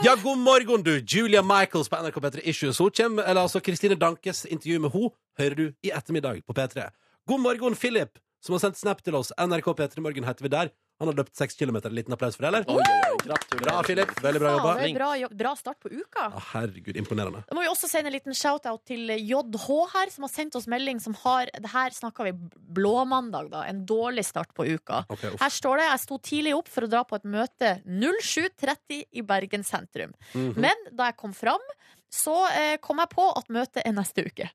Speaker 3: Ja, god morgen, du. Julia Michaels på NRK P3 Issues. Hun kjem, eller altså Kristine Dankes intervju med ho hører du i ettermiddag på P3. God morgen, Philip, som har sendt snap til oss. NRK P3 Morgen heter vi der. Han har løpt seks kilometer. En liten applaus for det, eller?
Speaker 2: Oi, oi, oi, gratulerer.
Speaker 3: Bra, Philip. Veldig bra
Speaker 4: Ja,
Speaker 3: jobba.
Speaker 4: det er bra, jobb- bra start på uka.
Speaker 3: Ja, herregud, imponerende.
Speaker 4: Da må vi også sende en liten shout-out til JH her, som har sendt oss melding som har det Her snakker vi blåmandag, da. En dårlig start på uka.
Speaker 3: Ok, uff.
Speaker 4: Her står det jeg sto tidlig opp for å dra på et møte 07.30 i Bergen sentrum. Men da jeg kom fram, Så eh, kom jeg på at møtet er neste uke.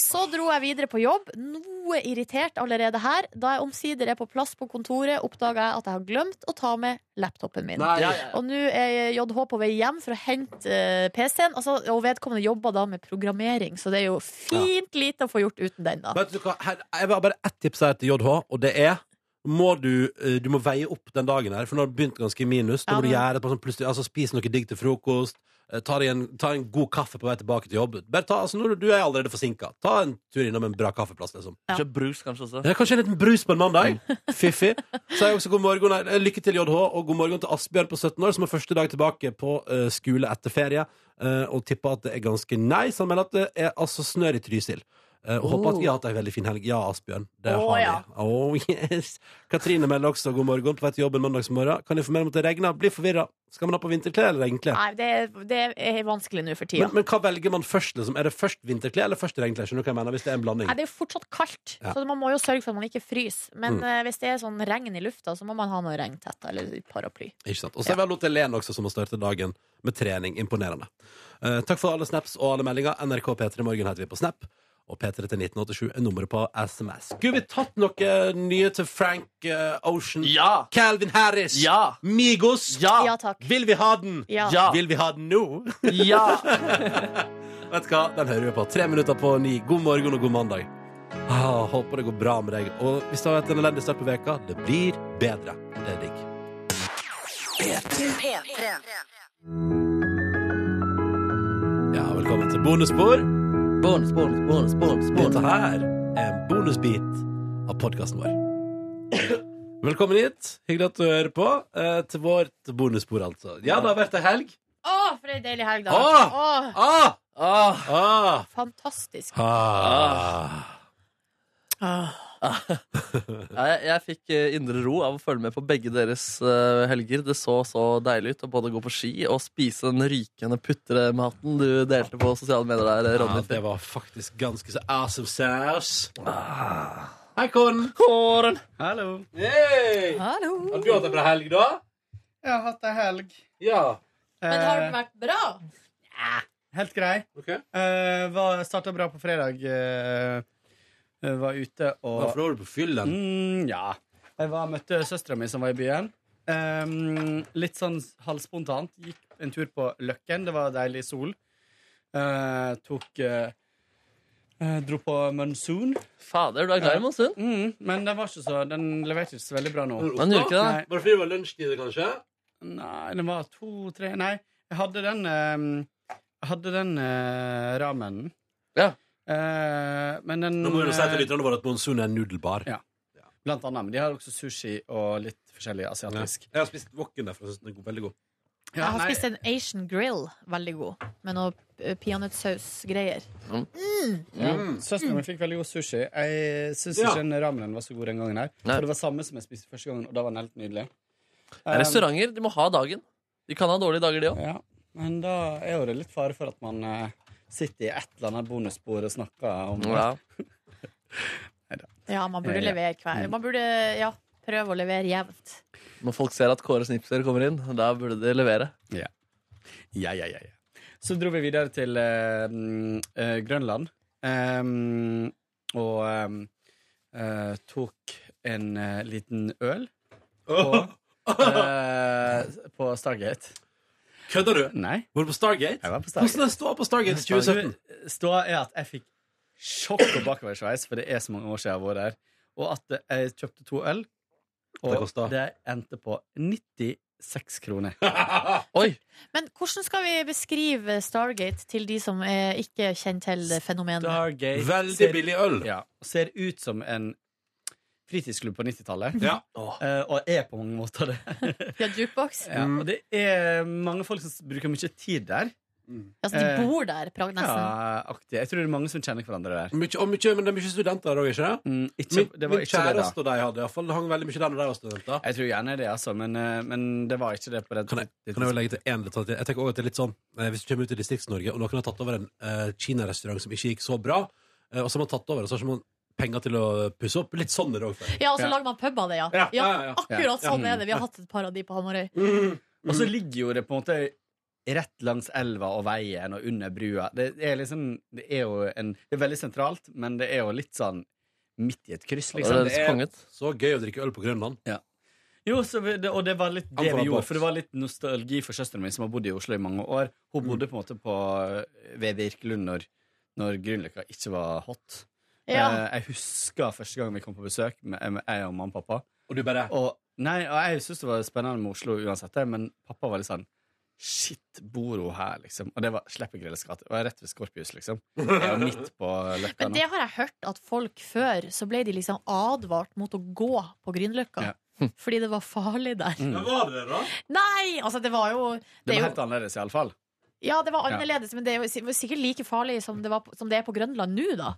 Speaker 4: Så dro jeg videre på jobb, noe irritert allerede her. Da jeg omsider er på plass på kontoret, oppdaga jeg at jeg har glemt å ta med laptopen min.
Speaker 12: Nei. Ja, ja, ja.
Speaker 4: Og nå er JH på vei hjem for å hente eh, PC-en. Altså, og vedkommende jobber da med programmering, så det er jo fint lite å få gjort uten den, da.
Speaker 3: Vet du hva, her, jeg har bare ett tips her til JH, og det er må du, eh, du må veie opp den dagen her, for nå har det begynt ganske i minus. Da
Speaker 4: Ja,
Speaker 3: må du
Speaker 4: det-
Speaker 3: gjøre et par sånn plutselig, altså Spis noe digg til frokost, eh, ta deg en, ta en god kaffe på vei tilbake til jobb. Bare ta, altså, når du, du er allerede forsinka. Ta en tur innom en bra kaffeplass, liksom.
Speaker 2: Ja. Kjøp brus, kanskje også. Mm.
Speaker 3: Ja, kanskje en liten brus på en mandag. *laughs* Fiffig. Så er jeg også god morgen, nei, eh, lykke til, JH, og god morgen til Asbjørn på 17 år, som er første dag tilbake på eh, skole etter ferie. eh, og tipper at det er ganske nice. Han mener at det er altså snør i Trysil. Eh, og håper at
Speaker 4: Oh.
Speaker 3: vi har hatt ei veldig fin helg. Ja, Asbjørn. Det
Speaker 12: Å,
Speaker 3: har vi.
Speaker 12: ja.
Speaker 3: Oh, yes. Katrine melder også god morgen på vei til jobben mandagsmorgen. Kan informere om at det regner. Blir forvirra. Skal man ha på vinterklær eller regnklær?
Speaker 4: Nei, det, er- det er vanskelig nå for tida.
Speaker 3: Men, men hva velger man først? Liksom? Er det først vinterklær eller først regnklær? Skjønner du hva jeg mener? Hvis det er en blanding.
Speaker 4: Nei, det er jo fortsatt kaldt,
Speaker 3: Ja.
Speaker 4: så man må jo sørge for at man ikke fryser. Men
Speaker 3: Mm.
Speaker 4: eh, hvis det er sånn regn i lufta, så må man ha noe regntett eller paraply.
Speaker 3: Ikke sant? Og så er vi Lotte Len også, som har startet dagen med trening. Imponerende. Eh, takk for alle snaps og alle meldinger. NRK P3 Morgen heter vi på Snap. Og P3 til 1987 er nummeret på SMS. Skulle vi tatt noe nye til Frank eh, Ocean? Ja! Calvin Harris? Ja! Migos?
Speaker 2: Ja!
Speaker 4: Ja, takk.
Speaker 3: Vil vi ha den?
Speaker 4: Ja.
Speaker 3: Vil vi ha den nå?
Speaker 2: Ja!
Speaker 3: Vet du hva, den hører vi på. Tre minutter på ni. God morgen og god mandag. Ah, håper det går bra med deg. Og hvis det har vært en elendig start på veka, det blir bedre. Det er digg.
Speaker 1: P3.
Speaker 3: Ja, velkommen til bonusspor. Bonus, bonus, bonus, bonus, Dette her er en bonusbit av podkasten vår. Velkommen hit. Hyggelig at du hører på. eh, til vårt bonusspor, altså. Ja, det har vært ei helg.
Speaker 4: Å, for ei deilig helg, da!
Speaker 3: Åh!
Speaker 4: Åh,
Speaker 3: Ah!
Speaker 2: Ah!
Speaker 3: Ah!
Speaker 4: fantastisk.
Speaker 3: Ah!
Speaker 13: Ah.
Speaker 2: Ja, jeg, jeg fikk eh, indre ro av å følge med på begge deres eh, helger. Det så så deilig ut å både gå på ski og spise den rykende putrematen du delte på sosiale medier der,
Speaker 3: Ja,
Speaker 2: Ronny.
Speaker 3: det var faktisk ganske så awesome saus. Hei, Ah. Kåren.
Speaker 2: Kåren.
Speaker 13: Hallo.
Speaker 3: Hey!
Speaker 4: Hallo.
Speaker 3: Har du hatt ei bra helg, da?
Speaker 13: Jeg har hatt ei helg.
Speaker 3: Ja.
Speaker 4: Men har den vært bra?
Speaker 13: Eh, Helt grei.
Speaker 3: Okay.
Speaker 13: Eh, var- Starta bra på fredag. eh, eh, var ute og
Speaker 3: Hvorfor var du på fyllen?
Speaker 13: Mm, ja. Jeg var, møtte søstera mi som var i byen. Eh, litt sånn halvspontant. Gikk en tur på Løkken. Det var deilig sol. Eh, tok eh, eh, Dro på Monsoon.
Speaker 2: Fader, du er glad i Monsoon.
Speaker 13: Mm, men den, var ikke så, den leverte ikke så veldig bra nå.
Speaker 2: Men gjør ikke det.
Speaker 13: Nei.
Speaker 3: Bare fordi det var lunsjtid, kanskje?
Speaker 13: Nei, den var to-tre Nei, jeg hadde den eh, Jeg hadde den eh, ramenen. Eh, men den
Speaker 3: Nå må vi jo si til
Speaker 13: eh,
Speaker 3: lytterne våre at Monsun er en nudelbar.
Speaker 13: Ja. Blant annet. Men de har også sushi og litt forskjellig asiatisk.
Speaker 3: Jeg har spist woken derfra. Jeg synes den er god- veldig god.
Speaker 13: Ja,
Speaker 4: jeg har
Speaker 13: nei.
Speaker 4: spist en Asian grill, veldig god, med noe eh, peanøttsausgreier.
Speaker 2: Mm.
Speaker 13: Ja.
Speaker 4: Mm.
Speaker 13: Søsteren min fikk veldig god sushi. Jeg syns
Speaker 4: Ja.
Speaker 13: ikke den ramenen var så god den gangen her.
Speaker 2: Nei.
Speaker 13: For det var samme som jeg spiste første gangen, og da var den helt nydelig. Eh,
Speaker 2: Det er Restauranter de må ha dagen. De kan ha dårlige dager, de òg.
Speaker 13: Ja, men da er jo det litt fare for at man eh, sitter i et eller annet bonusspor og snakker om
Speaker 2: Ja.
Speaker 4: Ja, man burde
Speaker 13: Eh, ja.
Speaker 4: levere hver Man burde ja, prøve å levere jevnt.
Speaker 2: Når folk ser at Kåre Snipser kommer inn, da burde de levere.
Speaker 13: Ja. Ja, ja, ja, ja. Så dro vi videre til eh, mm, eh, Grønland. Ehm, og ehm, eh, tok en eh, liten øl på, eh, på Stargate.
Speaker 3: Kødder du?
Speaker 13: Nei.
Speaker 3: Var du på Stargate?
Speaker 13: Jeg var på Stargate.
Speaker 3: Hvordan er ståa på Stargate i 2017?
Speaker 13: Ståa er at jeg fikk sjokk og bakoversveis, for det er så mange år siden jeg har vært der. Og at eh, jeg kjøpte to øl,
Speaker 3: Det
Speaker 13: og
Speaker 3: kostet.
Speaker 13: det endte på 96 kroner.
Speaker 4: Men hvordan skal vi beskrive Stargate til de som eh, ikke kjenner til det fenomenet?
Speaker 13: Stargate.
Speaker 3: Veldig billig øl.
Speaker 13: Ja, og ser ut som en fritidsklubb på 90-tallet.
Speaker 3: Ja.
Speaker 13: Eh, og er på mange måter
Speaker 3: *laughs*
Speaker 13: det.
Speaker 4: *laughs* Ja, jukebox?
Speaker 13: Ja,
Speaker 3: Mm.
Speaker 13: og det er mange folk som s- bruker mye tid der.
Speaker 4: Altså, de bor der, prag
Speaker 13: Eh,
Speaker 4: nesten.
Speaker 13: ja, aktig. Jeg tror det er mange som kjenner hverandre der.
Speaker 3: Mykje- og mykje- men det er mye studenter der òg, ikke det?
Speaker 13: Mm, ikke,
Speaker 3: Min,
Speaker 13: det var
Speaker 3: min
Speaker 13: ikke det, da.
Speaker 3: kjæreste og de hadde iallfall hang veldig mye der når de var studenter.
Speaker 13: Jeg tror gjerne det, altså, men, eh, men det var ikke det på det
Speaker 3: Kan jeg, kan jeg jo legge til en detalj til? Jeg tenker også at det er litt sånn eh, Hvis du kommer ut i Distrikts-Norge, og noen har tatt over en eh, kinarestaurant som ikke gikk så bra, eh, og så har man tatt over, og så har ikke man penger til å pusse opp. Litt sånn er det òg.
Speaker 4: Ja, og så lager man pub av det, ja.
Speaker 3: Ja,
Speaker 4: ja
Speaker 3: ja, ja, ja.
Speaker 4: akkurat
Speaker 3: Ja.
Speaker 4: sånn
Speaker 3: Mm.
Speaker 13: Mm.
Speaker 4: er det. Vi har hatt et par av de på Hamarøy.
Speaker 13: Og så ligger jo det på en måte rett langs elva og veien og under brua. Det er liksom Det er jo en Det er veldig sentralt, men det er jo litt sånn midt i et kryss, liksom.
Speaker 3: Det er så gøy å drikke øl på Grønland.
Speaker 13: Ja. Jo, så vi, det, og det var litt det vi
Speaker 3: Anbefaler
Speaker 13: gjorde,
Speaker 3: boks.
Speaker 13: for det var litt nostalgi for søsteren min som har bodd i Oslo i mange år. Hun bodde på en måte på eh, ved Virkelund når, når Grünerløkka ikke var hot.
Speaker 4: Ja.
Speaker 13: Eh, Jeg husker første gang vi kom på besøk, med, eh, med jeg og mamma og pappa. Og du bare? nei, og jeg syntes det var spennende med Oslo uansett, det, men pappa var litt sånn Shit, bor hun her, liksom? Og det var Sleppegrellas gate. Det var rett ved Skorpius, liksom. Jeg var midt på løkka
Speaker 4: Men
Speaker 13: nå.
Speaker 4: det har jeg hørt at folk før så ble de liksom advart mot å gå på Grünerløkka. Fordi det var farlig der.
Speaker 13: Mm. Ja, var det det da?
Speaker 4: Nei! Altså, det var jo
Speaker 13: Det
Speaker 4: er
Speaker 13: var
Speaker 4: jo-
Speaker 13: helt annerledes, iallfall.
Speaker 4: Ja, det var
Speaker 13: Ja.
Speaker 4: annerledes, men det er jo si- sikkert like farlig som det, var, på- som det er på Grønland nå, da.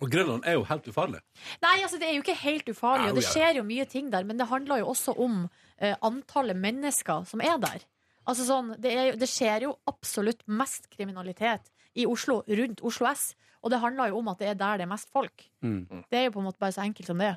Speaker 3: Og Grønland er jo helt ufarlig.
Speaker 4: Nei, altså det er jo ikke helt ufarlig,
Speaker 3: Au,
Speaker 4: og det
Speaker 3: ja.
Speaker 4: skjer jo mye ting der, men det handler jo også om eh, antallet mennesker som er der. Altså sånn, det, er, jo- det skjer jo absolutt mest kriminalitet i Oslo, rundt Oslo S, og det handler jo om at det er der det er mest folk. Det er jo på en måte bare så enkelt som det er.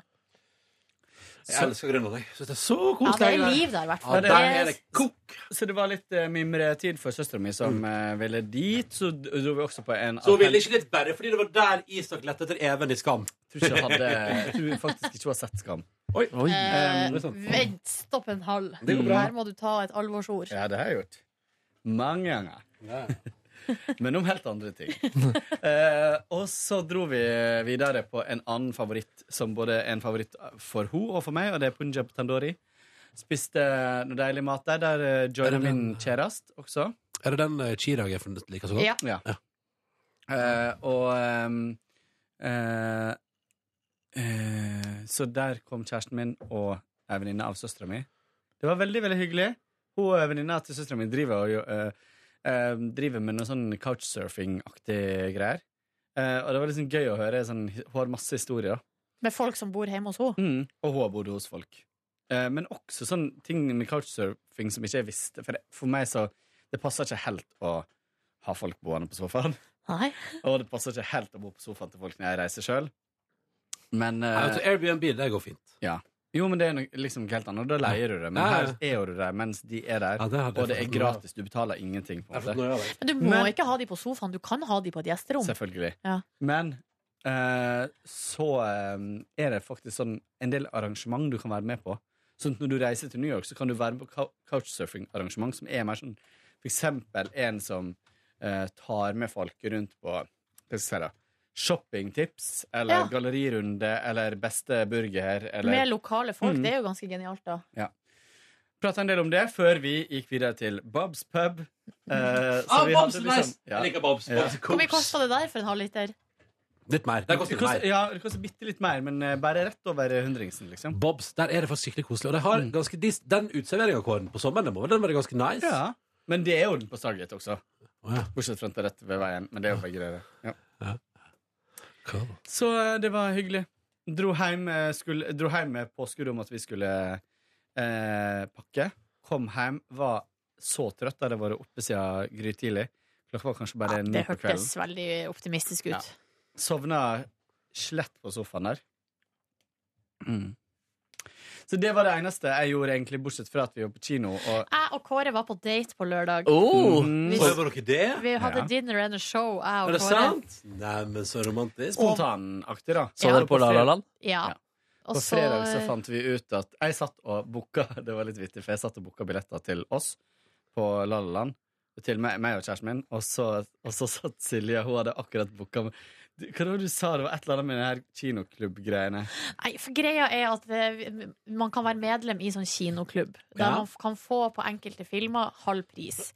Speaker 3: Jeg elsker Grønland, jeg. Synes det er så
Speaker 4: Ja,
Speaker 3: koselig.
Speaker 4: det er liv der i hvert fall.
Speaker 13: Ja, der
Speaker 4: Det
Speaker 13: er det kok. Så det var litt eh, mimretid for søstera mi som eh, ville dit. Så d- dro vi også på en
Speaker 3: Så hun ville ikke litt bare fordi det var der Isak lette etter Even i Skam.
Speaker 13: Jeg tror, ikke jeg hadde, *laughs* jeg tror faktisk ikke hun har sett Skam.
Speaker 3: Oi.
Speaker 13: Eh,
Speaker 4: Eh, vent, stopp en halv.
Speaker 13: Det går bra.
Speaker 4: Her må du ta et alvorsord.
Speaker 13: Ja, det har jeg gjort. Mange ganger. *laughs* Men om helt andre
Speaker 3: *laughs*
Speaker 13: ting. Eh, og så dro vi videre på en annen favoritt, som både er en favoritt for hun og for meg, og det er punjab tandori. Spiste noe deilig mat der, der eh,
Speaker 3: Er
Speaker 13: joina
Speaker 3: det den-
Speaker 13: min kjæreste også.
Speaker 3: Er det den eh, Chirag jeg funnet liker så
Speaker 13: Ja.
Speaker 3: godt?
Speaker 13: Eh, og ehm, eh, eh, Så der kom kjæresten min og ei venninne av søstera mi. Det var veldig veldig hyggelig. Hun eh, venninna til søstera mi driver, og, jo- eh, eh, driver med noe sånn couchsurfing-aktig greier. Eh, og det var liksom gøy å høre. Sånn, hun har masse historier. da.
Speaker 4: Med folk som bor hjemme hos henne.
Speaker 13: Mm. Og hun har bodd hos folk. Eh, men også sånn ting med couchsurfing som ikke jeg visste. For, det, for meg så Det passer ikke helt å ha folk boende på sofaen.
Speaker 4: Nei.
Speaker 13: Og det passer ikke helt å bo på sofaen til folk når jeg reiser sjøl. Men eh,
Speaker 3: Nei, vet du, Airbnb, det går fint.
Speaker 13: ja. Jo, men det er noe- liksom ikke helt annet. Da leier du det. Men
Speaker 3: Ja, ja.
Speaker 13: her er jo du der mens de er der.
Speaker 3: det hadde jeg
Speaker 13: og det er
Speaker 3: fått noe av.
Speaker 13: gratis. Du betaler ingenting. på en måte.
Speaker 4: Men du må
Speaker 13: Men-
Speaker 4: ikke ha de på sofaen, du kan ha de på et gjesterom.
Speaker 13: Selvfølgelig.
Speaker 4: Ja.
Speaker 13: Men eh, så eh, er det faktisk sånn en del arrangement du kan være med på. Sånn at når du reiser til New York, så kan du være med på cou- couchsurfing-arrangement som er mer sånn For eksempel en som eh, tar med folk rundt på hva skal jeg si da, shoppingtips eller
Speaker 4: Ja.
Speaker 13: gallerirunde eller beste burger eller
Speaker 4: Med lokale folk,
Speaker 13: Mm.
Speaker 4: det er jo ganske genialt da.
Speaker 13: ja. Prata en del om det før vi gikk videre til Bobs pub. Eh,
Speaker 4: Ah,
Speaker 13: vi
Speaker 4: Bob's
Speaker 13: hadde liksom-
Speaker 4: er nice.
Speaker 3: Jeg liker Bob's. Bob's er
Speaker 4: Hvor mye kosta det der for en halvliter?
Speaker 3: *laughs* Litt mer. Der koster
Speaker 13: det
Speaker 3: det
Speaker 13: koster,
Speaker 3: mer.
Speaker 13: ja, det koster bitte litt mer, men eh, bare rett over hundringsen, liksom. Mm.
Speaker 3: Bobs, der er det faktisk skikkelig koselig. Og de har ganske dis den utserveringa Kåren, på sommeren, den må vel den være ganske nice?
Speaker 13: Ja, men det er jo den på Stargate også. Bortsett fra at det er rett ved veien, men det er jo begge deler. Ja. Så eh, det var hyggelig. Dro hjem, eh, skulle, dro hjem med påskudd om at vi skulle eh, pakke. Kom hjem, var så trøtt, da hadde vært oppe siden grytidlig. Klokka var kanskje bare ni
Speaker 4: Det
Speaker 13: på
Speaker 4: hørtes
Speaker 13: kvelden.
Speaker 4: veldig optimistisk ut.
Speaker 13: Ja. Sovna slett på sofaen der.
Speaker 4: Mm.
Speaker 13: Så det var det eneste jeg gjorde, egentlig, bortsett fra at vi var på kino. Og
Speaker 4: Jeg og Kåre var på date på lørdag. Mm.
Speaker 13: Mhm.
Speaker 4: Vi,
Speaker 3: Så var dere Oh, det?
Speaker 4: vi hadde
Speaker 3: Ja.
Speaker 4: dinner and a show, jeg og
Speaker 3: Er det
Speaker 4: Kåre.
Speaker 3: sant? Neimen, så romantisk.
Speaker 13: Spontanaktig, da.
Speaker 4: Så Ja. dere på La La
Speaker 13: fre-
Speaker 4: Land? Ja. Og
Speaker 13: På
Speaker 4: så-
Speaker 13: fredag så fant vi ut at Jeg satt og booka *laughs* Det var litt vittig, for jeg satt og booka billetter til oss på La La Land. Til meg, meg og kjæresten min. Og så, og så satt Silje, hun hadde akkurat booka med- Du, Hva var det du sa? Det var et eller annet med den her kinoklubbgreiene.
Speaker 4: Nei, for greia er at eh, man kan være medlem i sånn kinoklubb. Der
Speaker 13: Ja.
Speaker 4: man f- kan få på enkelte filmer halv
Speaker 3: *laughs*
Speaker 4: pris.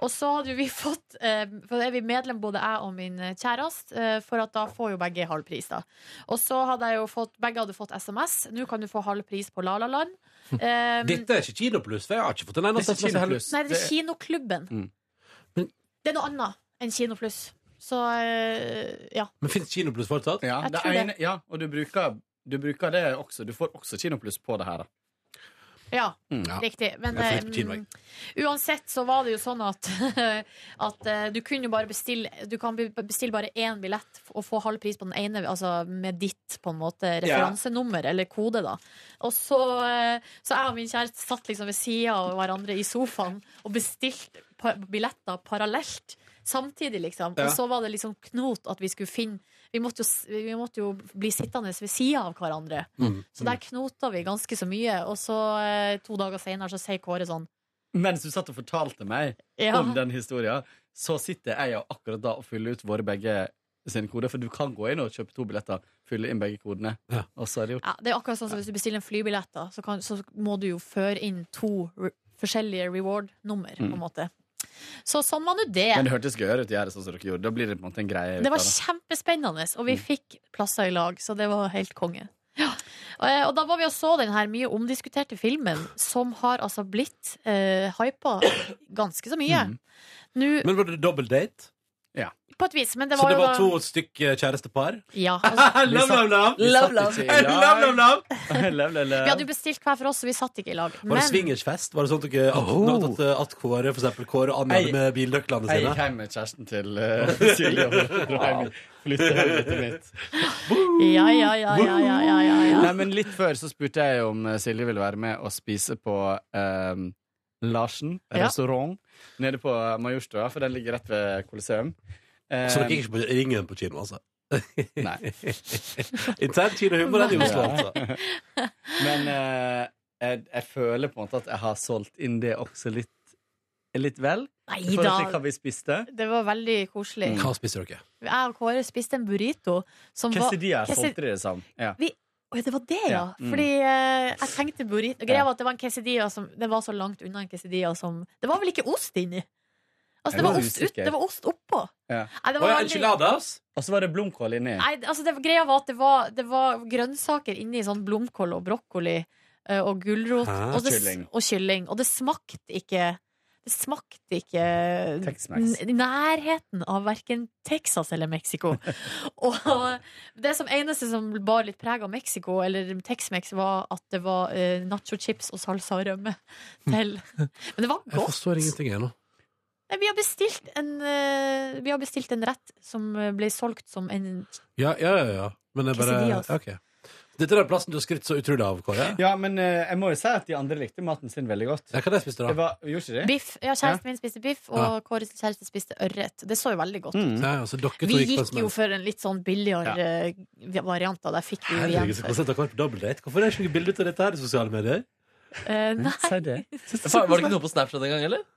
Speaker 4: Og så hadde vi fått eh, For da er vi medlem, både jeg og min kjæreste, eh, for at da får jo begge halv pris, da. Og så hadde jeg jo fått Begge hadde fått SMS. Nå kan du få halv pris på La
Speaker 3: *laughs*
Speaker 4: La Land. Eh,
Speaker 3: Dette er ikke Kinopluss, for jeg har ikke fått en eneste SMS heller.
Speaker 4: Nei, det er Kinoklubben.
Speaker 3: Mm.
Speaker 4: Det er noe annet enn Kinopluss. Så eh, ja.
Speaker 3: Men fins Kinopluss fortsatt?
Speaker 13: Ja,
Speaker 4: Jeg
Speaker 13: det
Speaker 4: tror det.
Speaker 13: ene, ja og du bruker, du bruker det også. Du får også Kinopluss på det her, da.
Speaker 4: Ja,
Speaker 13: Mm, ja.
Speaker 4: riktig. Men
Speaker 13: Jeg får ikke
Speaker 4: eh,
Speaker 13: tid meg.
Speaker 4: uansett så var det jo sånn at, *laughs* at eh, du kunne jo bare bestille Du kan be- bestille bare én billett og få halv pris på den ene, altså med ditt på en måte referansenummer eller kode, da. Og så, eh, så jeg og min kjæreste satt liksom ved sida av hverandre i sofaen og bestilte pa billetter parallelt. Samtidig, liksom.
Speaker 12: Ja.
Speaker 4: Og så var det liksom knot at vi skulle finne Vi måtte jo, s- vi måtte jo bli sittende ved sida av hverandre.
Speaker 12: Mm.
Speaker 4: Så der knota vi ganske så mye. Og så, eh, to dager seinere, så sier Kåre sånn
Speaker 13: Mens du satt og fortalte meg
Speaker 4: Ja.
Speaker 13: om den historien, så sitter jeg og akkurat da og fyller ut våre begge sine koder. For du kan gå inn og kjøpe to billetter, fylle inn begge kodene, og så er det gjort.
Speaker 4: ja, Det er akkurat sånn som hvis du bestiller en flybillett, da, så, kan, så må du jo føre inn to re forskjellige reward-nummer, på en
Speaker 13: Mm.
Speaker 4: måte. Så sånn var nå det.
Speaker 13: Men det hørtes gøyere ut å gjøre sånn som dere gjorde. Da blir det på en måte en greie. ut
Speaker 4: Det var
Speaker 13: av det.
Speaker 4: kjempespennende, og vi fikk plasser i lag, så det var helt konge. Eh, Og da var vi og så den her mye omdiskuterte filmen, som har altså blitt eh, hypa ganske så mye. Nå,
Speaker 3: Mm. Men var det double date?
Speaker 13: Ja.
Speaker 4: på et vis, men det
Speaker 3: Så
Speaker 4: var
Speaker 3: det
Speaker 4: jo
Speaker 3: var
Speaker 4: da-
Speaker 3: to stykk eh, kjærestepar? *laughs*
Speaker 4: Ja. altså,
Speaker 3: Love, love, love.
Speaker 13: Vi satt ikke i lag.
Speaker 3: Love, love, love.
Speaker 13: *laughs* Love, love, love.
Speaker 4: Vi hadde jo bestilt hver for oss, så vi satt ikke i lag.
Speaker 3: Var det swingersfest? Var det sånn at, dere- at,
Speaker 13: Oh.
Speaker 3: at, at, at Kåre for eksempel, Kåre og Anne
Speaker 13: Jeg-
Speaker 3: hadde med
Speaker 13: Jeg
Speaker 3: bildøklene
Speaker 13: gikk
Speaker 3: sine?
Speaker 13: hjem med kjæresten til eh, *laughs* Silje og Roheim. Flyttet helvete mitt.
Speaker 4: Ja, ja, ja, ja, ja, ja, ja, ja.
Speaker 13: Nei, men litt før så spurte jeg om eh, Silje ville være med og spise på ehm, Larsen
Speaker 4: Ja.
Speaker 13: restaurant nede på Majorstua, for den ligger rett ved Ehm, Coliseum. Eh.
Speaker 3: Så dere gikk ikke på Ringen på kino, altså? *laughs* Intern kinohumor er det i Oslo, altså.
Speaker 13: Men eh, jeg, jeg føler på en måte at jeg har solgt inn det også litt, litt vel.
Speaker 4: Nei
Speaker 13: I forhold til
Speaker 4: da.
Speaker 13: hva vi spiste.
Speaker 4: Det var veldig koselig.
Speaker 13: Hva
Speaker 3: spiste dere?
Speaker 4: Jeg og Kåre spiste en burrito som var
Speaker 13: Quesadilla
Speaker 4: Quesad-
Speaker 13: solgte de det som. Ja.
Speaker 4: Vi, Oi, det var det, ja!
Speaker 13: Ja, mm.
Speaker 4: Fordi eh, jeg tenkte burrito Greia var at det var en quesadilla som Det var så langt unna en quesadilla som Det var vel ikke ost inni? Altså,
Speaker 13: Jeg
Speaker 4: det var
Speaker 13: var
Speaker 4: ost, ut,
Speaker 13: usikker.
Speaker 4: det var ost oppå.
Speaker 13: Ja.
Speaker 4: Nei, det var veldig-
Speaker 13: Og så var det blomkål inni.
Speaker 4: Nei, altså, det, greia var at det var, det var grønnsaker inni sånn blomkål og brokkoli eh, og gulrot
Speaker 13: Hæ?
Speaker 4: og, det,
Speaker 13: Kylling.
Speaker 4: og kylling. Og det smakte ikke det smakte ikke
Speaker 13: Tex-Mex.
Speaker 4: n- nærheten av verken Texas eller
Speaker 3: *laughs*
Speaker 4: Mexico. Og det som eneste som bar litt preg av Mexico, eller Tex-Mex, var at det var eh, nacho chips og salsa og
Speaker 3: *laughs*
Speaker 4: rømme til. *laughs* Men det var
Speaker 3: Jeg
Speaker 4: godt.
Speaker 3: forstår ingenting ennå.
Speaker 4: Nei, Vi har bestilt en, eh, vi har bestilt en rett som eh, ble solgt som en
Speaker 3: Ja, ja, ja, ja. Men jeg bare
Speaker 4: Quesadillas.
Speaker 3: ja, ok. Dette er den plassen du har skrytt så utrolig av, Kåre.
Speaker 13: Ja, men eh, jeg må jo si at de andre likte maten sin veldig godt.
Speaker 3: Ja, hva de spiste da?
Speaker 13: Det var, gjorde ikke de?
Speaker 4: Biff. Ja, kjæresten min spiste biff, og
Speaker 13: Ja.
Speaker 4: Kåres kjæreste spiste ørret. Det så jo veldig godt
Speaker 3: Mm.
Speaker 4: ut.
Speaker 3: Ja, altså, dere to
Speaker 4: Vi
Speaker 3: gikk på en
Speaker 4: gikk
Speaker 3: smell.
Speaker 4: jo for en litt sånn billigere
Speaker 3: Ja.
Speaker 4: eh, variant, og der fikk vi jo igjen
Speaker 3: Herregud, så
Speaker 4: for.
Speaker 3: koselig at dere har vært på double date. Hvorfor er det ikke noe bilde ut av dette her i sosiale medier?
Speaker 4: Eh, nei.
Speaker 13: Si det.
Speaker 2: Faen, Var det ikke noe på Snapchat engang, eller?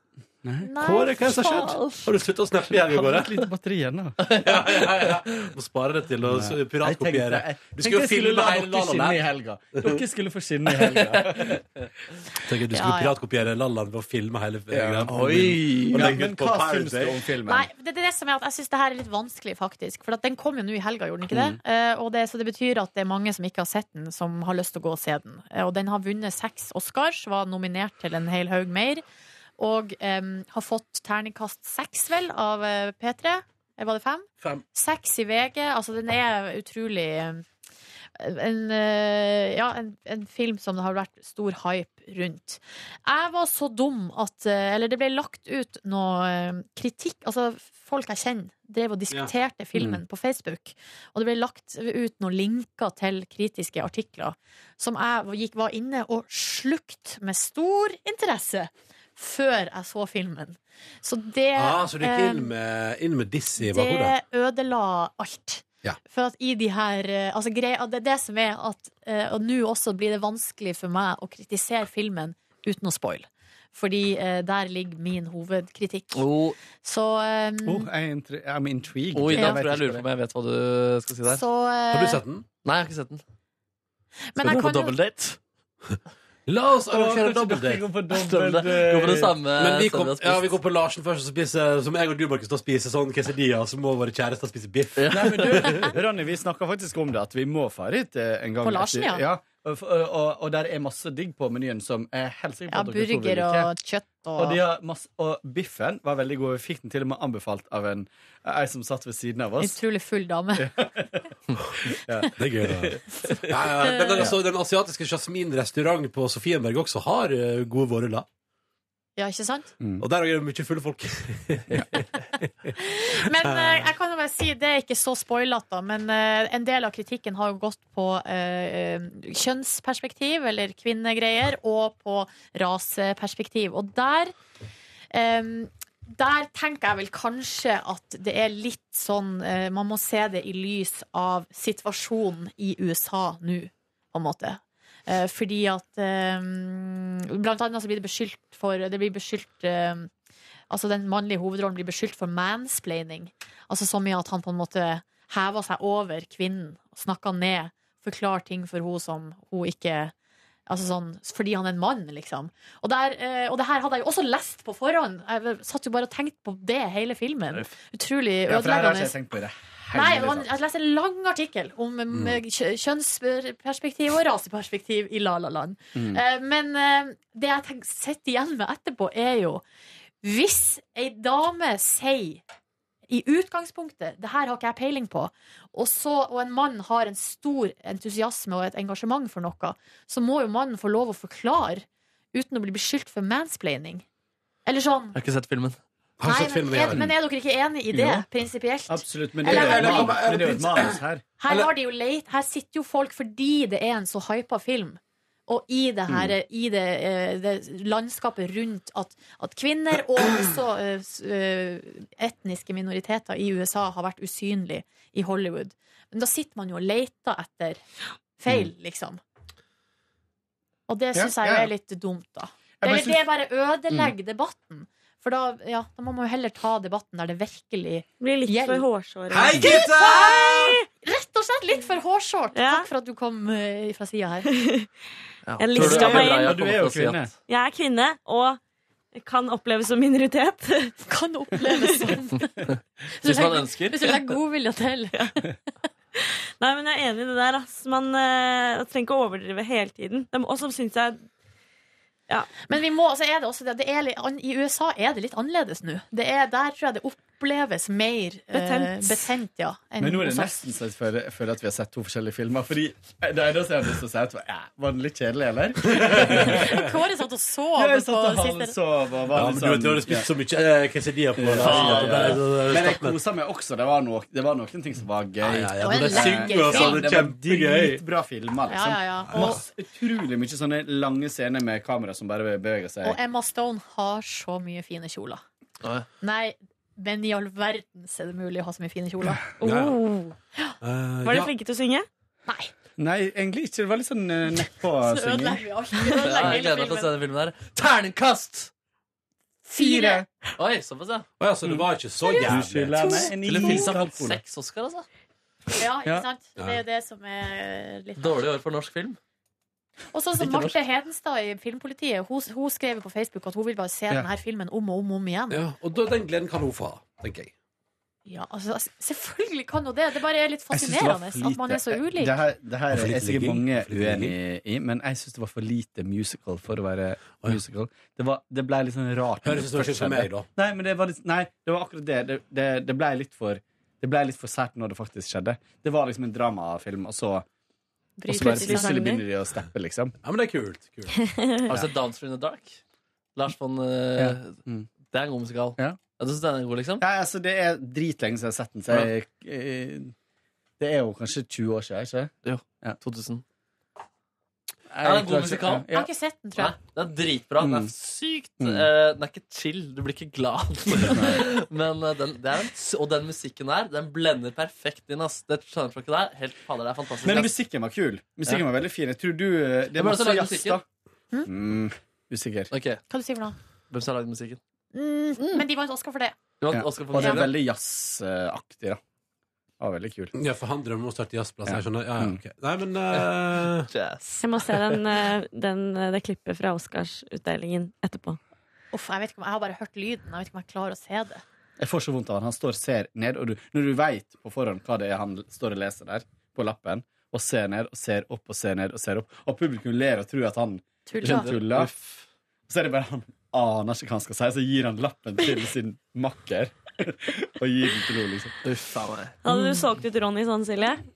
Speaker 4: Nei,
Speaker 3: Kåre, hva er det som har skjedd? Har du sluttet å snappe igjen i går? eh?
Speaker 13: Hadde et lite batteri igjen, da.
Speaker 3: Må spare det til å s-
Speaker 13: Jeg
Speaker 3: piratkopiere.
Speaker 13: tenkte- jeg tenkte
Speaker 3: Du skulle jo
Speaker 13: jeg skulle
Speaker 3: filme
Speaker 13: la
Speaker 3: hele
Speaker 13: dere skinne i
Speaker 3: Laland.
Speaker 13: helga. Dere skulle få skinne i
Speaker 2: *laughs*
Speaker 13: helga.
Speaker 3: Tenker du
Speaker 4: Ja,
Speaker 3: skulle
Speaker 4: ja.
Speaker 3: piratkopiere Laland ved å filme hele greia.
Speaker 13: Oi.
Speaker 3: Og
Speaker 13: Ja,
Speaker 3: legge
Speaker 13: men
Speaker 3: ut på
Speaker 13: hva
Speaker 3: Pirate
Speaker 13: syns du
Speaker 3: Bay.
Speaker 13: om filmen?
Speaker 4: Nei, det, det er det som er at jeg syns det her er litt vanskelig, faktisk. For at den kom jo nå i helga, gjorde den ikke det?
Speaker 13: Mm.
Speaker 4: Eh, og det? Så det betyr at det er mange som ikke har sett den, som har lyst til å gå og se den. Eh, og den har vunnet seks Oscars, var nominert til en hel haug mer. Og em, har fått terningkast seks, vel, av eh, P3. Eh, Var det fem?
Speaker 3: Fem.
Speaker 4: Seks i VG. Altså, den er utrolig eh, en, eh, ja, en, en film som det har vært stor hype rundt. Jeg var så dum at eh, Eller det ble lagt ut noe eh, kritikk Altså folk jeg kjenner drev og diskuterte filmen
Speaker 12: Mm.
Speaker 4: på Facebook. Og det ble lagt ut noen linker til kritiske artikler som jeg gikk, var inne og slukt med stor interesse før jeg så filmen. Så det
Speaker 3: Ah, så du gikk
Speaker 4: eh,
Speaker 3: inn med, inn med diss i bakhodet?
Speaker 4: det ødela alt.
Speaker 3: Ja.
Speaker 4: For at i de her eh, altså, greia, Det er det som er at eh, Og nå også blir det vanskelig for meg å kritisere filmen uten å spoile. Fordi eh, der ligger min hovedkritikk. Så eh,
Speaker 13: Oh, jeg er intri- I'm intrigued.
Speaker 2: Oh. Oi, da
Speaker 4: Ja.
Speaker 2: tror jeg jeg lurer på om jeg vet hva du skal si der.
Speaker 4: Så, eh, Har du sett
Speaker 3: den?
Speaker 2: Nei, jeg har ikke sett den. Skal
Speaker 4: Men jeg
Speaker 2: du på
Speaker 4: kan jo-
Speaker 2: double date?
Speaker 3: La oss arrangere double date.
Speaker 2: Gå på det samme
Speaker 3: Men vi kom,
Speaker 2: som vi har spist.
Speaker 3: ja, vi kom på Larsen først, og så spiser, som jeg og du, Markus, da spiser sånn quesadilla, så må våre kjærester spise biff.
Speaker 13: Nei, men
Speaker 3: *laughs*
Speaker 13: du, Ronny, vi snakka faktisk om det, at vi må dra dit eh, en gang.
Speaker 4: På Larsen,
Speaker 13: etter-
Speaker 4: ja.
Speaker 13: Og, og, og der er masse digg på menyen som jeg er helt sikker på
Speaker 4: ja,
Speaker 13: at dere to vil
Speaker 4: burger
Speaker 13: like.
Speaker 4: og kjøtt og,
Speaker 13: Og, de har masse, og biffen var veldig god. Vi fikk den til og med anbefalt av en, ei som satt ved siden av oss.
Speaker 4: utrolig full
Speaker 3: *laughs*
Speaker 4: dame.
Speaker 3: Det er gøy, da. Ja, ja, men den, altså, den asiatiske Jasmin-restaurant på Sofienberg også har eh, gode vårruller.
Speaker 4: Ja, ikke sant?
Speaker 3: Og der er det mye fulle folk. *laughs*
Speaker 4: Men eh, jeg kan jo bare si, det er ikke så spoilete, da, men eh, en del av kritikken har jo gått på eh, kjønnsperspektiv, eller kvinnegreier, og på raseperspektiv. Og der eh, der tenker jeg vel kanskje at det er litt sånn eh, Man må se det i lys av situasjonen i USA nå, på en måte. Eh, fordi at eh, Blant annet så blir det beskyldt for Det blir beskyldt eh, Altså den mannlige hovedrollen blir beskyldt for mansplaining. Altså så mye at han på en måte hever seg over kvinnen, snakker ned, forklarer ting for henne som hun ikke Altså sånn, fordi han er en mann, liksom. Og, der, eh, og det her hadde jeg jo også lest på forhånd. Jeg satt jo bare og tenkte på det hele filmen. Utrolig
Speaker 13: Ja, for det her har
Speaker 4: ødeleggende.
Speaker 13: ikke jeg tenkt på i det. altså. hele
Speaker 4: Nei,
Speaker 13: tatt.
Speaker 4: man, jeg leste en lang artikkel om
Speaker 13: Mm.
Speaker 4: eh, kjø- kjønnsperspektiv og raseperspektiv i La La Land.
Speaker 13: Mm.
Speaker 4: Eh, men eh, det jeg tenk- sitter igjen med etterpå, er jo Hvis ei dame sier i utgangspunktet det her har ikke jeg peiling på, og, så, og en mann har en stor entusiasme og et engasjement for noe, så må jo mannen få lov å forklare uten å bli beskyldt for mansplaining. Eller sånn
Speaker 2: Jeg har ikke sett filmen.
Speaker 4: Nei, men, er, men er dere ikke enig i det,
Speaker 2: Jo.
Speaker 4: prinsipielt?
Speaker 13: Absolutt, men det er
Speaker 4: Eller-
Speaker 13: jo et manus- men det er jo et manus her.
Speaker 4: Her, har de jo leit, her sitter jo folk fordi det er en så hypa film. Og i det, her,
Speaker 13: Mm.
Speaker 4: i det, eh, det landskapet rundt at, at kvinner og også eh, s- eh, etniske minoriteter i USA har vært usynlige i Hollywood. Men da sitter man jo og leter etter feil, liksom. Og det
Speaker 13: Mm. Ja,
Speaker 4: syns jeg jo
Speaker 13: ja, ja.
Speaker 4: er litt dumt, da.
Speaker 13: Jeg
Speaker 4: Det,
Speaker 13: bare
Speaker 4: det
Speaker 13: syns-
Speaker 4: bare ødelegger debatten. For da, ja, da må man jo heller ta debatten der det virkelig
Speaker 12: Blir litt for hårsåret.
Speaker 4: Hei,
Speaker 12: gutta!
Speaker 4: Rett og slett litt for hårsårt. Takk for at du kom eh, fra sida
Speaker 12: *laughs*
Speaker 4: her.
Speaker 12: Jeg
Speaker 2: Tror du
Speaker 12: lista
Speaker 2: Abel
Speaker 12: meg
Speaker 2: Raja
Speaker 12: inn.
Speaker 2: kommer til å si at-
Speaker 12: Jeg er kvinne og kan oppleves som minoritet.
Speaker 4: *laughs* Kan oppleves som
Speaker 12: *laughs*
Speaker 2: Hvis man ønsker.
Speaker 12: Hvis du legger
Speaker 4: godvilje til.
Speaker 12: Nei, men jeg er enig i det der. Ass. Man eh, trenger ikke å overdrive hele tiden. Dem- Og så syns jeg
Speaker 4: Men vi må, altså er det også det, det er litt, an- i USA er det litt annerledes nå. Det er, der tror jeg det oppleves mer eh,
Speaker 12: Betent.
Speaker 4: betent ja, enn
Speaker 13: Men nå er det
Speaker 4: hos oss.
Speaker 13: nesten så jeg føler, jeg føler at vi har sett to forskjellige filmer. Fordi eh, det eneste jeg hadde lyst til å si, at, var, "Ja, var den litt kjedelig, eller?
Speaker 4: *laughs* Kåre satt og sov
Speaker 13: Ja, jeg
Speaker 4: på
Speaker 13: satt og
Speaker 4: siste
Speaker 13: halvsov og var
Speaker 3: Ja,
Speaker 13: litt
Speaker 3: men du vet, du hadde
Speaker 13: sånn-
Speaker 3: spist så mye eh, quesadilla på
Speaker 13: Ja, ja, ja, ja. Men jeg
Speaker 3: det.
Speaker 13: kosa meg også. Det var, noe, det var noen ting som var gøy.
Speaker 3: ja, ja, men det Det var en synger lekker og sånn, film.
Speaker 13: Det
Speaker 3: det er
Speaker 13: var
Speaker 3: kjempegøy.
Speaker 13: dritbra filmer. Liksom.
Speaker 4: Ja, ja, ja. Og-
Speaker 13: Masse- utrolig mye sånne lange scener med kamera som bare beveger seg.
Speaker 4: Og Emma Stone har så mye fine kjoler.
Speaker 13: Ja.
Speaker 4: Nei, men i all verden er det mulig å ha så mye fine kjoler.
Speaker 13: Ja, ja.
Speaker 4: Oh.
Speaker 3: Eh,
Speaker 12: Var de flinke til å synge?
Speaker 13: Nei, egentlig ikke. Det var litt sånn eh,
Speaker 12: Så ødelegger
Speaker 13: nedpå-synging.
Speaker 12: vi alt.
Speaker 2: Ja, jeg gleder meg til å se den filmen der. Terningkast!
Speaker 4: Fire!
Speaker 2: Oi, såpass, ja.
Speaker 3: Å ja, så det var ikke så
Speaker 13: Du skylder meg en
Speaker 2: jævlig. Eller
Speaker 13: is
Speaker 2: filmen har fått
Speaker 13: alkohol.
Speaker 2: seks Oscar, altså.
Speaker 4: Ja, ikke
Speaker 2: Ja.
Speaker 4: sant? Det er jo det som er litt
Speaker 2: Dårlig år for norsk film.
Speaker 4: Og sånn som
Speaker 2: Ikke
Speaker 4: Marte Hedenstad i Filmpolitiet, hun, hun skrev på Facebook at hun vil bare se
Speaker 3: Ja.
Speaker 4: denne filmen om og om, og om igjen.
Speaker 3: Ja, og da, den gleden kan hun få, tenker jeg.
Speaker 4: Ja, altså, selvfølgelig kan hun det. Det bare er litt
Speaker 13: Jeg synes det var
Speaker 4: fascinerende
Speaker 13: for
Speaker 4: at man er så
Speaker 13: lite-
Speaker 4: ulik.
Speaker 13: Det her, det her
Speaker 3: Og for
Speaker 13: er
Speaker 3: lite
Speaker 13: sikkert
Speaker 3: ligging,
Speaker 13: mange
Speaker 3: og for lite
Speaker 13: uenig i, men jeg syns det var for lite musical for å være musical. Det, var, det ble litt sånn rart.
Speaker 3: Høres ut som det ikke er meg, da.
Speaker 13: Nei, men det var litt, nei, det var akkurat det. Det, det, det ble litt for det ble litt for sært når det faktisk skjedde. Det var liksom en dramafilm, og så og så
Speaker 2: Bryter
Speaker 13: bare
Speaker 2: ut i
Speaker 13: plutselig
Speaker 2: sjanger.
Speaker 13: begynner de å steppe, liksom.
Speaker 3: Ja, men det er kult.
Speaker 2: Har du sett Dancer in Altså, the Dark? Lars von eh, Det er en god musikal.
Speaker 13: Mm. Ja.
Speaker 2: du synes den er god, liksom?
Speaker 13: Nei, altså, det er dritlenge siden jeg har sett den, så jeg, eh, Det er jo kanskje 20 år siden, ikke
Speaker 2: Jo. 2000.
Speaker 13: Jeg
Speaker 2: Ja, det er en
Speaker 13: klarer
Speaker 2: god
Speaker 13: ikke-
Speaker 2: musikal.
Speaker 13: ja. Jeg har
Speaker 4: ikke sett den, tror jeg.
Speaker 2: Nei, den er dritbra. Den
Speaker 13: Mm.
Speaker 2: er sykt
Speaker 13: Mm.
Speaker 2: eh, Den er ikke chill. Du blir
Speaker 13: *laughs*
Speaker 2: ikke glad. Men eh, den, det er en, s- og den musikken der, den blender perfekt inn, ass. Det soundtracket der, helt fader, Altså, det er fantastisk.
Speaker 13: Men musikken var kul. Musikken
Speaker 2: Ja.
Speaker 13: var veldig fin. Jeg tror du eh, Det
Speaker 2: Hvem
Speaker 13: er
Speaker 2: er det som
Speaker 13: masse
Speaker 2: lager
Speaker 13: jazz, da.
Speaker 2: musikken? Hmm?
Speaker 13: Mm, usikker.
Speaker 4: Hva du sier for noe?
Speaker 2: Hvem som har lagd musikken?
Speaker 4: Mm, Men de vant Oscar for det.
Speaker 2: Ja.
Speaker 13: Og det er veldig jazzaktig, da. Det var veldig kult.
Speaker 3: Ja, for han drømmer om å starte jazzplass. Jeg skjønner. Ja, ja,
Speaker 13: Mm.
Speaker 3: ok. Nei, men
Speaker 2: *laughs*
Speaker 3: eh,
Speaker 12: Jeg må se den, eh, den, eh, det klippet fra Oscarsutdelingen etterpå.
Speaker 4: Uff, jeg, vet ikke om, jeg har bare hørt lyden. Jeg vet ikke om jeg klarer å se det.
Speaker 13: Jeg får så vondt av han. Han står og ser ned, og du, når du veit på forhånd hva det er han står og leser der, på lappen, og ser ned og ser opp og ser ned og ser opp, og publikum ler og tror at han
Speaker 4: Tuller.
Speaker 13: tuller. Så er det bare han aner ikke hva han skal si, så gir han lappen til sin makker. *laughs* og gir den til henne, liksom.
Speaker 12: Hadde du solgt ut Ronny sånn, Silje?
Speaker 4: Mm.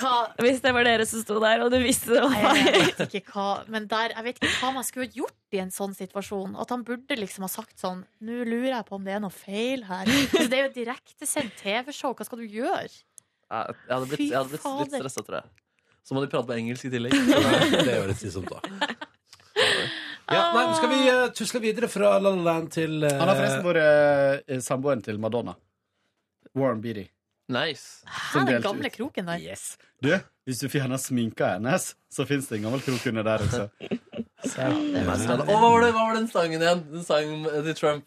Speaker 4: Hva?
Speaker 12: Hvis det var dere som sto der, og du visste det var
Speaker 4: Jeg vet ikke hva, men der, jeg vet ikke hva man skulle gjort i en sånn situasjon. At han burde liksom ha sagt sånn Nå lurer jeg på om det er noe feil her. Altså, det er jo et direktesendt TV-show. Hva skal du gjøre?
Speaker 2: Ja, Jeg hadde blitt, jeg hadde blitt litt
Speaker 4: fader.
Speaker 13: *laughs*
Speaker 2: stressa, tror jeg. Så må de prate på engelsk i tillegg.
Speaker 3: Nei, det er jo litt slitsomt, da. Ja, nei, men skal vi eh, tusle videre fra La La Land til eh,
Speaker 13: Han har forresten vært eh, samboeren til Madonna. Warren Beatty.
Speaker 2: Nice.
Speaker 4: Hæ, den gamle kroken der.
Speaker 13: Yes. Du, hvis du fjerner sminka hennes, så fins det en gammel krok under der også.
Speaker 2: Og hva var, det, hva var den sangen igjen? Den sangen til Trump.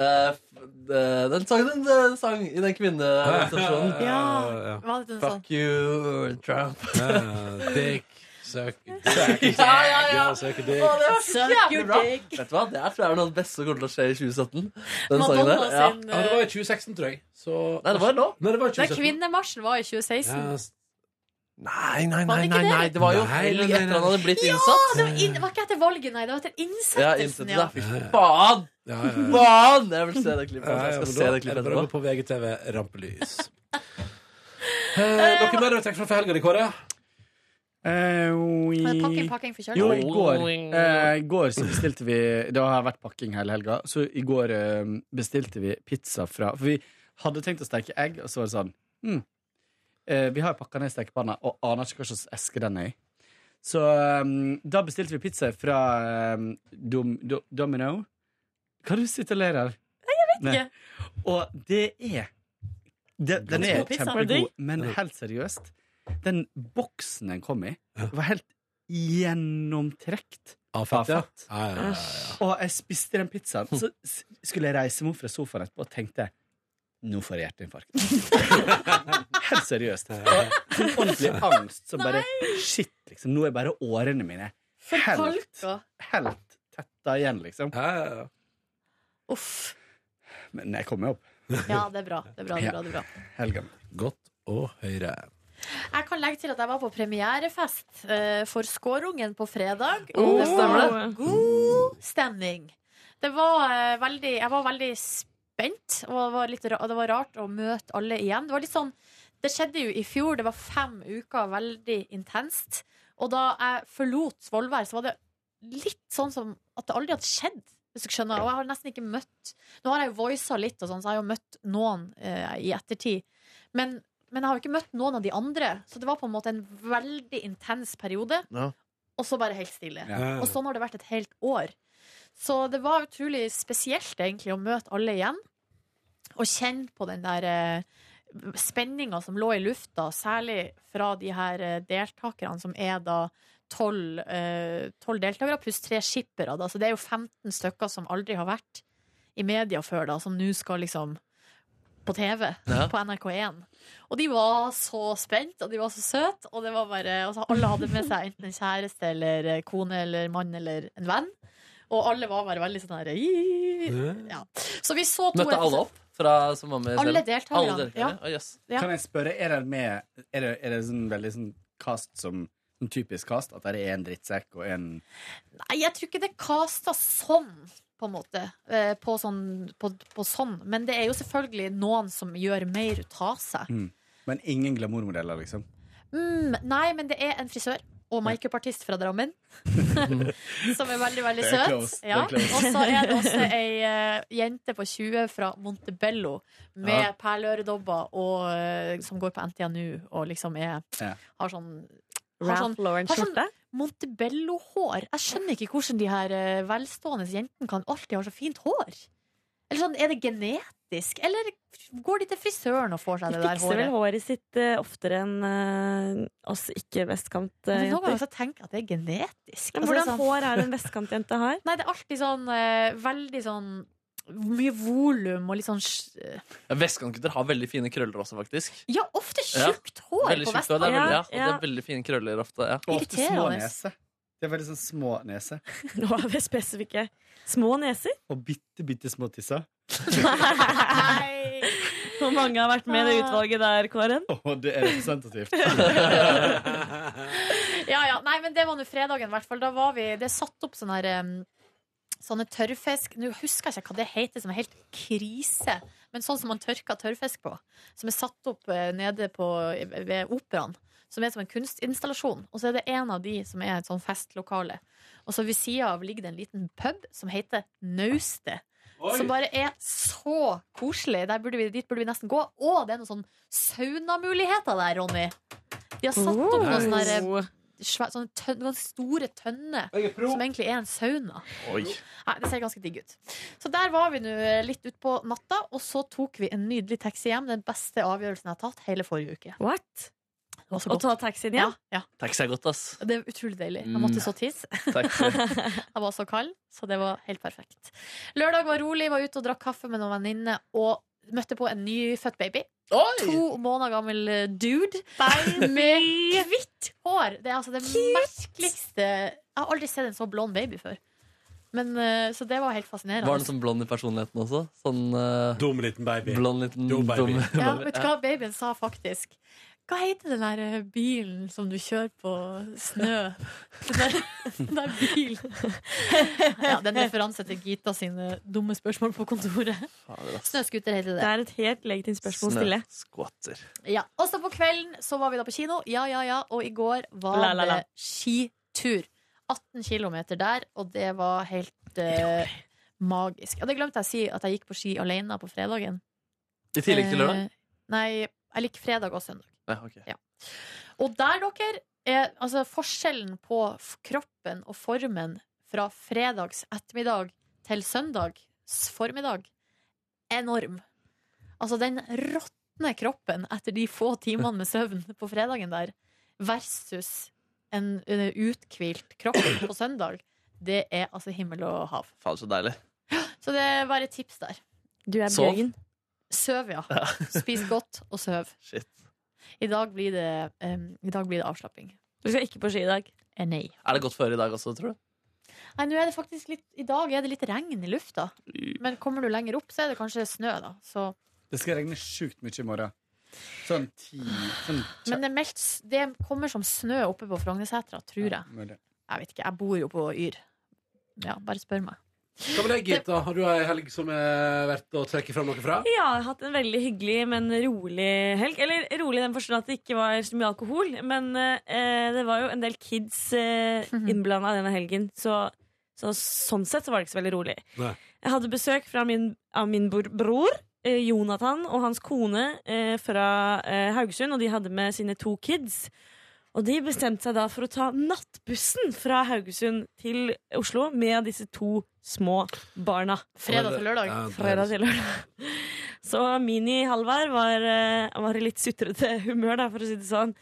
Speaker 2: Eh, f- eh, den sangen den eh, sang i den kvinneorganisasjonen.
Speaker 4: Ja, hva het den sånn?
Speaker 2: Fuck you, Trump.
Speaker 3: dick, suck,
Speaker 2: *laughs* Ja, ja, ja.
Speaker 3: Ja, suck dick.
Speaker 2: Å, det var så
Speaker 4: Suck
Speaker 2: jævlig
Speaker 4: your
Speaker 2: bra.
Speaker 4: dick.
Speaker 2: Vet du hva? Det er, tror jeg er noe av det beste som kommer til å skje i 2017. Den sangen
Speaker 4: Madonna
Speaker 2: der. Ja.
Speaker 4: sin,
Speaker 3: Ja, det var i 2016, tror jeg. Så
Speaker 2: Nei, det var nå.
Speaker 3: Nei, det var i
Speaker 4: Den
Speaker 3: 2017.
Speaker 4: kvinnemarsjen var i 2016.
Speaker 3: Ja, altså.
Speaker 2: Nei, nei, nei,
Speaker 4: Var det ikke
Speaker 2: nei,
Speaker 4: det?
Speaker 2: nei. Det var jo
Speaker 3: Nei,
Speaker 2: helg
Speaker 3: nei, nei,
Speaker 2: etter han hadde blitt
Speaker 4: Ja,
Speaker 2: innsatt.
Speaker 4: det var, inn, det var ikke etter valget, nei. Det var etter
Speaker 2: Ja, innsatt,
Speaker 4: innsettelsen,
Speaker 2: da.
Speaker 4: ja.
Speaker 2: Fy faen!
Speaker 3: Ja, ja, ja.
Speaker 2: Faen! Jeg vil se det klippet.
Speaker 3: Ja,
Speaker 2: Jeg
Speaker 3: ja, men
Speaker 2: skal se
Speaker 3: da
Speaker 2: det klippet
Speaker 3: er bare
Speaker 2: etterpå.
Speaker 3: å gå på VGTV rampelys. eh, noe mer å trekke fra for helga di, Kåre?
Speaker 4: Men Pakking, pakking,
Speaker 13: Eh, Jo,
Speaker 4: forkjølelse.
Speaker 13: i går, eh, i går så bestilte vi Det har vært pakking hele helga. Så i går eh, bestilte vi pizza fra For vi hadde tenkt å steke egg, og så var det sånn hm, eh, Vi har pakka ned stekepanna og aner ikke hva slags eske den er i. Så eh, da bestilte vi pizza fra eh, Dom, Do, Domino. Hva er det du sitter og ler av? Jeg vet
Speaker 4: ikke.
Speaker 13: Og det er det, Den er
Speaker 12: god pizza.
Speaker 13: kjempegod,
Speaker 12: Digg.
Speaker 13: men helt seriøst Den boksen den kom i, var helt gjennomtrekt
Speaker 3: Av fett, ja.
Speaker 13: fett.
Speaker 3: Ja, ja, ja,
Speaker 13: Og jeg spiste den pizzaen. Så s- skulle jeg reise meg opp fra sofaen etterpå og tenkte nå får jeg hjerteinfarkt. *laughs* Helt seriøst. Og sånn ordentlig angst som bare Shit, liksom. Nå er bare årene mine helt,
Speaker 4: Forkalka.
Speaker 13: helt tetta igjen, liksom.
Speaker 4: Uff.
Speaker 13: Men jeg kom meg opp.
Speaker 4: Ja, det er bra. Det er bra, det er bra, det er bra.
Speaker 13: Helga.
Speaker 3: Godt å høre.
Speaker 4: Jeg kan legge til at jeg var på premierefest eh, for Skårungen på fredag.
Speaker 2: Oh,
Speaker 4: det var
Speaker 2: stemmer
Speaker 4: god stemning. Det var eh, veldig Jeg var veldig spent, og det var, litt, ra- og det var rart å møte alle igjen. Det var litt sånn Det skjedde jo i fjor. Det var fem uker veldig intenst. Og da jeg forlot Svolvær, så var det litt sånn som at det aldri hadde skjedd. Hvis du skjønner, Og jeg har nesten ikke møtt Nå har jeg jo voisa litt, og sånn, så jeg har jo møtt noen eh, i ettertid. Men men jeg har jo ikke møtt noen av de andre, så det var på en måte en veldig intens periode.
Speaker 2: Ja.
Speaker 4: Og så bare helt stille.
Speaker 3: Ja.
Speaker 4: Og sånn har det vært et helt år. Så det var utrolig spesielt egentlig å møte alle igjen. Og kjenne på den der eh, spenninga som lå i lufta, særlig fra de her eh, deltakerne som er da tolv eh, 12 deltakere pluss tre skippere. Da. Så det er jo 15 stykker som aldri har vært i media før, da, som nå skal liksom på TV
Speaker 2: Ja.
Speaker 4: på NRK1. Og de var så spent, og de var så søte. Og det var bare, og så alle hadde med seg enten en kjæreste eller eh, kone eller mann eller en venn. Og alle var bare veldig sånn her «Ii». ja. Så vi så to
Speaker 2: Møtte alle opp? Fra, som var med
Speaker 4: Alle
Speaker 2: selv?
Speaker 4: deltakerne,
Speaker 2: Alle deltakerne.
Speaker 4: ja.
Speaker 2: Å, jøss.
Speaker 4: Ja.
Speaker 13: Kan jeg spørre, er det med Er det, er det sånn veldig sånn cast som sånn typisk cast? At det er en drittsekk og en
Speaker 4: Nei, jeg tror ikke det kasta sånn. På en måte. eh, På sånn, på, på sånn. Men det er jo selvfølgelig noen som gjør mer ut av seg.
Speaker 13: mm. Men ingen glamourmodeller, liksom?
Speaker 4: Mm, nei, men det er en frisør og makeupartist fra Drammen. som er veldig, veldig
Speaker 13: Det er
Speaker 4: søt.
Speaker 13: close, det er
Speaker 4: Ja.
Speaker 13: close.
Speaker 4: Og så
Speaker 13: *laughs*
Speaker 4: er det også ei eh, jente på 20 fra Montebello med perleøredobber og, eh, som går på NTNU og liksom er
Speaker 13: Ja.
Speaker 4: Har sånn har sånn
Speaker 12: Ralph Lauren-skjorte.
Speaker 4: Montebello-hår. Jeg skjønner ikke hvordan de her eh, velstående jentene kan alltid ha så fint hår. Eller sånn, Er det genetisk? Eller går de til frisøren og får seg
Speaker 12: De
Speaker 4: det der
Speaker 12: fikser vel
Speaker 4: håret?
Speaker 12: håret sitt eh, oftere enn eh, oss
Speaker 4: Men nå kan jeg
Speaker 12: ikke-vestkantjenter.
Speaker 4: også tenke at det er genetisk.
Speaker 12: Men
Speaker 4: Altså, det er
Speaker 12: eh, hvordan
Speaker 4: sånn-
Speaker 12: hår
Speaker 4: *laughs*
Speaker 12: er det en vestkantjente har?
Speaker 4: Nei, det er alltid sånn eh, veldig sånn mye volum og litt sånn sj- eh,
Speaker 2: Ja, Vestkantgutter har veldig fine krøller også, faktisk.
Speaker 4: Ja, ofte tjukt hår
Speaker 2: Veldig
Speaker 4: på
Speaker 2: tjukt, og det
Speaker 4: Vestlandet.
Speaker 2: er veldig,
Speaker 12: Ja,
Speaker 2: ja, og det er veldig fine krøller ofte. Ja.
Speaker 13: Og ofte små
Speaker 4: Irriterende.
Speaker 13: nese. Det er veldig sånn små nese.
Speaker 12: *laughs* Nå er vi spesifikke. Små neser.
Speaker 13: Og bitte, bitte små tisser.
Speaker 4: Nei!
Speaker 12: Hvor mange har vært med i
Speaker 4: Ah.
Speaker 12: det utvalget der, Kåren?
Speaker 13: Og det er *laughs* representativt.
Speaker 4: Ja, ja. Nei, men det var nå fredagen, i hvert fall. Da var vi Det er satt opp sånne, her, em, sånne tørrfisk Nå husker jeg ikke hva det heter, som er helt krise. Men sånn som man tørker tørrfisk på. Som er satt opp eh, nede på, ved operaen. Som er som en kunstinstallasjon. Og så er det en av de som er et sånn festlokale. Og så ved sida av ligger det en liten pub som heter Naustet. Som bare er så koselig. Der burde vi, dit burde vi nesten gå. Og det er noen sånn saunamuligheter der, Ronny. De har satt opp noen sånne her, eh, svæ- sånne, tøn, ganske store tønner
Speaker 13: Jeg er pro.
Speaker 4: som egentlig er en sauna.
Speaker 13: Oi.
Speaker 4: Nei, det ser ganske digg ut. Så der var vi nå eh, litt utpå natta, og så tok vi en nydelig taxi hjem. Den beste avgjørelsen jeg har tatt hele forrige uke.
Speaker 12: What?
Speaker 4: Det var så
Speaker 12: Å
Speaker 4: godt.
Speaker 12: ta taxien hjem?
Speaker 4: Ja,
Speaker 2: Taxi er godt, ass.
Speaker 4: ja. Det er utrolig deilig.
Speaker 2: Mm.
Speaker 4: Jeg måtte så tisse. *laughs* jeg var så kald, så det var helt perfekt. Lørdag var rolig, var ute og drakk kaffe med noen venninner og møtte på en nyfødt baby. To måneder gammel eh, dude med hvitt hår. Det er altså det merkeligste Jeg har aldri sett en så blond baby før. Men, eh, så det var helt fascinerende.
Speaker 2: Var den sånn blond i personligheten også? Sånn eh,
Speaker 3: Dum liten baby.
Speaker 2: Blond liten
Speaker 3: Dum baby.
Speaker 2: dum-
Speaker 4: ja, vet du hva babyen sa faktisk? Hva heter den der eh, bilen som du kjører på *laughs* snø? Den der, den der bilen. *laughs* Ja, det er en referanse til Gita sine dumme spørsmål på kontoret. Snøskuter heter det.
Speaker 12: Det er et helt legitimt spørsmål å stille.
Speaker 2: Snøskvatter.
Speaker 4: Ja, og så på kvelden så var vi da på kino. Ja, ja, ja. Og i går var
Speaker 12: La, la, la.
Speaker 4: det skitur. 18 km der, og det var helt eh, magisk. Og det glemte jeg å si, at jeg gikk på ski alene på fredagen.
Speaker 2: I tillegg til lørdag?
Speaker 4: Eh, nei, jeg liker fredag og søndag.
Speaker 2: Ja, ok.
Speaker 4: Og der, dere, er altså forskjellen på f- kroppen og formen fra fredags ettermiddag til søndags formiddag enorm. Altså den råtne kroppen etter de få timene med søvn på fredagen der, versus en eh, uthvilt kropp på søndag, det er altså himmel og hav.
Speaker 2: Faen, så deilig.
Speaker 4: Så det er bare et tips der.
Speaker 12: Du er
Speaker 2: Sov.
Speaker 12: bjørgen.
Speaker 4: Søv, ja.
Speaker 2: Ja.
Speaker 4: Spis godt og søv.
Speaker 2: Shit.
Speaker 4: I dag blir det, em, i dag blir det avslapping.
Speaker 12: Du skal ikke på ski i dag.
Speaker 4: Eh, nei.
Speaker 2: Er det godt føre i dag også, tror du?
Speaker 4: Nei, nå er det faktisk litt I dag er det litt regn i lufta. Men kommer du lenger opp, så er det kanskje snø, da. Så,
Speaker 13: Det skal regne sjukt mye i morgen. Sånn ti sånn,
Speaker 4: men det, er meldt, s- det kommer som snø oppe på Frognersetra, tror jeg.
Speaker 13: mulig.
Speaker 4: Jeg vet ikke, jeg bor jo på Yr. Ja, bare spør meg.
Speaker 3: Hva med deg, Gita? Har du ei helg som er verdt å trekke fram noe fra?
Speaker 12: Ja, jeg har hatt en veldig hyggelig, men rolig helg. Eller rolig i den forstand at det ikke var så mye alkohol. Men eh, det var jo en del kids eh,
Speaker 4: Mhm.
Speaker 12: innblanda denne helgen, så, så sånn sett så var det ikke så veldig rolig.
Speaker 3: Nei.
Speaker 12: Jeg hadde besøk fra min, av min bor, bror, eh, Jonathan, og hans kone eh, fra eh, Haugesund, og de hadde med sine to kids. Og de bestemte seg da for å ta nattbussen fra Haugesund til Oslo med disse to små barna.
Speaker 4: Fredag til lørdag. Ja, det er-
Speaker 12: Fredag til lørdag. Så Mini-Halvard var, eh, var i litt sutrete humør, da, for å si det sånn.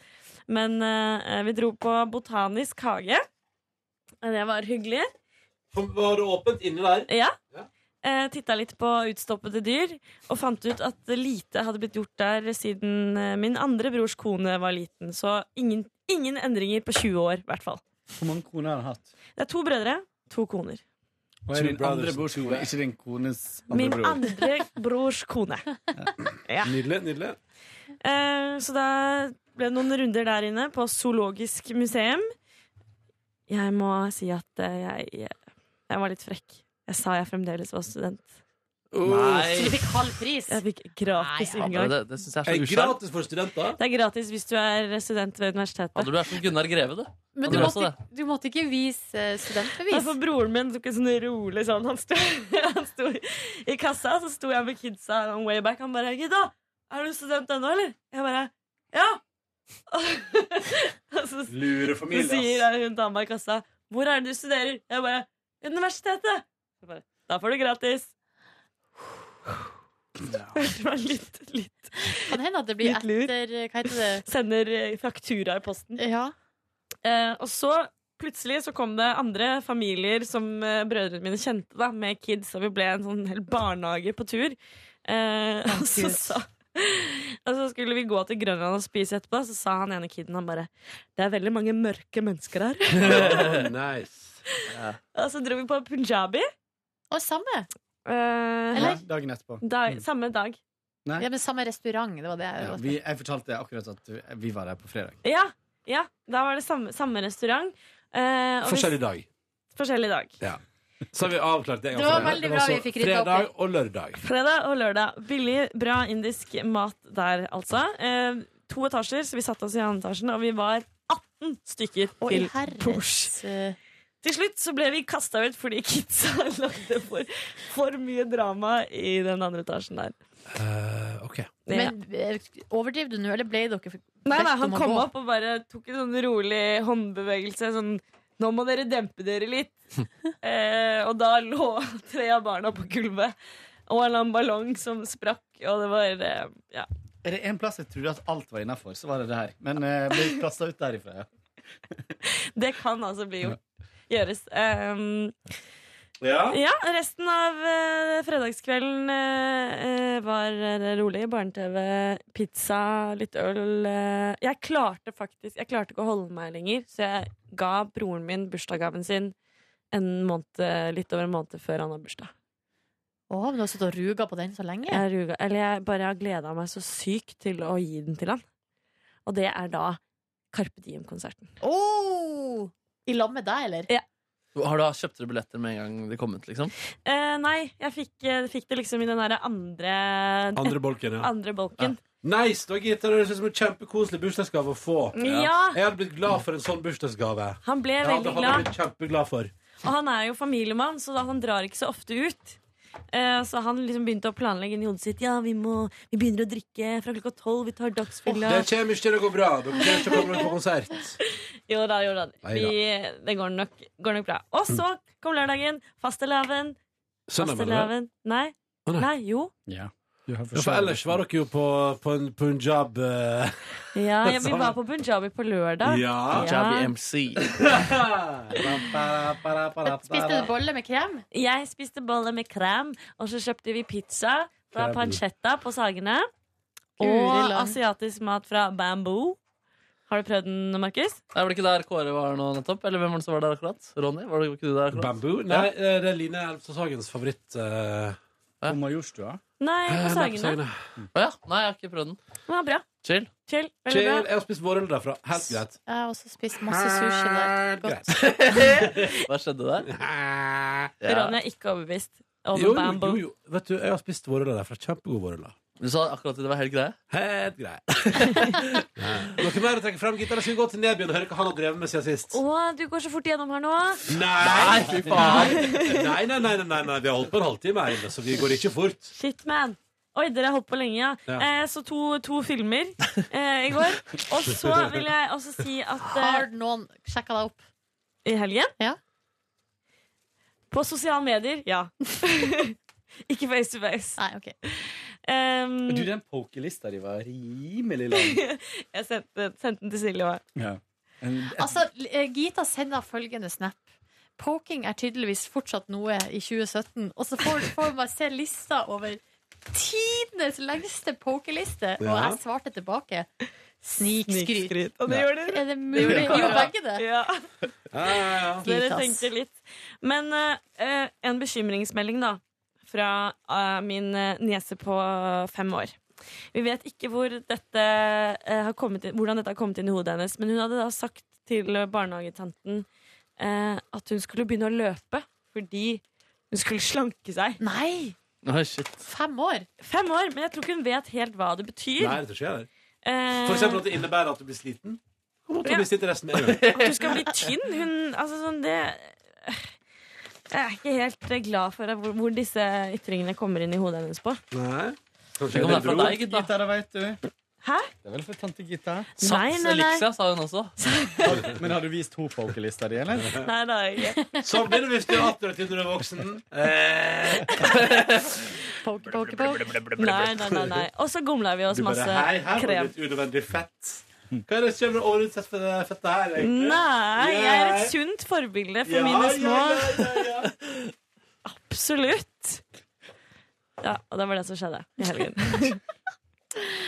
Speaker 12: Men eh, vi dro på botanisk hage. Og Det var hyggelig.
Speaker 3: Var det åpent inne der?
Speaker 12: Ja. Eh, Titta litt på utstoppede dyr, og fant ut at lite hadde blitt gjort der siden eh, min andre brors kone var liten. Så ingen, ingen endringer på 20 år, i hvert fall.
Speaker 13: Hvor mange koner har han hatt?
Speaker 12: Det er to brødre, to koner.
Speaker 13: Og er
Speaker 3: Two
Speaker 13: din
Speaker 3: brothers
Speaker 13: andre
Speaker 3: and
Speaker 13: brors
Speaker 3: two
Speaker 13: kone,
Speaker 3: back.
Speaker 13: ikke din kones andre
Speaker 12: Min
Speaker 13: bror.
Speaker 12: andre brors kone. Ja.
Speaker 3: Nydelig. nydelig
Speaker 12: Eh, så da ble det noen runder der inne på Zoologisk museum. Jeg må si at eh, jeg, jeg var litt frekk. Jeg sa jeg fremdeles var student.
Speaker 2: Nei.
Speaker 4: Så du fikk halv pris?
Speaker 12: Jeg fikk gratis
Speaker 2: Nei,
Speaker 12: inngang.
Speaker 2: det- det synes jeg er så
Speaker 3: Eh,
Speaker 2: usjarmt.
Speaker 3: Gratis for studenter?
Speaker 12: Det er gratis hvis du er student ved universitetet.
Speaker 2: Hadde du vært som Gunnar Greve, du?
Speaker 4: Men
Speaker 2: Hadde
Speaker 4: du
Speaker 2: også
Speaker 4: måtte,
Speaker 2: det?
Speaker 4: du måtte ikke vise eh,
Speaker 12: Nei,
Speaker 4: studentbevis?
Speaker 12: for broren min tok en sånn rolig sånn. Han sto, *laughs* han sto i kassa, så sto jeg med kidsa on way back. Han bare 'Gidda, er du student ennå, eller?' Jeg bare 'Ja'. *laughs* Og så
Speaker 13: Lure familie,
Speaker 12: Så sier jeg hun dama i kassa 'Hvor er det du studerer?' Jeg bare 'Universitetet'. Så bare, da får du gratis. *laughs* Hørte meg litt, litt
Speaker 4: Kan hende at det blir
Speaker 12: Litt lur.
Speaker 4: etter eh, Hva heter det?
Speaker 12: Sender eh, fraktura i posten.
Speaker 4: Ja.
Speaker 12: Eh, og så plutselig så kom det andre familier som eh, brødrene mine kjente, da, med kids, og vi ble en sånn hel barnehage på tur. Eh, *laughs* og, så
Speaker 4: Gud.
Speaker 12: sa, og så skulle vi gå til Grønland og spise etterpå, så sa han ene kiden han bare Det er veldig mange mørke mennesker her.
Speaker 3: *laughs* *laughs* nice.
Speaker 12: og så dro vi på punjabi.
Speaker 4: Og samme.
Speaker 12: Eh,
Speaker 13: Nei, Dagen etterpå.
Speaker 12: dag,
Speaker 13: Mm.
Speaker 12: samme dag.
Speaker 13: Nei.
Speaker 4: Ja, men samme restaurant. Det var det jeg
Speaker 13: Ja, vi, jeg fortalte akkurat at du- vi var der på fredag.
Speaker 12: Ja, ja, da var det samme, samme restaurant. Eh, og vi-
Speaker 3: Forskjellig dag.
Speaker 12: forskjellig dag.
Speaker 3: Ja. Så har vi avklart det. en gang
Speaker 4: Det var
Speaker 3: for alle.
Speaker 4: veldig bra
Speaker 3: så
Speaker 4: vi fikk rydda opp i.
Speaker 3: Fredag og lørdag.
Speaker 12: Fredag og lørdag. Billig, bra indisk mat der, altså. Eh, to etasjer, så vi satte oss i andre etasjen, og vi var 18 stykker
Speaker 4: Og i
Speaker 12: til bords.
Speaker 4: herres eh,
Speaker 12: Til slutt så ble vi kasta ut fordi *laughs* kidsa lagde for, for mye drama i den andre etasjen der.
Speaker 3: Eh, ok.
Speaker 4: Men eh, overdriv du nå, eller ble dere bedt
Speaker 12: Nei, nei, han
Speaker 4: om å
Speaker 12: kom
Speaker 4: gå?
Speaker 12: opp og bare tok en sånn rolig håndbevegelse. Sånn Nå må dere dempe dere
Speaker 4: *laughs*
Speaker 12: litt. eh, og da lå tre av barna på gulvet. Og en eller annen ballong som sprakk, og det var eh, Ja.
Speaker 13: Er det en plass jeg trodde at alt var innafor, så var det det her. Men eh, ble kasta ut derifra, ja.
Speaker 12: *laughs* Det kan altså bli gjort. Gjøres. Ehm,
Speaker 13: Ja.
Speaker 12: ja, resten av eh, fredagskvelden eh, eh, var eh, rolig. Barne-TV, pizza, litt øl. eh. jeg klarte faktisk Jeg klarte ikke å holde meg lenger, så jeg ga broren min bursdagsgaven sin en måned, eh, litt over en måned før han har bursdag.
Speaker 4: Å, men du har sittet og ruga på den så lenge?
Speaker 12: Jeg, ruga, eller jeg bare har gleda meg så sykt til å gi den til han. Og det er da Carpe Diem-konserten.
Speaker 4: Oh! I lag med deg, eller?
Speaker 12: Ja.
Speaker 2: Har du kjøpt dere billetter med en gang de kom ut? liksom?
Speaker 12: Eh, nei, jeg fikk, eh, fikk det liksom i den derre andre
Speaker 3: Andre bolken, ja.
Speaker 12: *laughs* Andre bolken.
Speaker 3: Nice! da, Gitte. Det høres ut som en kjempekoselig bursdagsgave å få.
Speaker 12: Ja.
Speaker 3: Jeg hadde blitt glad for en sånn bursdagsgave.
Speaker 12: Han ble
Speaker 3: Ja, det
Speaker 12: veldig
Speaker 3: hadde jeg
Speaker 12: glad.
Speaker 3: blitt kjempeglad for.
Speaker 12: Og han er jo familiemann, så da han drar ikke så ofte ut. Eh, Så han liksom begynte å planlegge inn i hodet sitt. Ja, vi, må, vi begynner å drikke fra klokka tolv. Vi tar dagsfylla.
Speaker 3: Det kommer ikke til å gå bra. Dere kommer ikke til å komme dere på konsert.
Speaker 12: Jo da, jo da.
Speaker 3: Neida.
Speaker 12: Vi, det går nok, går nok bra. Og så kom lørdagen. Fastelavn.
Speaker 3: Søndag, mener du?
Speaker 12: Fastelavn. Nei.
Speaker 3: Å, nei.
Speaker 12: Nei, jo.
Speaker 13: Ja.
Speaker 3: Ja, for ellers var dere jo på, på en punjab eh,
Speaker 12: Ja, ja, vi
Speaker 3: *laughs* Sånn.
Speaker 12: var på punjabi på lørdag.
Speaker 3: Ja.
Speaker 2: Jabby
Speaker 3: *laughs*
Speaker 2: MC.
Speaker 4: Spiste du bolle med krem?
Speaker 12: Jeg spiste boller med krem, og så kjøpte vi pizza fra
Speaker 4: Krem.
Speaker 12: Pancetta på Sagene.
Speaker 4: Guri
Speaker 12: Og
Speaker 4: land.
Speaker 12: asiatisk mat fra Bamboo. Har du prøvd den, Markus?
Speaker 2: Er det ikke der Kåre var nå nettopp? Eller hvem var det som var der akkurat? Ronny? Var det ikke du der akkurat?
Speaker 3: Bamboo? Nei, eh, det er Line Elvstad Hagens favoritt. eh,
Speaker 2: På
Speaker 13: Majorstua?
Speaker 12: Nei,
Speaker 3: Eh,
Speaker 12: på
Speaker 3: nei, på
Speaker 12: Sagene.
Speaker 3: Sagene.
Speaker 2: Å ja. Nei, jeg har ikke prøvd den.
Speaker 12: Den var bra.
Speaker 2: Chill.
Speaker 12: Chill. Veldig
Speaker 3: Chill. Jeg
Speaker 12: bra.
Speaker 3: har spist vårrull derfra. Helt greit.
Speaker 4: Jeg har også spist masse sushi der.
Speaker 2: *laughs*
Speaker 4: Godt.
Speaker 12: *laughs*
Speaker 4: *laughs*
Speaker 2: Hva skjedde der?
Speaker 12: Ronny er ikke overbevist over
Speaker 3: Jo, jo,
Speaker 12: Bamboo.
Speaker 3: jo, jo. Vet du, jeg har spist vårrull derfra. Kjempegod vårrull.
Speaker 2: Du sa akkurat at det var helt greie.
Speaker 3: Helt *laughs* grei. Noe mer å trekke frem, gitt? Eller skal vi gå til Nebjørn og høre hva han har drevet med siden sist?
Speaker 12: Å, du går så fort gjennom her nå.
Speaker 3: Nei, fy faen! Nei, nei, nei, nei, nei, nei. vi har holdt på en halvtime her inne, så vi går ikke fort.
Speaker 12: Shit, man. Oi, dere har holdt på lenge, ja.
Speaker 3: Ja.
Speaker 12: Eh, så to, to filmer eh, i går. Og så vil jeg også si at eh,
Speaker 4: Har noen sjekka deg opp?
Speaker 12: I helgen? *laughs* På sosiale medier, ja. *laughs* ikke face to face.
Speaker 4: Nei, ok.
Speaker 12: Ehm,
Speaker 13: Du, den pokerlista di var rimelig lang.
Speaker 12: *laughs* jeg sendte, sendte den til Silje òg.
Speaker 13: Ja.
Speaker 4: Altså, eh, Gita sender følgende snap. Poking er tydeligvis fortsatt noe i 2017. Og så får, får man se lista over tidenes lengste pokerliste, og
Speaker 12: Ja.
Speaker 4: jeg svarte tilbake. Snikskryt.
Speaker 12: Og det
Speaker 4: Ja.
Speaker 12: gjorde dere.
Speaker 4: Er det mulig?
Speaker 12: gjorde
Speaker 4: Gjorde
Speaker 12: dere.
Speaker 4: begge det?
Speaker 12: Ja.
Speaker 4: ja.
Speaker 12: Dere
Speaker 4: Fint, ass.
Speaker 12: tenkte litt. Men eh, eh, en bekymringsmelding, da. Fra eh, min eh, niese på fem år. Vi vet ikke hvor dette, eh, har kommet inn, hvordan dette har kommet inn i hodet hennes, men hun hadde da sagt til barnehagetanten eh, at hun skulle begynne å løpe fordi hun skulle slanke seg.
Speaker 4: Nei!
Speaker 2: Oi, shit.
Speaker 4: Fem år?
Speaker 12: Fem år, Men jeg tror ikke hun vet helt hva det betyr.
Speaker 3: Nei, det skjer.
Speaker 12: Eh,
Speaker 3: For eksempel at det innebærer at du blir sliten. Kommer til å bli sliten resten av gangen.
Speaker 12: At
Speaker 3: *laughs*
Speaker 12: du skal bli tynn. Hun, altså sånn det Jeg er ikke helt eh, glad for hvor, hvor disse ytringene kommer inn i hodet hennes på.
Speaker 3: Nei.
Speaker 2: Det kommer fra deg, gitt.
Speaker 13: Gitar, vet du.
Speaker 12: Hæ?
Speaker 13: Det er vel for tante Gitta.
Speaker 12: Nei, nei, nei.
Speaker 2: Elixia, sa hun også.
Speaker 13: *laughs* Men har du vist henne pokerlista di, eller?
Speaker 12: Nei, det har jeg
Speaker 3: *laughs*
Speaker 12: ikke.
Speaker 3: Sånn blir det hvis du er attraktiv når du er voksen.
Speaker 2: Eh,
Speaker 4: Poke, poke, poke.
Speaker 12: Nei, nei, nei, nei. Og så gomla vi oss
Speaker 3: Du bare
Speaker 12: masse
Speaker 3: Hei, her var
Speaker 12: krem.
Speaker 3: det litt unødvendig fett. Hva er det som kommer overutsett for det fettet her? egentlig?
Speaker 12: Nei, jeg er et sunt forbilde for
Speaker 3: Ja,
Speaker 12: mine
Speaker 3: ja,
Speaker 12: små.
Speaker 3: ja,
Speaker 12: Absolutt. Ja, og det var det som skjedde i
Speaker 3: *laughs*
Speaker 12: helgen.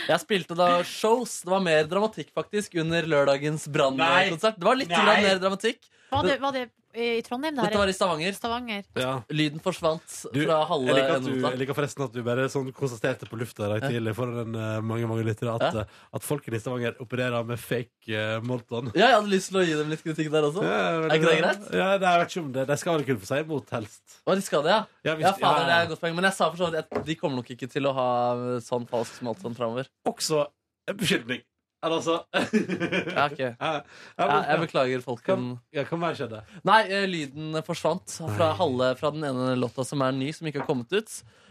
Speaker 2: Jeg spilte da shows. Det var mer dramatikk faktisk under lørdagens Brannkonsert. Det var litt
Speaker 4: Nei.
Speaker 2: grann mer dramatikk.
Speaker 4: Var det, var det i Trondheim? det her?
Speaker 2: Dette var i Stavanger.
Speaker 4: Stavanger.
Speaker 2: Lyden forsvant
Speaker 3: Du,
Speaker 2: fra
Speaker 3: jeg
Speaker 2: halve
Speaker 3: liker, at du,
Speaker 2: nota.
Speaker 3: jeg liker forresten at du bare sånn konstaterte på lufta i dag
Speaker 2: Ja.
Speaker 3: tidlig foran en, eh, mange mange lyttere at, eh, at folken i Stavanger opererer med fake uh, Molton.
Speaker 2: Ja, jeg hadde lyst til å gi dem litt kritikk der også. er ikke det greit?
Speaker 3: Ja, nei, jeg vet ikke om det. De skal vel kunne få seg imot, helst.
Speaker 2: Å, de skal det, ja?
Speaker 3: Ja, hvis-
Speaker 2: ja, fader,
Speaker 3: ja, ja.
Speaker 2: det er et godt poeng. Men jeg sa for så vidt at de kommer nok ikke til å ha sånn falsk smalt sånn framover.
Speaker 3: Også en beskyldning. Eller altså
Speaker 2: Ja,
Speaker 3: *laughs*
Speaker 2: ok. Ja, jeg beklager, folken.
Speaker 3: Ja, hva mer skjedde?
Speaker 2: Nei, eh, lyden forsvant fra halve fra den ene låta som er ny, som ikke har kommet ut.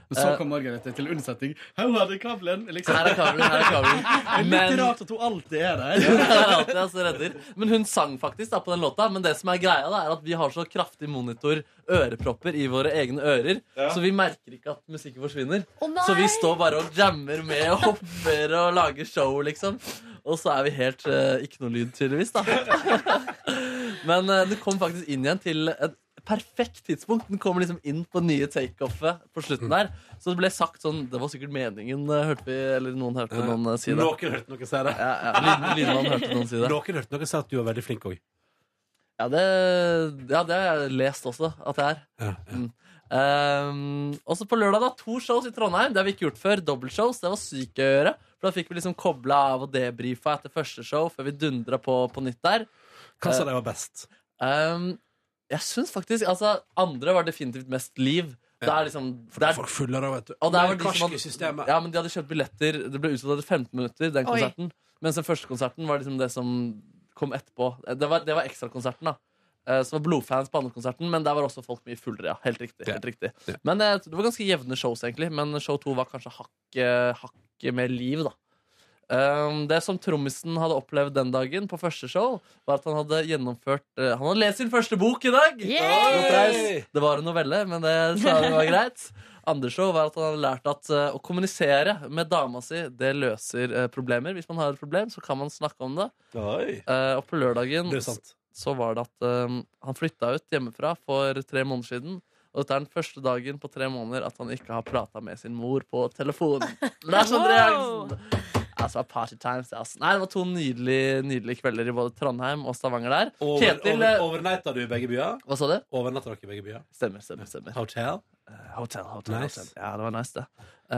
Speaker 13: Men så kom Margarethe til unnsetning. Her er det kabelen! Liksom.
Speaker 2: Her er kabelen, her er kabelen.
Speaker 13: Det er *laughs* litt
Speaker 2: Men-
Speaker 13: rart at hun alltid er der.
Speaker 2: *laughs* Ja, det er alltid jeg så redder. Men hun sang faktisk da på den låta. Men det som er greia da, er at vi har så kraftig monitor ørepropper i våre egne ører, så vi merker ikke at musikken forsvinner.
Speaker 4: nei!
Speaker 2: så vi står bare og jammer med og hopper og lager show, liksom. Og så er vi helt eh, ikke noe lyd, tydeligvis. da *laughs* Men eh, den kom faktisk inn igjen til et perfekt tidspunkt. Den kom liksom inn på det nye takeoffet på slutten der. Så det ble sagt sånn Det var sikkert meningen, eh, hørte vi, eller noen hørte noen eh, si det.
Speaker 3: Noen hørte noen si det.
Speaker 2: Ja, ja. Lyd- Lydmannen hørte noen si det.
Speaker 3: Noen hørte noen si at du var veldig flink òg.
Speaker 2: Ja, det, ja, det har jeg lest også at det er. Mm. Ehm, også på lørdag, da. To shows i Trondheim. Det har vi ikke gjort før. Dobbeltshows. Det var sykt gøy å gjøre. For da fikk vi liksom kobla av og debrifa etter første show før vi dundra på på nytt der. Eh, ehm,
Speaker 3: Hva sa de var best?
Speaker 2: jeg syns faktisk Altså, andre var definitivt mest liv. Det er liksom det er,
Speaker 3: Folk fuller av, vet du.
Speaker 2: og det er vel de
Speaker 3: Karske
Speaker 2: som hadde, ja, men de hadde kjøpt billetter. Det ble utsolgt etter 15 minutter, den
Speaker 3: Oi.
Speaker 2: konserten. Mens den første konserten var liksom det som kom etterpå. Det var, det var ekstrakonserten, da. Eh, Så var blodfans på andre konserten, men der var også folk mye fullere. ja. Helt riktig. Helt riktig. Men eh, det var ganske jevne shows, egentlig. Men show to var kanskje hakket hakk mer liv, da. Um, det som trommisen hadde opplevd den dagen, på første show, var at han hadde gjennomført eh, Han hadde lest sin første bok i dag!
Speaker 10: Yay!
Speaker 2: Applaus. Det var en novelle, men det sa det var greit. Andre show var at han hadde lært at eh, å kommunisere med dama si, det løser eh, problemer. Hvis man har et problem, så kan man snakke om det.
Speaker 3: Oi.
Speaker 2: Eh, og på lørdagen
Speaker 3: Det er sant.
Speaker 2: så var det at eh, han flytta ut hjemmefra for tre måneder siden. Og dette er den første dagen på tre måneder at han ikke har prata med sin mor på telefon.
Speaker 12: *laughs*
Speaker 2: Lars Andreassen! Altså, det var party times, ass. Nei, det var to nydelige, nydelige kvelder i både Trondheim og Stavanger der.
Speaker 3: Over,
Speaker 2: Ketil,
Speaker 3: over,
Speaker 2: eh,
Speaker 3: overnatta du i begge byer?
Speaker 2: Hva sa du?
Speaker 3: Overnatta dere i begge byer?
Speaker 2: Stemmer, stemmer, stemmer.
Speaker 3: Hotel?
Speaker 2: Eh, hotel, hotel,
Speaker 3: Nice.
Speaker 2: hotel. Ja, det var nice, det. Eh,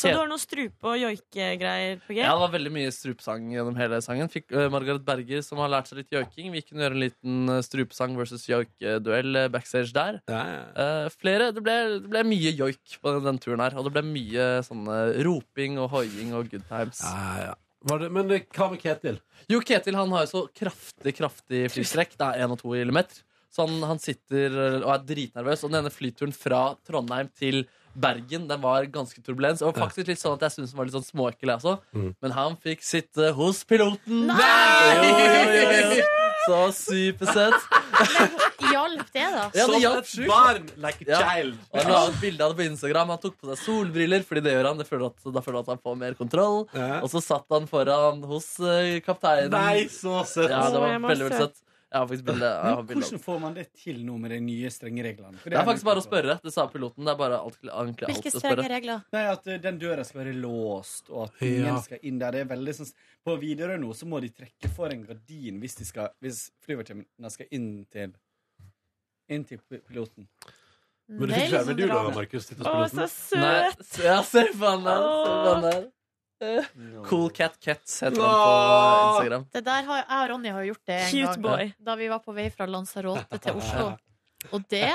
Speaker 12: Så
Speaker 2: Ket-
Speaker 12: du har noe strupe- og joikegreier på G?
Speaker 2: Ja, det var veldig mye strupesang gjennom hele sangen. Fikk eh, Margaret Berger, som har lært seg litt joiking. Vi kunne gjøre en liten eh, strupesang versus joik-duell eh, backstage der. Eh, flere, det ble, det ble mye joik på den, den turen her. Og det ble mye sånne roping og hoiing og good times.
Speaker 3: Var det, men eh, hva med Ketil?
Speaker 2: Jo, Ketil han har jo så kraftig, kraftig flystrekk. Det er 1 og 2 kilometer. Så han, han sitter eh, og er dritnervøs. Og denne flyturen fra Trondheim til Bergen den var ganske turbulens. Og faktisk litt sånn at jeg syns den var litt sånn småekkel, jeg også.
Speaker 13: Mm.
Speaker 2: Men han fikk sitte hos piloten. Jo, jo, jo, jo. Så supersøt.
Speaker 4: Hjalp det, da?
Speaker 2: Ja, det hjalp sjukt. Ja. Og Han la ut bilde av det på Instagram. Han tok på seg solbriller, fordi det gjør han. Det føler at, da føler han at han får mer kontroll. Og så satt han foran hos eh, kapteinen.
Speaker 13: Nei, så søtt.
Speaker 2: Ja, det
Speaker 13: Å,
Speaker 2: var
Speaker 13: jeg må
Speaker 2: veldig, veldig
Speaker 13: søtt.
Speaker 2: søtt. Jeg har faktisk bilde. jeg har
Speaker 13: Men
Speaker 2: bilde av det.
Speaker 13: hvordan får man det til nå med de nye strenge reglene? For
Speaker 2: Det er
Speaker 13: jo
Speaker 2: faktisk bare å spørre. Det sa piloten. Det er bare alt, egentlig alt å spørre.
Speaker 4: regler?
Speaker 13: Nei, At eh, den døra skal være låst, og at
Speaker 2: Ja.
Speaker 13: ingen skal inn der. Det er veldig sånn På Widerøe nå så må de trekke for en gardin hvis, de skal, hvis flyvertinnene skal inn til Inn til pi- piloten.
Speaker 4: Mm.
Speaker 3: Men du fikk
Speaker 4: liksom
Speaker 3: ikke være med du da, Markus? sitte hos piloten?
Speaker 2: Nei, s- Ja, se på han der. Se på han der. Eh, Cool Cat Cats heter han på Instagram.
Speaker 4: Det der har, jeg og Ronny har gjort det en
Speaker 12: Cute
Speaker 4: gang.
Speaker 12: boy.
Speaker 4: Da vi var på vei fra Lanzarote til Oslo. Og det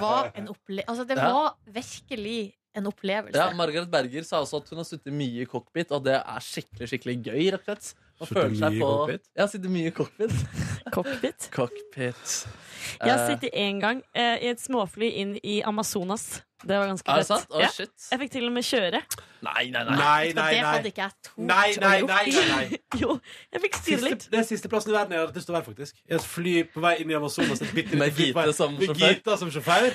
Speaker 4: var en opple... Altså, det
Speaker 2: Ja.
Speaker 4: var virkelig en opplevelse.
Speaker 2: Ja, Margaret Berger sa også at hun har sittet mye i cockpit, og det er skikkelig skikkelig gøy. rett og slett. Man
Speaker 3: Sittet
Speaker 2: føler seg
Speaker 3: mye i
Speaker 2: på
Speaker 3: cockpit?
Speaker 2: Ja, sittet mye i cockpit.
Speaker 12: *laughs* Cockpit?
Speaker 2: Cockpit.
Speaker 12: Jeg har
Speaker 2: Eh,
Speaker 12: sittet én gang eh, i et småfly inn i Amazonas. Det var ganske
Speaker 2: Er det
Speaker 12: fett.
Speaker 2: sant? Å,
Speaker 12: Ja.
Speaker 2: shit.
Speaker 12: Jeg fikk til og med kjøre.
Speaker 2: Nei, nei, nei.
Speaker 3: Nei, nei,
Speaker 12: Det hadde
Speaker 3: nei.
Speaker 12: ikke jeg tort
Speaker 3: Nei, nei,
Speaker 12: å
Speaker 3: nei, nei, nei.
Speaker 4: *laughs*
Speaker 12: jo, jeg fikk styre
Speaker 3: Siste,
Speaker 12: litt.
Speaker 3: det er siste plassen i verden jeg har lyst til å være, faktisk. I et fly på vei inn i Amazonas. Et bitte,
Speaker 2: Med
Speaker 3: fly på vei-
Speaker 2: Gita som
Speaker 3: med
Speaker 2: sjåfør?
Speaker 3: Gita som sjåfør?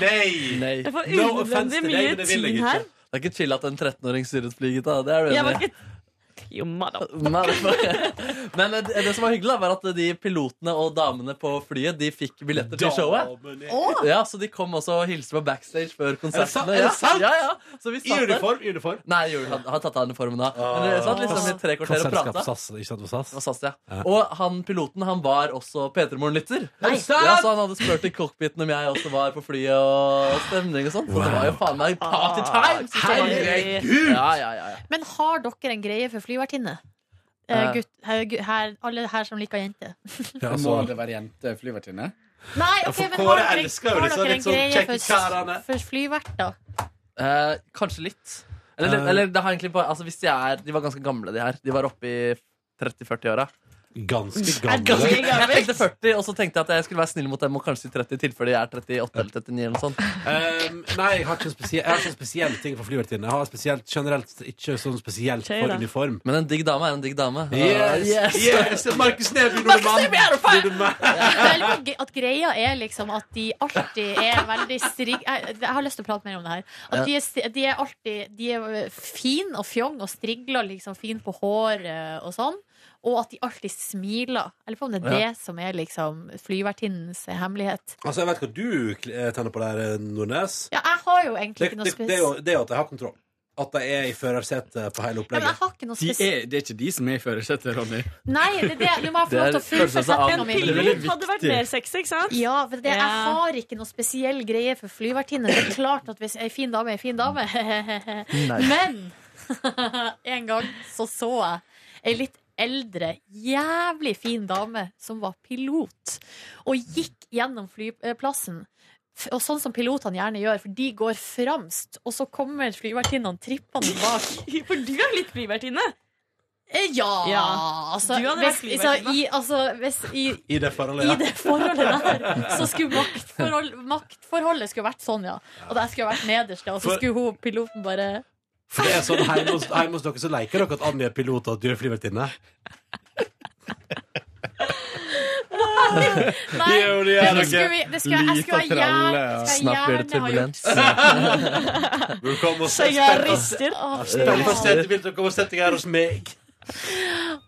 Speaker 3: Nei!
Speaker 12: Jeg får unødvendig
Speaker 3: No offense til deg,
Speaker 12: mye
Speaker 3: men det vil jeg
Speaker 12: tid
Speaker 3: ikke.
Speaker 12: her.
Speaker 2: Det er ikke chill at en 13-åring styrer et fly, Gitta. Det er
Speaker 12: *laughs*
Speaker 2: du
Speaker 12: Jeg var
Speaker 2: enig i?
Speaker 12: ikke Jo, madam.
Speaker 2: Motherfucker. Men eh, det som var hyggelig, da, var at de pilotene og damene på flyet De fikk billetter til showet.
Speaker 3: Damene.
Speaker 10: Åh!
Speaker 2: Ja, Så de kom også og hilste på backstage før
Speaker 3: sant?
Speaker 2: konsertene.
Speaker 3: Er det
Speaker 2: Ja.
Speaker 3: sant?
Speaker 2: Ja, ja. Så vi
Speaker 3: I
Speaker 2: satt der.
Speaker 3: uniform? I uniform? Ah.
Speaker 2: Nei, jo, han har tatt av uniformen da. Men det satt liksom i tre kvarter og
Speaker 3: Selskap
Speaker 2: prata.
Speaker 3: SAS, ikke sant? Det var SAS?
Speaker 2: ja. Og han piloten han var også P3morgen-lytter. Ja,
Speaker 3: Nei.
Speaker 2: så han hadde spurt i cockpiten om jeg også var på flyet og stemning og sånn. Så det var jo faen meg party time! som det var.
Speaker 4: Herregud!
Speaker 2: Ja, ja, ja, ja.
Speaker 4: Men har dere en greie for flyvertinne? Eh,
Speaker 13: Eh.
Speaker 4: gutt, her, gu- her, alle her som liker jenter.
Speaker 13: Må det være jente flyvertinne?
Speaker 4: Nei,
Speaker 13: Ja,
Speaker 4: ok,
Speaker 13: for
Speaker 4: men
Speaker 13: Kåre
Speaker 4: har dere,
Speaker 13: elsker jo
Speaker 4: har
Speaker 13: liksom
Speaker 4: dere en
Speaker 13: litt sånn
Speaker 4: greie
Speaker 13: kjekke
Speaker 4: for,
Speaker 13: karene.
Speaker 4: for flyverter?
Speaker 2: Eh, kanskje litt. Eller,
Speaker 3: Eh.
Speaker 2: eller det har egentlig bare altså, hvis de, er, de var ganske gamle, de her. De var oppe i 30-40-åra.
Speaker 3: Ganske
Speaker 2: Jeg
Speaker 3: gammel.
Speaker 2: tenkte 40, og så tenkte jeg at jeg skulle være snill mot dem og kanskje si 30 i tilfelle jeg er 38 eller 39 eller noe sånt.
Speaker 3: Um, nei, jeg har ikke spesielle, jeg har ikke spesielle ting for flyvertinnen. Jeg har spesielt, generelt ikke sånn spesielt
Speaker 2: Tøy,
Speaker 3: for
Speaker 2: da.
Speaker 3: uniform.
Speaker 2: Men en digg dame er en digg dame.
Speaker 3: Yes,
Speaker 2: Ah,
Speaker 3: yes. Markus Neby, nordmann.
Speaker 4: Vel, gre- At greia er liksom at de alltid er veldig strigg... Jeg, jeg har lyst til å prate mer om det her. At
Speaker 2: Ja.
Speaker 4: de, er, sti- de er alltid De er eh, fin og fjong og strigler liksom fin på håret og sånn. Og at de alltid smiler. Jeg lurer på om det er
Speaker 3: Ja.
Speaker 4: det som er liksom flyvertinnens hemmelighet.
Speaker 3: Altså, jeg vet hva du eh, tenner på der, eh, Nordnes.
Speaker 4: Ja, jeg har jo egentlig
Speaker 3: Det, det,
Speaker 4: ikke noe
Speaker 3: det, er jo,
Speaker 4: spes...
Speaker 3: det er jo at jeg har kontroll. At jeg er i førersetet på hele
Speaker 4: Ja, men jeg
Speaker 3: opplegget.
Speaker 4: har ikke noe spes...
Speaker 13: det er ikke de som er i førersetet, Ronny.
Speaker 4: Nei, det er det. Nå må jeg få lov til å
Speaker 13: Det er-
Speaker 4: fullføre setninga mi.
Speaker 13: Det er veldig viktig.
Speaker 4: sexy, ikke sant? Ja, for det, jeg
Speaker 12: Ja.
Speaker 4: har ikke noe spesiell greie for flyvertinner. Det er klart at hvis ei fin dame er ei
Speaker 13: *laughs*
Speaker 4: fin dame. Men *laughs* en gang så så jeg ei litt eldre, jævlig fin dame som var pilot, og gikk gjennom flyplassen. F- Og sånn som pilotene gjerne gjør, for de går framst, og så kommer flyvertinnene trippende bak.
Speaker 12: *laughs*
Speaker 4: For du er litt flyvertinne? Ja.
Speaker 12: Eh, Ja.
Speaker 4: Altså,
Speaker 12: Du hadde vært
Speaker 4: hvis, så,
Speaker 12: flyvertinne.
Speaker 4: i, altså, hvis i,
Speaker 3: I det
Speaker 4: i
Speaker 3: forholdet,
Speaker 4: det forholdet der så skulle maktforhold, maktforholdet skulle vært sånn, ja. Og jeg skulle vært nederst, ja. Og så
Speaker 3: For-
Speaker 4: skulle hun piloten bare
Speaker 3: For det er sånn hjemme hos, hjemme hos dere så leker dere at Annie er pilot og at du er flyvertinne.
Speaker 4: Nei,
Speaker 3: Jo, det gjør
Speaker 4: men det
Speaker 3: dere.
Speaker 4: skulle vi det skulle, Jeg skulle jeg gjerne, skulle jeg gjerne ha gjort
Speaker 3: *laughs* Velkommen og
Speaker 4: Så jeg rister.
Speaker 3: Stapp- Stapp på setebilt og kom og sett deg her hos meg.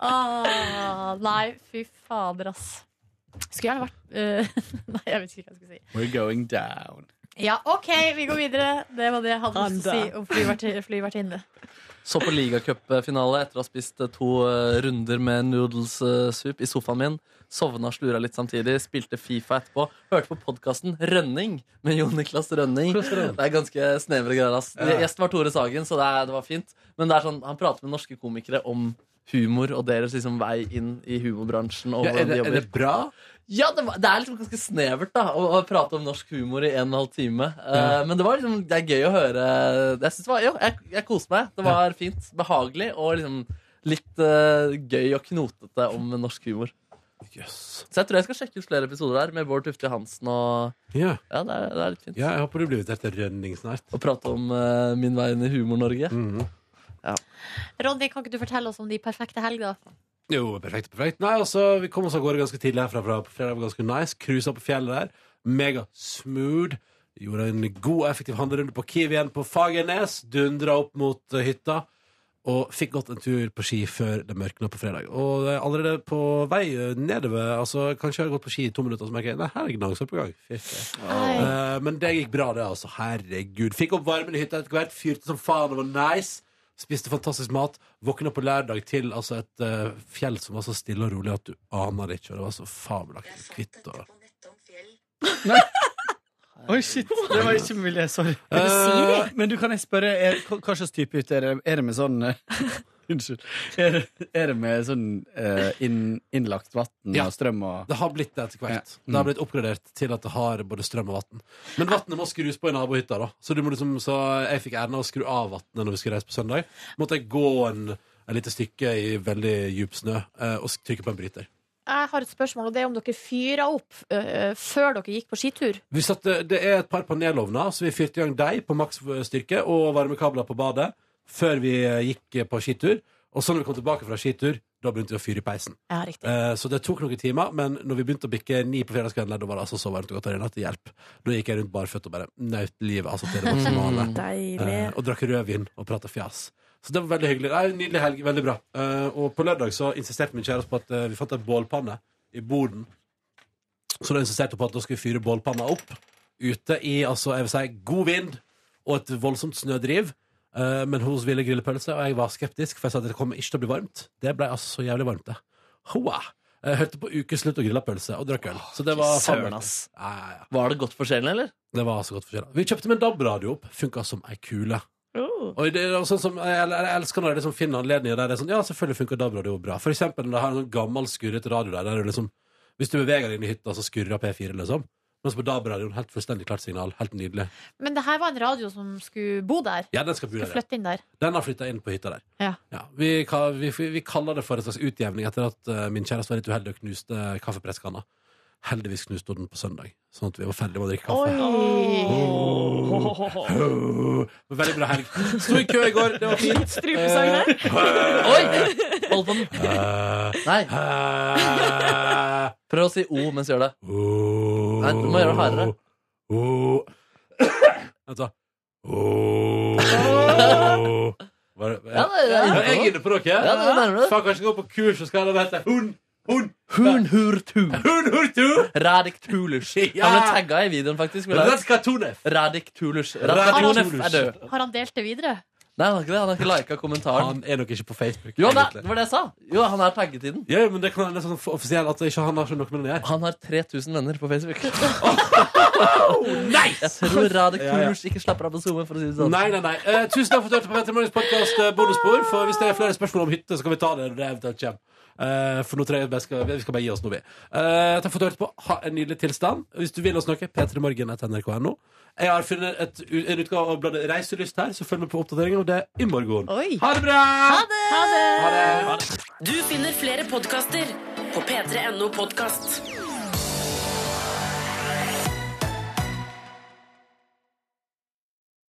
Speaker 4: ah, Nei, fy fader, ass. Skulle gjerne vært eh, *laughs* Nei, jeg vet ikke hva jeg skal si.
Speaker 13: We're going down.
Speaker 4: Ja, OK, vi går videre. Det var det jeg hadde lyst til
Speaker 2: Anda.
Speaker 4: å si om flyvert- flyvertinne.
Speaker 2: Så på ligacupfinale etter å ha spist eh, to eh, runder med noodles eh, soup i sofaen min. Sovna og slura litt samtidig, spilte Fifa etterpå. Hørte på podkasten Rønning med Jon Niklas Rønning. Det er ganske snevre greier. ass.
Speaker 13: Ja.
Speaker 2: Gjesten var Tore Sagen, så det, er, det var fint. Men det er sånn, han prater med norske komikere om humor og deres liksom vei inn i humorbransjen. Og
Speaker 3: Ja, er
Speaker 2: hvordan de
Speaker 3: det- er
Speaker 2: jobber.
Speaker 3: det bra?
Speaker 2: Ja, det, var, det er liksom ganske snevert da å, å prate om norsk humor i en og en halv time. Eh,
Speaker 3: Ja.
Speaker 2: Men det var liksom, det er gøy å høre. Jeg, synes det var, jo, jeg, jeg koste meg. Det var fint, behagelig og liksom litt eh, gøy og knotete om norsk humor. Så jeg tror jeg skal sjekke ut flere episoder der med Bård Tufte Hansen. Og
Speaker 3: Ja.
Speaker 2: ja, det er, det er litt fint.
Speaker 3: Ja, jeg håper du blir invitert til rønning snart. Mm.
Speaker 2: Å prate om eh, min vei inn i Humor-Norge. Ja.
Speaker 4: Ronny, kan ikke du fortelle oss om de perfekte helger?
Speaker 3: Jo, perfekt, perfekt. Nei, altså, vi kom oss av gårde ganske tidlig herfra fra på fredag. var Ganske nice. Cruisa på fjellet der. Mega smooth. Gjorde en god og effektiv handlerunde på Kiwien på Fagernes. Dundra opp mot eh, hytta. Og fikk gått en tur på ski før det mørkna på fredag. Og eh, allerede på vei eh, nedover altså, Kanskje jeg har gått på ski i to minutter, og så merker jeg Nei, her er gnagsår på gang. Eh, men det gikk bra, det, altså. Herregud. Fikk opp varmen i hytta etter hvert. Fyrte som faen og var nice. Spiste fantastisk mat. Våkna på lørdag til altså, et eh, fjell som var så stille og rolig at du aner det ikke. Og det var så fabelaktig hvitt. Og...
Speaker 13: Oi, shit. Eh, Det var ikke mulig. Sorry.
Speaker 3: Er det Siri?
Speaker 13: Eh, men du, kan jeg spørre, er, hva hva slags type hytte er det? Er det med sånn eh, *laughs* Unnskyld. Er, det- er det med sånn eh, inn, innlagt vann
Speaker 3: Ja.
Speaker 13: og strøm og
Speaker 3: Det har blitt det etter hvert.
Speaker 13: Ja. Mm.
Speaker 3: Det har blitt oppgradert til at det har både strøm og vann. Men vannet må skrus på i nabohytta, da. Så, du må liksom, så jeg fikk æren av å skru av vannet når vi skulle reise på søndag. Måtte jeg gå en, et lite stykke i veldig djup snø eh, og sk- trykke på en bryter.
Speaker 4: Jeg har et spørsmål, og det er om dere fyra opp øh, før dere gikk på skitur.
Speaker 3: Vi satte, det er et par panelovner, så vi fyrte i gang deg på maks styrke og varmekabler på badet før vi eh, gikk på skitur. Og så når vi kom tilbake fra skitur, da begynte vi å fyre i peisen.
Speaker 4: Ja, riktig.
Speaker 3: Eh, Så det tok noen timer, men når vi begynte å bikke ni på fredagskvelden, da var det altså så varmt og godt der inne at det hjelp. Da gikk jeg rundt barføtt og bare nøt livet altså til det maksimale.
Speaker 12: Mm. Deilig.
Speaker 3: Eh, Og drakk rødvin og prata fjas. Så det var veldig hyggelig. Nei, Nydelig helg. Veldig bra. Eh, Og på lørdag så insisterte min kjæreste på at eh, vi fant en bålpanne i boden. Så da insisterte hun på at da skulle vi fyre bålpanna opp ute i altså, jeg vil si, god vind og et voldsomt snødriv. Eh, Men hun ville grille pølse, og jeg var skeptisk, for jeg sa at det kommer ikke til å bli varmt. Det ble altså så jævlig varmt, det. Hoa! Jeg hørte på Ukeslutt og grilla pølse og drakk øl. Så det var
Speaker 2: Søren,
Speaker 3: fabelaktig.
Speaker 2: ass.
Speaker 3: Ja, ja, ja.
Speaker 2: Var det godt for sjelen, eller?
Speaker 3: Det var så godt for sjela. Vi kjøpte med en DAB-radio opp. Funka som ei kule.
Speaker 2: Oh.
Speaker 3: Og det er jo sånn som, jeg, jeg, jeg elsker når jeg liksom finner anledninger der det er sånn Ja, selvfølgelig funker DAB-radio bra. For eksempel når det har en sånn gammel, skurrete radio der, der du liksom Hvis du beveger deg inn i hytta, så skurrer P4, liksom. Mens på DAB-radioen, helt fullstendig klart signal. Helt nydelig.
Speaker 4: Men det her var en radio som skulle bo der.
Speaker 3: Ja, den skal bo der, ja.
Speaker 4: flytte inn der.
Speaker 3: Den har flytta inn på hytta der.
Speaker 4: Ja.
Speaker 3: Ja, vi, ka- vi, vi kaller det for en slags utjevning etter at eh, min kjæreste var litt uheldig og knuste kaffepresskanna. Heldigvis knuste hun den på søndag, sånn at vi var ferdig med å drikke kaffe. Åh. Men Veldig bra helg. Sto i kø i går, det var fint.
Speaker 2: Strupesang der. Oi! Hold
Speaker 3: Eh,
Speaker 2: på den. Nei. Prøv å si O mens du gjør det. Nei, du må gjøre det hardere.
Speaker 3: Vent, da. Åh. Var det-
Speaker 2: Ja, det- det-
Speaker 3: Var jeg inne på dere?
Speaker 2: Ja, det nærmer du.
Speaker 3: Faen, kanskje gå på kurs og skal ha det hete Hun, hun,
Speaker 2: Hun hurtu.
Speaker 3: Hun hurtu!
Speaker 2: Radik Tulus. Han ble tagga i videoen, faktisk. Radik Tulus. Radik
Speaker 4: Har
Speaker 2: Tulus
Speaker 4: han,
Speaker 2: er død.
Speaker 4: har han delt det videre?
Speaker 2: Nei, han har ikke det. Han har ikke lika kommentaren.
Speaker 3: Han er nok ikke på Facebook.
Speaker 2: Jo, nei,
Speaker 3: egentlig.
Speaker 2: det var det jeg sa. Jo, han er tagget i den.
Speaker 3: Ja, men det kan være sånn offisiell at ikke han har så noe med den å gjøre.
Speaker 2: Han har 3000 venner på Facebook. Jeg tror Radik
Speaker 3: Ja, ja.
Speaker 2: Tulus ikke slapper av på SoMe, for å si det sånn.
Speaker 3: Nei, nei, nei. Eh, tusen takk for at du hørte på Petter Morgens podkast bonusspor. For hvis det er flere spørsmål om hytte, så kan vi ta det når det eventuelt kommer. Eh, for nå tror jeg vi skal, vi skal bare gi oss nå, vi. Eh, takk for at du hørte på. Ha en nydelig tilstand. Hvis du vil oss noe, p3morgen.nrk.no. Jeg har funnet et, en utgave av bladet Reiselyst her, så følg med på oppdateringen, og det er i morgen. Ha det bra! Ha det!
Speaker 1: Du finner flere podkaster på p3.no podkast.